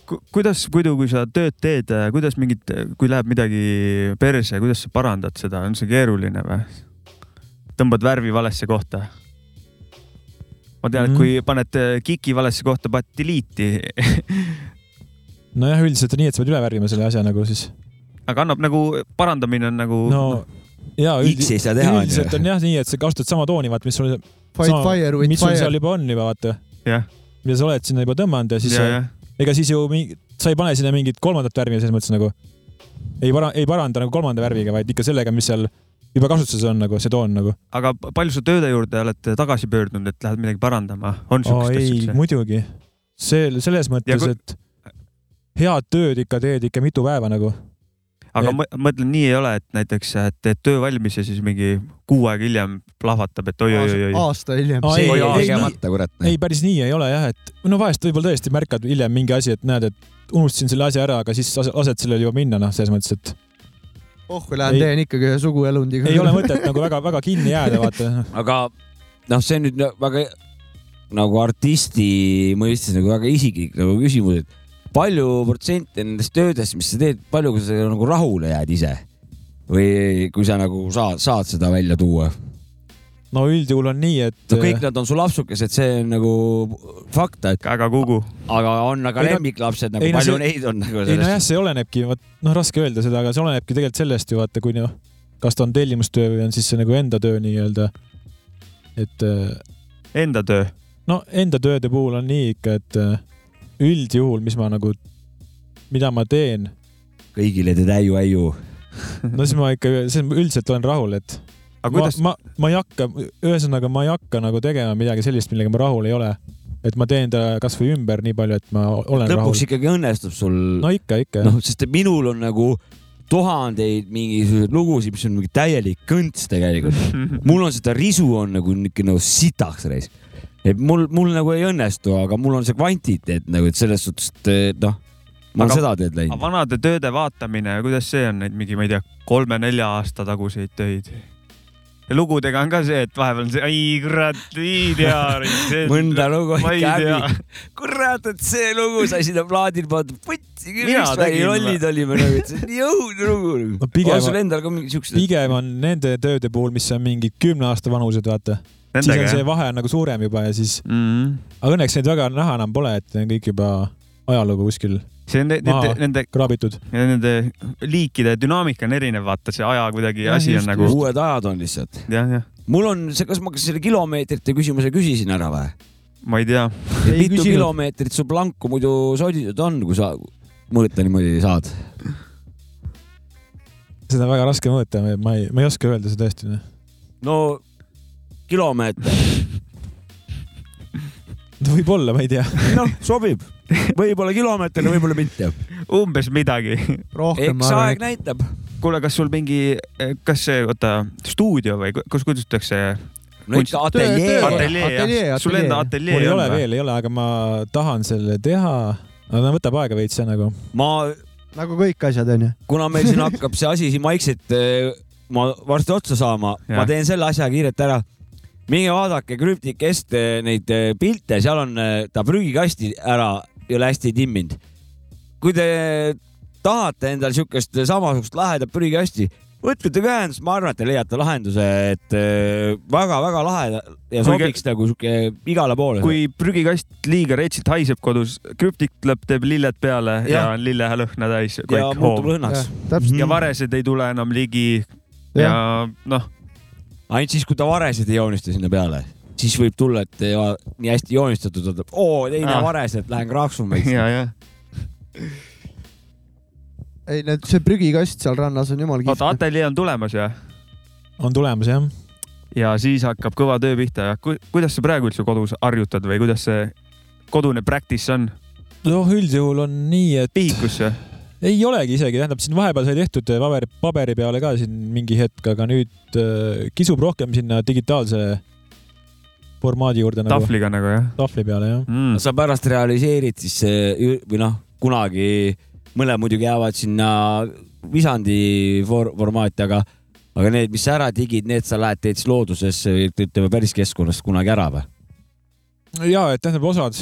[SPEAKER 4] Ku- kuidas muidu , kui sa tööd teed , kuidas mingit , kui läheb midagi perse , kuidas sa parandad seda , on see keeruline või ? tõmbad värvi valesse kohta ? ma
[SPEAKER 5] Mhm.
[SPEAKER 4] tean , et kui paned äh, kiki valesse kohta , paned delete'i ,
[SPEAKER 5] nojah , üldiselt on nii , et sa pead üle värvima selle asja nagu siis .
[SPEAKER 4] aga annab nagu , parandamine on nagu
[SPEAKER 5] no ja
[SPEAKER 3] X ei saa teha ,
[SPEAKER 5] üldiselt
[SPEAKER 3] onju .
[SPEAKER 5] on jah nii , et sa kasutad sama tooni , vaat mis sul ,
[SPEAKER 2] Fight
[SPEAKER 5] Sama-
[SPEAKER 2] fire with
[SPEAKER 5] mis sul
[SPEAKER 2] fire
[SPEAKER 5] seal . juba on juba vaata .
[SPEAKER 4] Jah.
[SPEAKER 5] mida sa oled sinna juba tõmmanud ja siis
[SPEAKER 4] ja ,
[SPEAKER 5] ja,
[SPEAKER 4] jah ,
[SPEAKER 5] ja. ega siis ju mingi , sa ei pane sinna mingit kolmandat värvi selles mõttes nagu . ei para- , ei paranda nagu kolmanda värviga , vaid ikka sellega , mis seal juba kasutuses on nagu see toon nagu .
[SPEAKER 4] aga p- palju sa tööde juurde oled tagasi pöördunud , et lähed midagi parandama , on
[SPEAKER 5] oh,
[SPEAKER 4] siukest
[SPEAKER 5] ei ,
[SPEAKER 4] asja ?
[SPEAKER 5] muidugi . see , selles mõttes ,
[SPEAKER 4] kui-
[SPEAKER 5] et head tööd ikka teed ikka mitu päeva nagu .
[SPEAKER 4] aga ma mõtlen , nii ei ole , et näiteks äh, teed töö valmis ja siis mingi kuu aega hiljem plahvatab , et oi-oi-oi .
[SPEAKER 2] aasta hiljem .
[SPEAKER 5] Aa,
[SPEAKER 3] see
[SPEAKER 5] ei,
[SPEAKER 3] oli
[SPEAKER 5] ei,
[SPEAKER 3] tegemata , kurat .
[SPEAKER 5] ei , päris nii ei ole jah , et no vahest võib-olla tõesti märkad hiljem mingi asi , et näed , et unustasin selle asja ära , aga siis lase- lased sellele juba minna , noh , selles mõttes , et
[SPEAKER 2] oh , kui lähen
[SPEAKER 5] Ei-
[SPEAKER 2] teen ikkagi ühe suguelundiga .
[SPEAKER 5] ei ole mõtet nagu väga-väga kinni jääda , vaata .
[SPEAKER 3] aga noh , see on nüüd na- väga nagu artisti mõistes nagu väga isiklik nagu küsimus , et palju protsenti nendest töödest , mis sa teed , palju sa sellega nagu rahule jääd ise või kui sa nagu saad , saad seda välja tuua ?
[SPEAKER 5] no üldjuhul on nii , et
[SPEAKER 3] no kõik nad on sul lapsukesed , see on nagu fakt , et
[SPEAKER 4] aga Kugu .
[SPEAKER 3] aga on aga
[SPEAKER 5] Ei no-
[SPEAKER 3] lemmiklapsed nagu
[SPEAKER 5] ei no
[SPEAKER 3] palju
[SPEAKER 5] see-
[SPEAKER 3] neid on nagu
[SPEAKER 5] ei nojah ,
[SPEAKER 3] sellest .
[SPEAKER 5] see olenebki , vot noh , raske öelda seda , aga see olenebki tegelikult sellest ju vaata , kui noh , kas ta on tellimustöö või on siis see nagu enda töö nii-öelda . et äh,
[SPEAKER 4] Enda töö .
[SPEAKER 5] no enda tööde puhul on nii ikka , et äh, üldjuhul , mis ma nagu , mida ma teen ,
[SPEAKER 3] kõigile teed äiu-äiu .
[SPEAKER 5] no siis ma ikka , üldiselt olen rahul , et
[SPEAKER 4] aga kuidas ,
[SPEAKER 5] ma , ma , ma ei hakka , ühesõnaga ma ei hakka nagu tegema midagi sellist , millega ma rahul ei ole . et ma teen ta kasvõi ümber nii palju , et ma olen
[SPEAKER 3] lõpuks
[SPEAKER 5] rahul .
[SPEAKER 3] ikkagi õnnestub sul
[SPEAKER 5] no ikka , ikka no.
[SPEAKER 3] noh , sest et minul on nagu tuhandeid mingisuguseid lugusid , mis on mingi täielik kõnts tegelikult . mul on seda risu on nagu niuke nagu sitaks reis . et mul , mul nagu ei õnnestu , aga mul on see kvantiteet nagu , et selles suhtes , et eh, noh , ma olen
[SPEAKER 4] Aga-
[SPEAKER 3] seda teed läinud .
[SPEAKER 4] vanade tööde vaatamine , kuidas see on , neid mingi , ma ei tea , kolme-nelja aasta taguseid töid ? ja lugudega on ka see , et vahepeal on see , ai kurat , ei tea .
[SPEAKER 3] mõnda lugu
[SPEAKER 4] ma ei
[SPEAKER 3] ikka
[SPEAKER 4] tea.
[SPEAKER 3] häbi . kurat , et see lugu sai sinna plaadil pandud , võtsi küll ,
[SPEAKER 4] Mina
[SPEAKER 3] miks me nii
[SPEAKER 4] tegin
[SPEAKER 3] lollid olime nagu , et see on nii õudne lugu
[SPEAKER 5] No
[SPEAKER 3] nagu
[SPEAKER 5] pigem-
[SPEAKER 3] on sul endal ka mingi siukseid ?
[SPEAKER 5] pigem on nende tööde puhul , mis on mingi kümne aasta vanused , vaata . siis on
[SPEAKER 4] Nendega
[SPEAKER 5] see
[SPEAKER 4] jah ?
[SPEAKER 5] vahe nagu suurem juba ja siis ,
[SPEAKER 4] Mm -hmm.
[SPEAKER 5] aga õnneks neid väga näha enam pole , et need on kõik juba ajalugu kuskil
[SPEAKER 4] see on nende
[SPEAKER 5] Maa. ,
[SPEAKER 4] nende ,
[SPEAKER 5] kraabitud .
[SPEAKER 4] nende liikide dünaamika on erinev , vaata see aja kuidagi
[SPEAKER 5] Jah,
[SPEAKER 4] asi
[SPEAKER 5] just,
[SPEAKER 4] on nagu ,
[SPEAKER 3] uued ajad on lihtsalt .
[SPEAKER 4] jah , jah ,
[SPEAKER 3] mul on see , kas ma kas selle kilomeetrite küsimuse küsisin ära või ?
[SPEAKER 4] ma ei tea .
[SPEAKER 3] mitu . kilomeetrit su planku muidu soditud on , kui sa mõõta niimoodi saad ?
[SPEAKER 5] seda on väga raske mõõta , ma ei , ma ei oska öelda seda tõesti . noh.
[SPEAKER 3] no kilomeeter .
[SPEAKER 5] no võib-olla , ma ei tea .
[SPEAKER 3] noh , sobib . võib-olla kilomeeter , võib-olla mitte .
[SPEAKER 4] umbes midagi .
[SPEAKER 2] rohkem
[SPEAKER 3] eks
[SPEAKER 2] ma
[SPEAKER 3] aeg
[SPEAKER 2] arvan ,
[SPEAKER 3] näitab .
[SPEAKER 4] kuule , kas sul mingi , kas see , oota , stuudio või ku- kus kutsutakse ?
[SPEAKER 3] no ikka
[SPEAKER 2] Töö- töö-
[SPEAKER 3] ateljee .
[SPEAKER 4] ateljee ,
[SPEAKER 2] ateljee,
[SPEAKER 4] jah ? sul enda
[SPEAKER 2] ateljee.
[SPEAKER 4] ateljee
[SPEAKER 5] mul ei ole
[SPEAKER 4] on või ?
[SPEAKER 5] veel , ei ole , aga ma tahan selle teha . aga ta võtab aega veits , see nagu .
[SPEAKER 3] ma ,
[SPEAKER 2] nagu kõik asjad onju .
[SPEAKER 3] kuna meil siin hakkab see asi siin vaikselt , ma varsti otsa saama , ma
[SPEAKER 4] Jah.
[SPEAKER 3] teen selle asja kiirelt ära . minge vaadake krüptikest eh, neid eh, pilte , seal on eh, ta prügikasti ära ei ole hästi timminud . kui te tahate endal siukest samasugust lahedat prügikasti , võtke temaga ühendust , ma arvan , et te leiate lahenduse , et eh, väga-väga lahe ja
[SPEAKER 4] Kuigi-
[SPEAKER 3] sobiks nagu sihuke igale poole .
[SPEAKER 4] kui prügikast liiga retsilt haiseb kodus , krüptik tuleb , teeb lilled peale ja, ja
[SPEAKER 3] Jah.
[SPEAKER 4] on lillelõhna täis
[SPEAKER 3] ja
[SPEAKER 4] kõik
[SPEAKER 3] muutub
[SPEAKER 4] hoov .
[SPEAKER 3] lõhnaks .
[SPEAKER 2] täpselt
[SPEAKER 4] ja varesed ei tule enam ligi ja, Mhm. ja
[SPEAKER 2] jah ,
[SPEAKER 4] noh ,
[SPEAKER 3] ainult siis , kui ta varesid ei joonista sinna peale , siis võib tulla , et ei ole nii hästi joonistatud , et oo , teine
[SPEAKER 4] Ah.
[SPEAKER 3] vares , et lähen kraaksun veits .
[SPEAKER 4] ja , ja .
[SPEAKER 2] ei need , see prügikast seal rannas on jumal
[SPEAKER 4] oota ,
[SPEAKER 2] kihvt .
[SPEAKER 4] ateljee on tulemas ja ,
[SPEAKER 5] on tulemas jah .
[SPEAKER 4] ja siis hakkab kõva töö pihta ja ku, kuidas sa praegu üldse kodus harjutad või kuidas see kodune practice on ,
[SPEAKER 5] noh , üldjuhul on nii , et
[SPEAKER 4] pihikus või ?
[SPEAKER 5] ei olegi isegi , tähendab siin vahepeal sai tehtud paberi , paberi peale ka siin mingi hetk , aga nüüd äh, kisub rohkem sinna digitaalse formaadi juurde nagu
[SPEAKER 4] tahvliga nagu jah
[SPEAKER 5] tahvli peale jah .
[SPEAKER 4] mm. ?
[SPEAKER 3] sa pärast realiseerid siis see ü- või noh , kunagi mõned muidugi jäävad sinna visandi for formaati , aga , aga need , mis sa ära digid , need sa lähed teed siis loodusesse või ütleme päris keskkonnast kunagi ära või ?
[SPEAKER 5] ja , et tähendab osad ,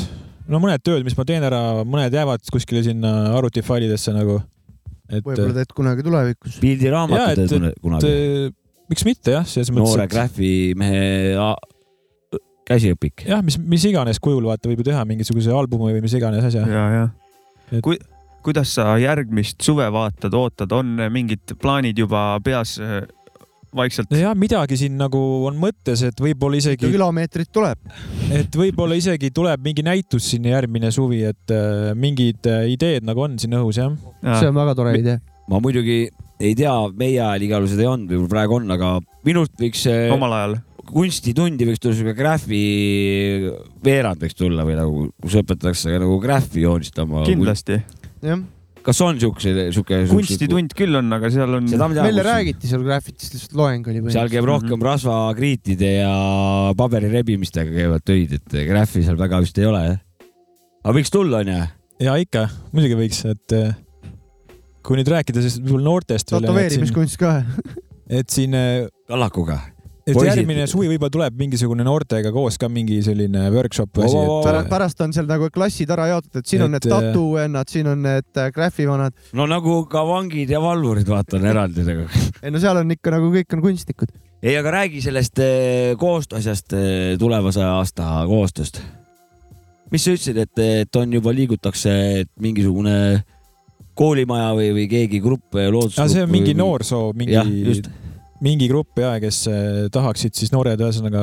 [SPEAKER 5] no mõned tööd , mis ma teen ära , mõned jäävad kuskile sinna arvutifailidesse nagu . et ,
[SPEAKER 2] võib-olla teed kunagi tulevikus .
[SPEAKER 5] Jaa,
[SPEAKER 3] pildiraamatu
[SPEAKER 5] et-
[SPEAKER 3] teed kune-
[SPEAKER 5] et
[SPEAKER 3] kunagi ,
[SPEAKER 5] äh, miks mitte jah , selles mõttes ,
[SPEAKER 3] noore
[SPEAKER 5] et
[SPEAKER 3] graafimehe a- käsiõpik .
[SPEAKER 5] jah , mis , mis iganes kujul vaata , võib ju teha mingisuguse albumi või mis iganes asja .
[SPEAKER 4] ja , ja
[SPEAKER 5] Et-
[SPEAKER 4] et... . kui , kuidas sa järgmist suve vaatad , ootad , on mingid plaanid juba peas äh, vaikselt ?
[SPEAKER 5] nojah , midagi siin nagu on mõttes , et võib-olla isegi ,
[SPEAKER 2] kilomeetrit tuleb .
[SPEAKER 5] et võib-olla isegi tuleb mingi näitus siin järgmine suvi , et äh, mingid äh, ideed nagu on siin õhus jah .
[SPEAKER 4] äh,
[SPEAKER 2] see on väga tore
[SPEAKER 4] Mi-
[SPEAKER 2] idee .
[SPEAKER 3] ma muidugi ei tea , meie ajal igal juhul seda ei olnud , võib-olla praegu on , aga minult võiks eh,
[SPEAKER 4] omal ajal
[SPEAKER 3] kunstitundi võiks tulla siuke graafi veerand võiks tulla või nagu , kus õpetatakse ka nagu graafi joonistama .
[SPEAKER 4] kindlasti ,
[SPEAKER 2] jah ,
[SPEAKER 3] kas on siukse , siuke ?
[SPEAKER 4] kunstitund küll on , aga seal on ,
[SPEAKER 3] seda ma
[SPEAKER 2] meile
[SPEAKER 3] tean .
[SPEAKER 2] räägiti seal graffitist , lihtsalt loeng oli
[SPEAKER 3] seal käib rohkem
[SPEAKER 4] Mhm.
[SPEAKER 3] rasvakriitide ja paberi rebimistega käivad töid , et eh, graafi seal väga vist ei ole , jah . aga võiks tulla , onju .
[SPEAKER 5] ja ikka , muidugi võiks , et äh, kui nüüd rääkida siis võib-olla noortest veel , et siin ,
[SPEAKER 2] tätoveerimiskunst ka .
[SPEAKER 5] et siin äh,
[SPEAKER 3] kallakuga .
[SPEAKER 5] et
[SPEAKER 3] Poisid-
[SPEAKER 5] järgmine suvi võib-olla tuleb mingisugune noortega koos ka mingi selline workshop või
[SPEAKER 3] Oo,
[SPEAKER 5] asi , äh,
[SPEAKER 2] pärast , pärast on seal nagu klassid ära jaotatud , siin on
[SPEAKER 5] Et,
[SPEAKER 2] need tatuvennad , siin on need äh, graffivanad .
[SPEAKER 3] no nagu ka vangid ja valvurid , vaata , on eraldi nagu .
[SPEAKER 2] ei no seal on ikka nagu kõik on kunstnikud .
[SPEAKER 3] ei , aga räägi sellest eh, koostööasjast , tulevase aasta koostööst . mis sa ütlesid , et , et on juba liigutakse , et mingisugune koolimaja või , või keegi grupp ,
[SPEAKER 5] et aga
[SPEAKER 3] loodusgrupp .
[SPEAKER 5] see on mingi . noorsoo ,
[SPEAKER 3] jah ,
[SPEAKER 5] mingi
[SPEAKER 3] just .
[SPEAKER 5] mingi grupp ja kes eh, tahaksid siis noored ühesõnaga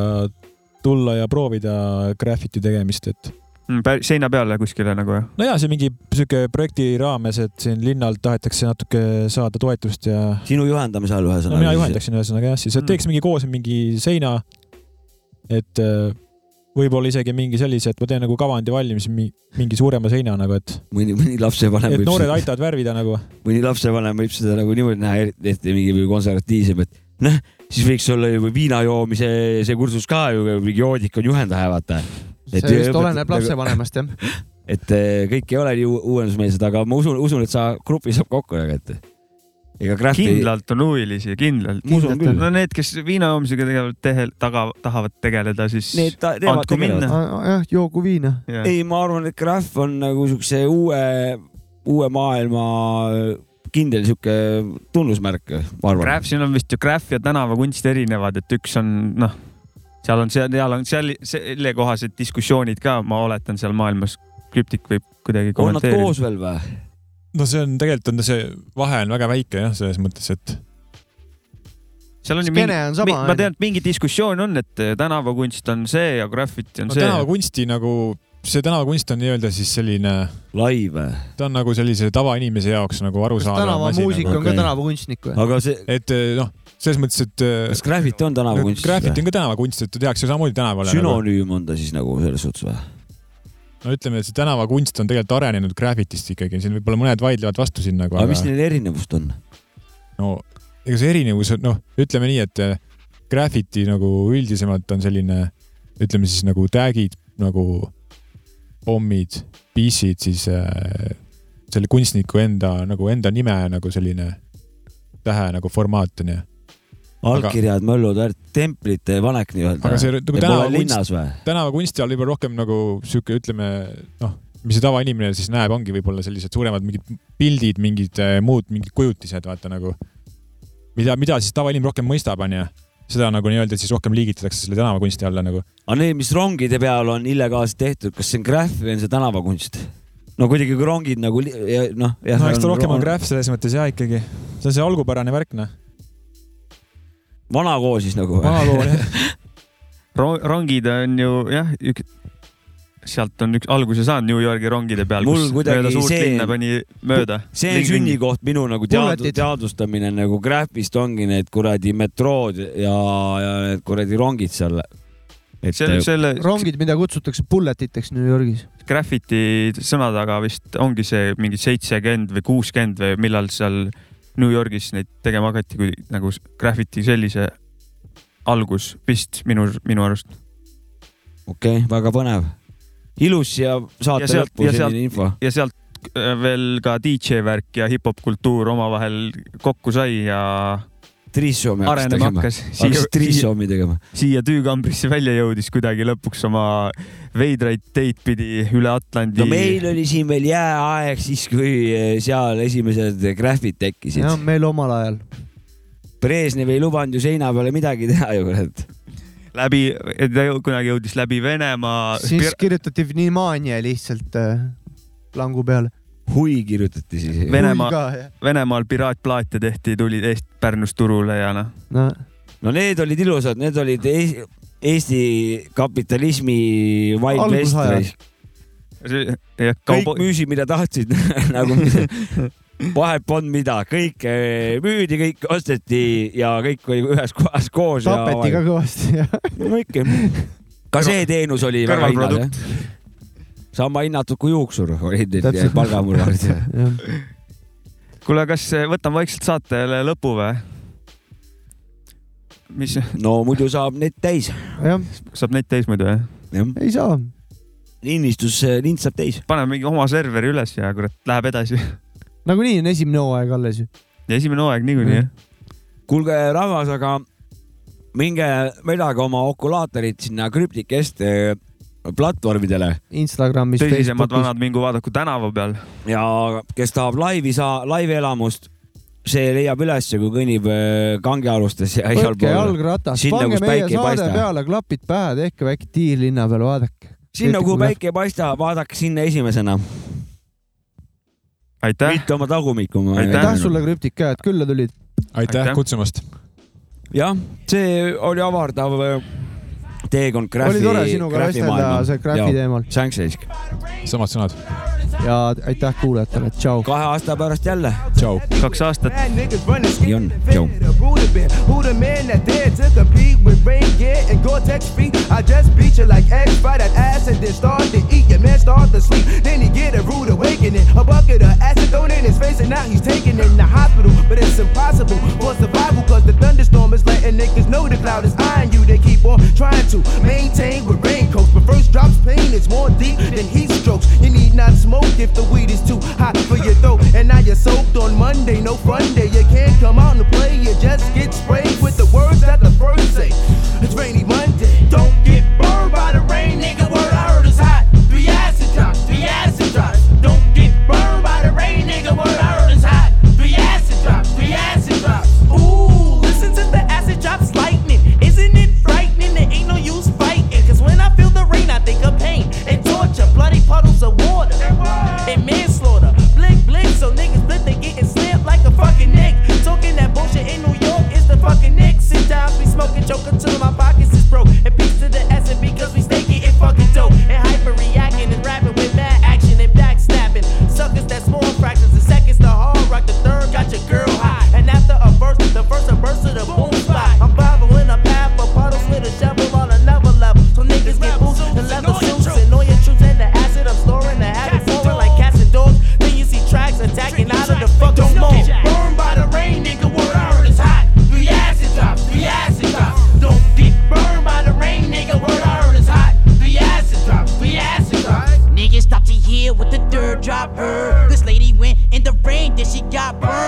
[SPEAKER 5] tulla ja proovida graffiti tegemist , et
[SPEAKER 4] mm, seina peale kuskile nagu jah ?
[SPEAKER 5] no ja see mingi sihuke projekti raames , et siin linnalt tahetakse natuke saada toetust ja
[SPEAKER 3] sinu juhendamise all
[SPEAKER 5] no
[SPEAKER 3] ühesõnaga .
[SPEAKER 5] mina juhendaksin ühesõnaga jah , siis et
[SPEAKER 4] Mm.
[SPEAKER 5] teeks mingi koos mingi seina . et eh, võib-olla isegi mingi sellise , et ma teen nagu kavandi valmis , mingi suurema seina nagu , et ,
[SPEAKER 3] mõni , mõni lapsevanem
[SPEAKER 5] et
[SPEAKER 3] võib
[SPEAKER 5] noored
[SPEAKER 3] seda-
[SPEAKER 5] aitavad värvida nagu .
[SPEAKER 3] mõni lapsevanem võib seda nagu niimoodi näha , eriti mingi konservatiivsem , et noh , siis võiks olla juba viina joomise see kursus ka ju , mingi joodik on juhendaja , vaata .
[SPEAKER 2] see
[SPEAKER 3] Et
[SPEAKER 2] just
[SPEAKER 3] õpet-
[SPEAKER 2] oleneb
[SPEAKER 3] nagu-
[SPEAKER 2] lapsevanemast jah .
[SPEAKER 3] et eh, kõik ei ole nii uu- uuendusmeelsed , aga ma usun , usun , et sa grupi saab kokku nagu , et ega Graffi ,
[SPEAKER 4] kindlalt on huvilisi , kindlalt .
[SPEAKER 3] Ma usun küll.
[SPEAKER 4] no need , kes viina joomisega tegelevad , tehe- , taga , tahavad tegeleda , siis
[SPEAKER 3] need ta- teevad
[SPEAKER 4] andku minna.
[SPEAKER 3] tegelevad .
[SPEAKER 2] jah , joogu viina .
[SPEAKER 4] jah.
[SPEAKER 3] ei , ma arvan , et Graff on nagu siukse uue , uue maailma äh, kindel sihuke tunnusmärk , ma arvan .
[SPEAKER 4] Graff , siin on vist ju Graff ja tänavakunst erinevad , et üks on noh , seal on , seal on seal sellekohased diskussioonid ka , ma oletan seal maailmas . krüptik võib kuidagi
[SPEAKER 3] on nad
[SPEAKER 4] kommenteerida .
[SPEAKER 3] koos veel või ?
[SPEAKER 5] no see on tegelikult on see vahe on väga väike jah , selles mõttes , et
[SPEAKER 4] seal on ju mingi
[SPEAKER 2] skeene , on sama .
[SPEAKER 4] ma tean , et mingi diskussioon on , et tänavakunst on see ja graffiti on
[SPEAKER 5] no
[SPEAKER 4] see .
[SPEAKER 5] tänavakunsti nagu , see tänavakunst on nii-öelda siis selline ,
[SPEAKER 3] lai või ?
[SPEAKER 5] ta on nagu sellise tavainimese jaoks nagu
[SPEAKER 2] kas
[SPEAKER 5] arusaadav asi
[SPEAKER 2] tänavamuusik
[SPEAKER 5] nagu.
[SPEAKER 2] on ka
[SPEAKER 3] okei.
[SPEAKER 2] tänavakunstnik või ?
[SPEAKER 3] aga see ,
[SPEAKER 5] et eh, noh , selles mõttes , et eh,
[SPEAKER 3] kas Graffit on tänavakunst ?
[SPEAKER 5] graffiti on ka tänavakunst , et ta tehakse samamoodi tänavale .
[SPEAKER 3] sünonüüm on ta siis nagu selles suhtes või ?
[SPEAKER 5] no ütleme , et see tänavakunst on tegelikult arenenud graffitist ikkagi , siin võib-olla mõned vaidlevad vastu siin nagu ,
[SPEAKER 3] aga
[SPEAKER 5] aga
[SPEAKER 3] mis neil erinevust on ?
[SPEAKER 5] no ega see erinevus on noh , ütleme nii , et eh, graffiti nagu üldisemalt on selline , ütleme siis nagu tag'id nagu pommid , piisid , siis äh, selle kunstniku enda nagu enda nime nagu selline tähe nagu formaat onju .
[SPEAKER 3] allkirjad , möllud , templite panek nii-öelda .
[SPEAKER 5] aga see nagu tänavakunst ,
[SPEAKER 3] linnas või ?
[SPEAKER 5] tänavakunsti all võib-olla rohkem nagu sihuke , ütleme noh , mis see tavainimene siis näeb , ongi võib-olla sellised suuremad mingid pildid , mingid eh, muud mingid kujutised , vaata nagu mida , mida siis tavainimene rohkem mõistab , onju . seda nagu nii-öelda siis rohkem liigitatakse selle tänavakunsti alla nagu .
[SPEAKER 3] aga need , mis rongide peal on illegaalselt tehtud , kas see on graff või on see tänavakunst ? no kuidagi kui rongid nagu li- ja- noh .
[SPEAKER 5] no eks ta rohkem on . graph selles mõttes ja ikkagi . see on see algupärane värk noh .
[SPEAKER 3] vana koo siis nagu või ?
[SPEAKER 5] vanaloo on jah .
[SPEAKER 4] Ro- rongid on ju jah , üks , sealt on üks alguse saanud New Yorgi rongide peal ,
[SPEAKER 3] Mul
[SPEAKER 4] kus
[SPEAKER 3] kuidagi
[SPEAKER 4] mööda suurt
[SPEAKER 3] see-
[SPEAKER 4] linna pani mööda .
[SPEAKER 3] see on sünnikoht minu nagu teadu- ,
[SPEAKER 2] Pulletid.
[SPEAKER 3] teadvustamine nagu graffist ongi need kuradi metrood ja , ja need kuradi rongid seal . et
[SPEAKER 4] selle , selle
[SPEAKER 2] rongid , mida kutsutakse bulletiteks New Yorgis .
[SPEAKER 4] graffiti sõna taga vist ongi see mingi seitsekümmend või kuuskümmend või millal seal New Yorgis neid tegema hakati , kui nagu graffiti sellise algus vist minu , minu arust .
[SPEAKER 3] okei okay, , väga põnev . ilus ja saate
[SPEAKER 4] Ja
[SPEAKER 3] ja
[SPEAKER 4] sealt-
[SPEAKER 3] lõppu
[SPEAKER 4] ja sealt-
[SPEAKER 3] selline info .
[SPEAKER 4] ja sealt äh, veel ka DJ värk ja hip-hop kultuur omavahel kokku sai ja
[SPEAKER 3] Triissomi hakkas
[SPEAKER 4] arenema
[SPEAKER 3] tegema .
[SPEAKER 4] hakkas .
[SPEAKER 3] hakkas Triissomi tegema .
[SPEAKER 4] siia tüükambrisse välja jõudis kuidagi lõpuks oma veidraid teid pidi üle Atlandi .
[SPEAKER 3] no meil oli siin veel jääaeg siis , kui eh, seal esimesed graffid
[SPEAKER 2] jah ,
[SPEAKER 3] tekkisid .
[SPEAKER 2] meil omal ajal .
[SPEAKER 3] Brežnev ei lubanud ju seina peale midagi teha ju , kurat .
[SPEAKER 4] läbi , ta jõu- kunagi jõudis läbi Venemaa .
[SPEAKER 2] siis kirjutati Vnemanje lihtsalt äh, langu peale .
[SPEAKER 3] hui kirjutati siis .
[SPEAKER 4] Venemaa , Venemaal piraatplaate tehti , tulid Eest- , Pärnust turule ja noh ,
[SPEAKER 2] no
[SPEAKER 3] no need olid ilusad , need olid Ees- Eesti kapitalismi Wild West
[SPEAKER 2] Algusajad. .
[SPEAKER 4] see jah ,
[SPEAKER 3] kõik
[SPEAKER 4] kauboi- ,
[SPEAKER 3] müüsid , mida tahtsid , nagu vahet polnud mida , kõik eh, müüdi , kõik osteti ja kõik oli ühes kohas koos .
[SPEAKER 2] tapeti ka kõvasti jah .
[SPEAKER 3] no ikka . ka see teenus oli väga hinnas jah . sama hinnatud kui juuksur olid need
[SPEAKER 2] Täpselt.
[SPEAKER 3] palgamurvarid .
[SPEAKER 4] kuule , kas võtame vaikselt saatele lõpu või ? mis ,
[SPEAKER 3] no muidu saab neid täis ,
[SPEAKER 2] jah ,
[SPEAKER 4] saab neid täis muidu jah ?
[SPEAKER 3] jah .
[SPEAKER 2] ei saa .
[SPEAKER 3] lindistus , lind saab täis .
[SPEAKER 4] paneme mingi oma serveri üles ja kurat , läheb edasi .
[SPEAKER 2] nagunii on esimene hooaeg alles ju .
[SPEAKER 4] ja esimene hooaeg niikuinii jah .
[SPEAKER 3] kuulge , rahvas , aga minge vedage oma okulaatorid sinna krüptikest eh, platvormidele
[SPEAKER 2] Instagramis ,
[SPEAKER 4] tõsisemad
[SPEAKER 2] Facebookis .
[SPEAKER 4] vanad mingu vaadaku tänava peal .
[SPEAKER 3] ja kes tahab laivi saa , laivielamust , see leiab ülesse , kui kõnnib eh, kangealustes ja igal
[SPEAKER 2] võtke
[SPEAKER 3] pool .
[SPEAKER 2] jalgratas ,
[SPEAKER 3] Sinna,
[SPEAKER 2] pange
[SPEAKER 3] kus
[SPEAKER 2] meie
[SPEAKER 3] päike ei
[SPEAKER 2] saade
[SPEAKER 3] paista.
[SPEAKER 2] peale , klapid pähe , tehke väike tiir linna peal , vaadake .
[SPEAKER 3] sinna , kuhu . päike ei paista , vaadake sinna esimesena ,
[SPEAKER 4] aitäh ,
[SPEAKER 3] mitte oma tagumikku .
[SPEAKER 4] Aitäh
[SPEAKER 2] aitäh sulle , krüptik , et külla tulid .
[SPEAKER 10] aitäh
[SPEAKER 4] Aitäh.
[SPEAKER 10] kutsumast .
[SPEAKER 3] jah , see oli avardav eh, teekond Graffi .
[SPEAKER 2] oli tore sinuga vestelda see Graffi teemal
[SPEAKER 3] Thanks , Eisk .
[SPEAKER 10] samad sõnad .
[SPEAKER 2] ja aitäh kuulajatele , tšau .
[SPEAKER 3] kahe aasta pärast jälle .
[SPEAKER 10] tšau .
[SPEAKER 4] kaks aastat .
[SPEAKER 8] Bad niggas running skin
[SPEAKER 3] Yun, yo.
[SPEAKER 8] invented a Buddha been. Who the man that dared to compete with rain gear and Gore-Tex feet? I just beat you like X by that ass and then start to eat your man start to sleep. Then he get a rude awakening, a bucket of acid thrown in his face and now he's taken in the hospital. But it's impossible for survival cause the thunderstorm is letting niggas know the cloud is eyeing you. They keep on trying to maintain with raincoats, but first drops pain is more deep than heat strokes. You need not smoke if the weed is too hot for your throat. And now you're soaked on Monday, no fun day. You can't come out and play, you just get sprayed with the words that the first say. It's rainy Monday. Don't get burned by the rain, nigga. Word I heard is hot. Three acid drops, three acid drops. Don't get burned by the rain, nigga. Word I heard is hot. Three acid drops, three acid drops. Ooh, listen to the acid drops lightning. Isn't it frightening? There ain't no use fighting. Cause when I feel the rain, I think of pain and torture. Bloody puddles of water and manslaughter. Blick, blick, so niggas blick, they getting slammed like a fucking neck. Talking that bullshit in New York is the fucking neck. Sit down, be smoking, choke until my pockets is broke. And peace to the essence because we stay getting fucking dope. And hyper reacting and rapping with mad action and backstabbing. Suckers that small fractions, the seconds, the hard rock, the third got your girl high. And after a verse, the first a burst of the boom spot. I'm bobbling a path for puddles with a shovel on another level. So niggas get boots and leather suits and all your troops and the acid I'm storing the habit forming like cats and dogs. Then you see tracks attacking out of the fucking smoke. Burned by the rain, nigga, word I heard is hot. Three acid drops, three acid drops. Don't get burned by the rain, nigga, word I heard is hot. Three acid drops, three acid drops. Niggas stopped to hear what the third drop heard. This lady went in the rain, then she got burned.
[SPEAKER 9] Oh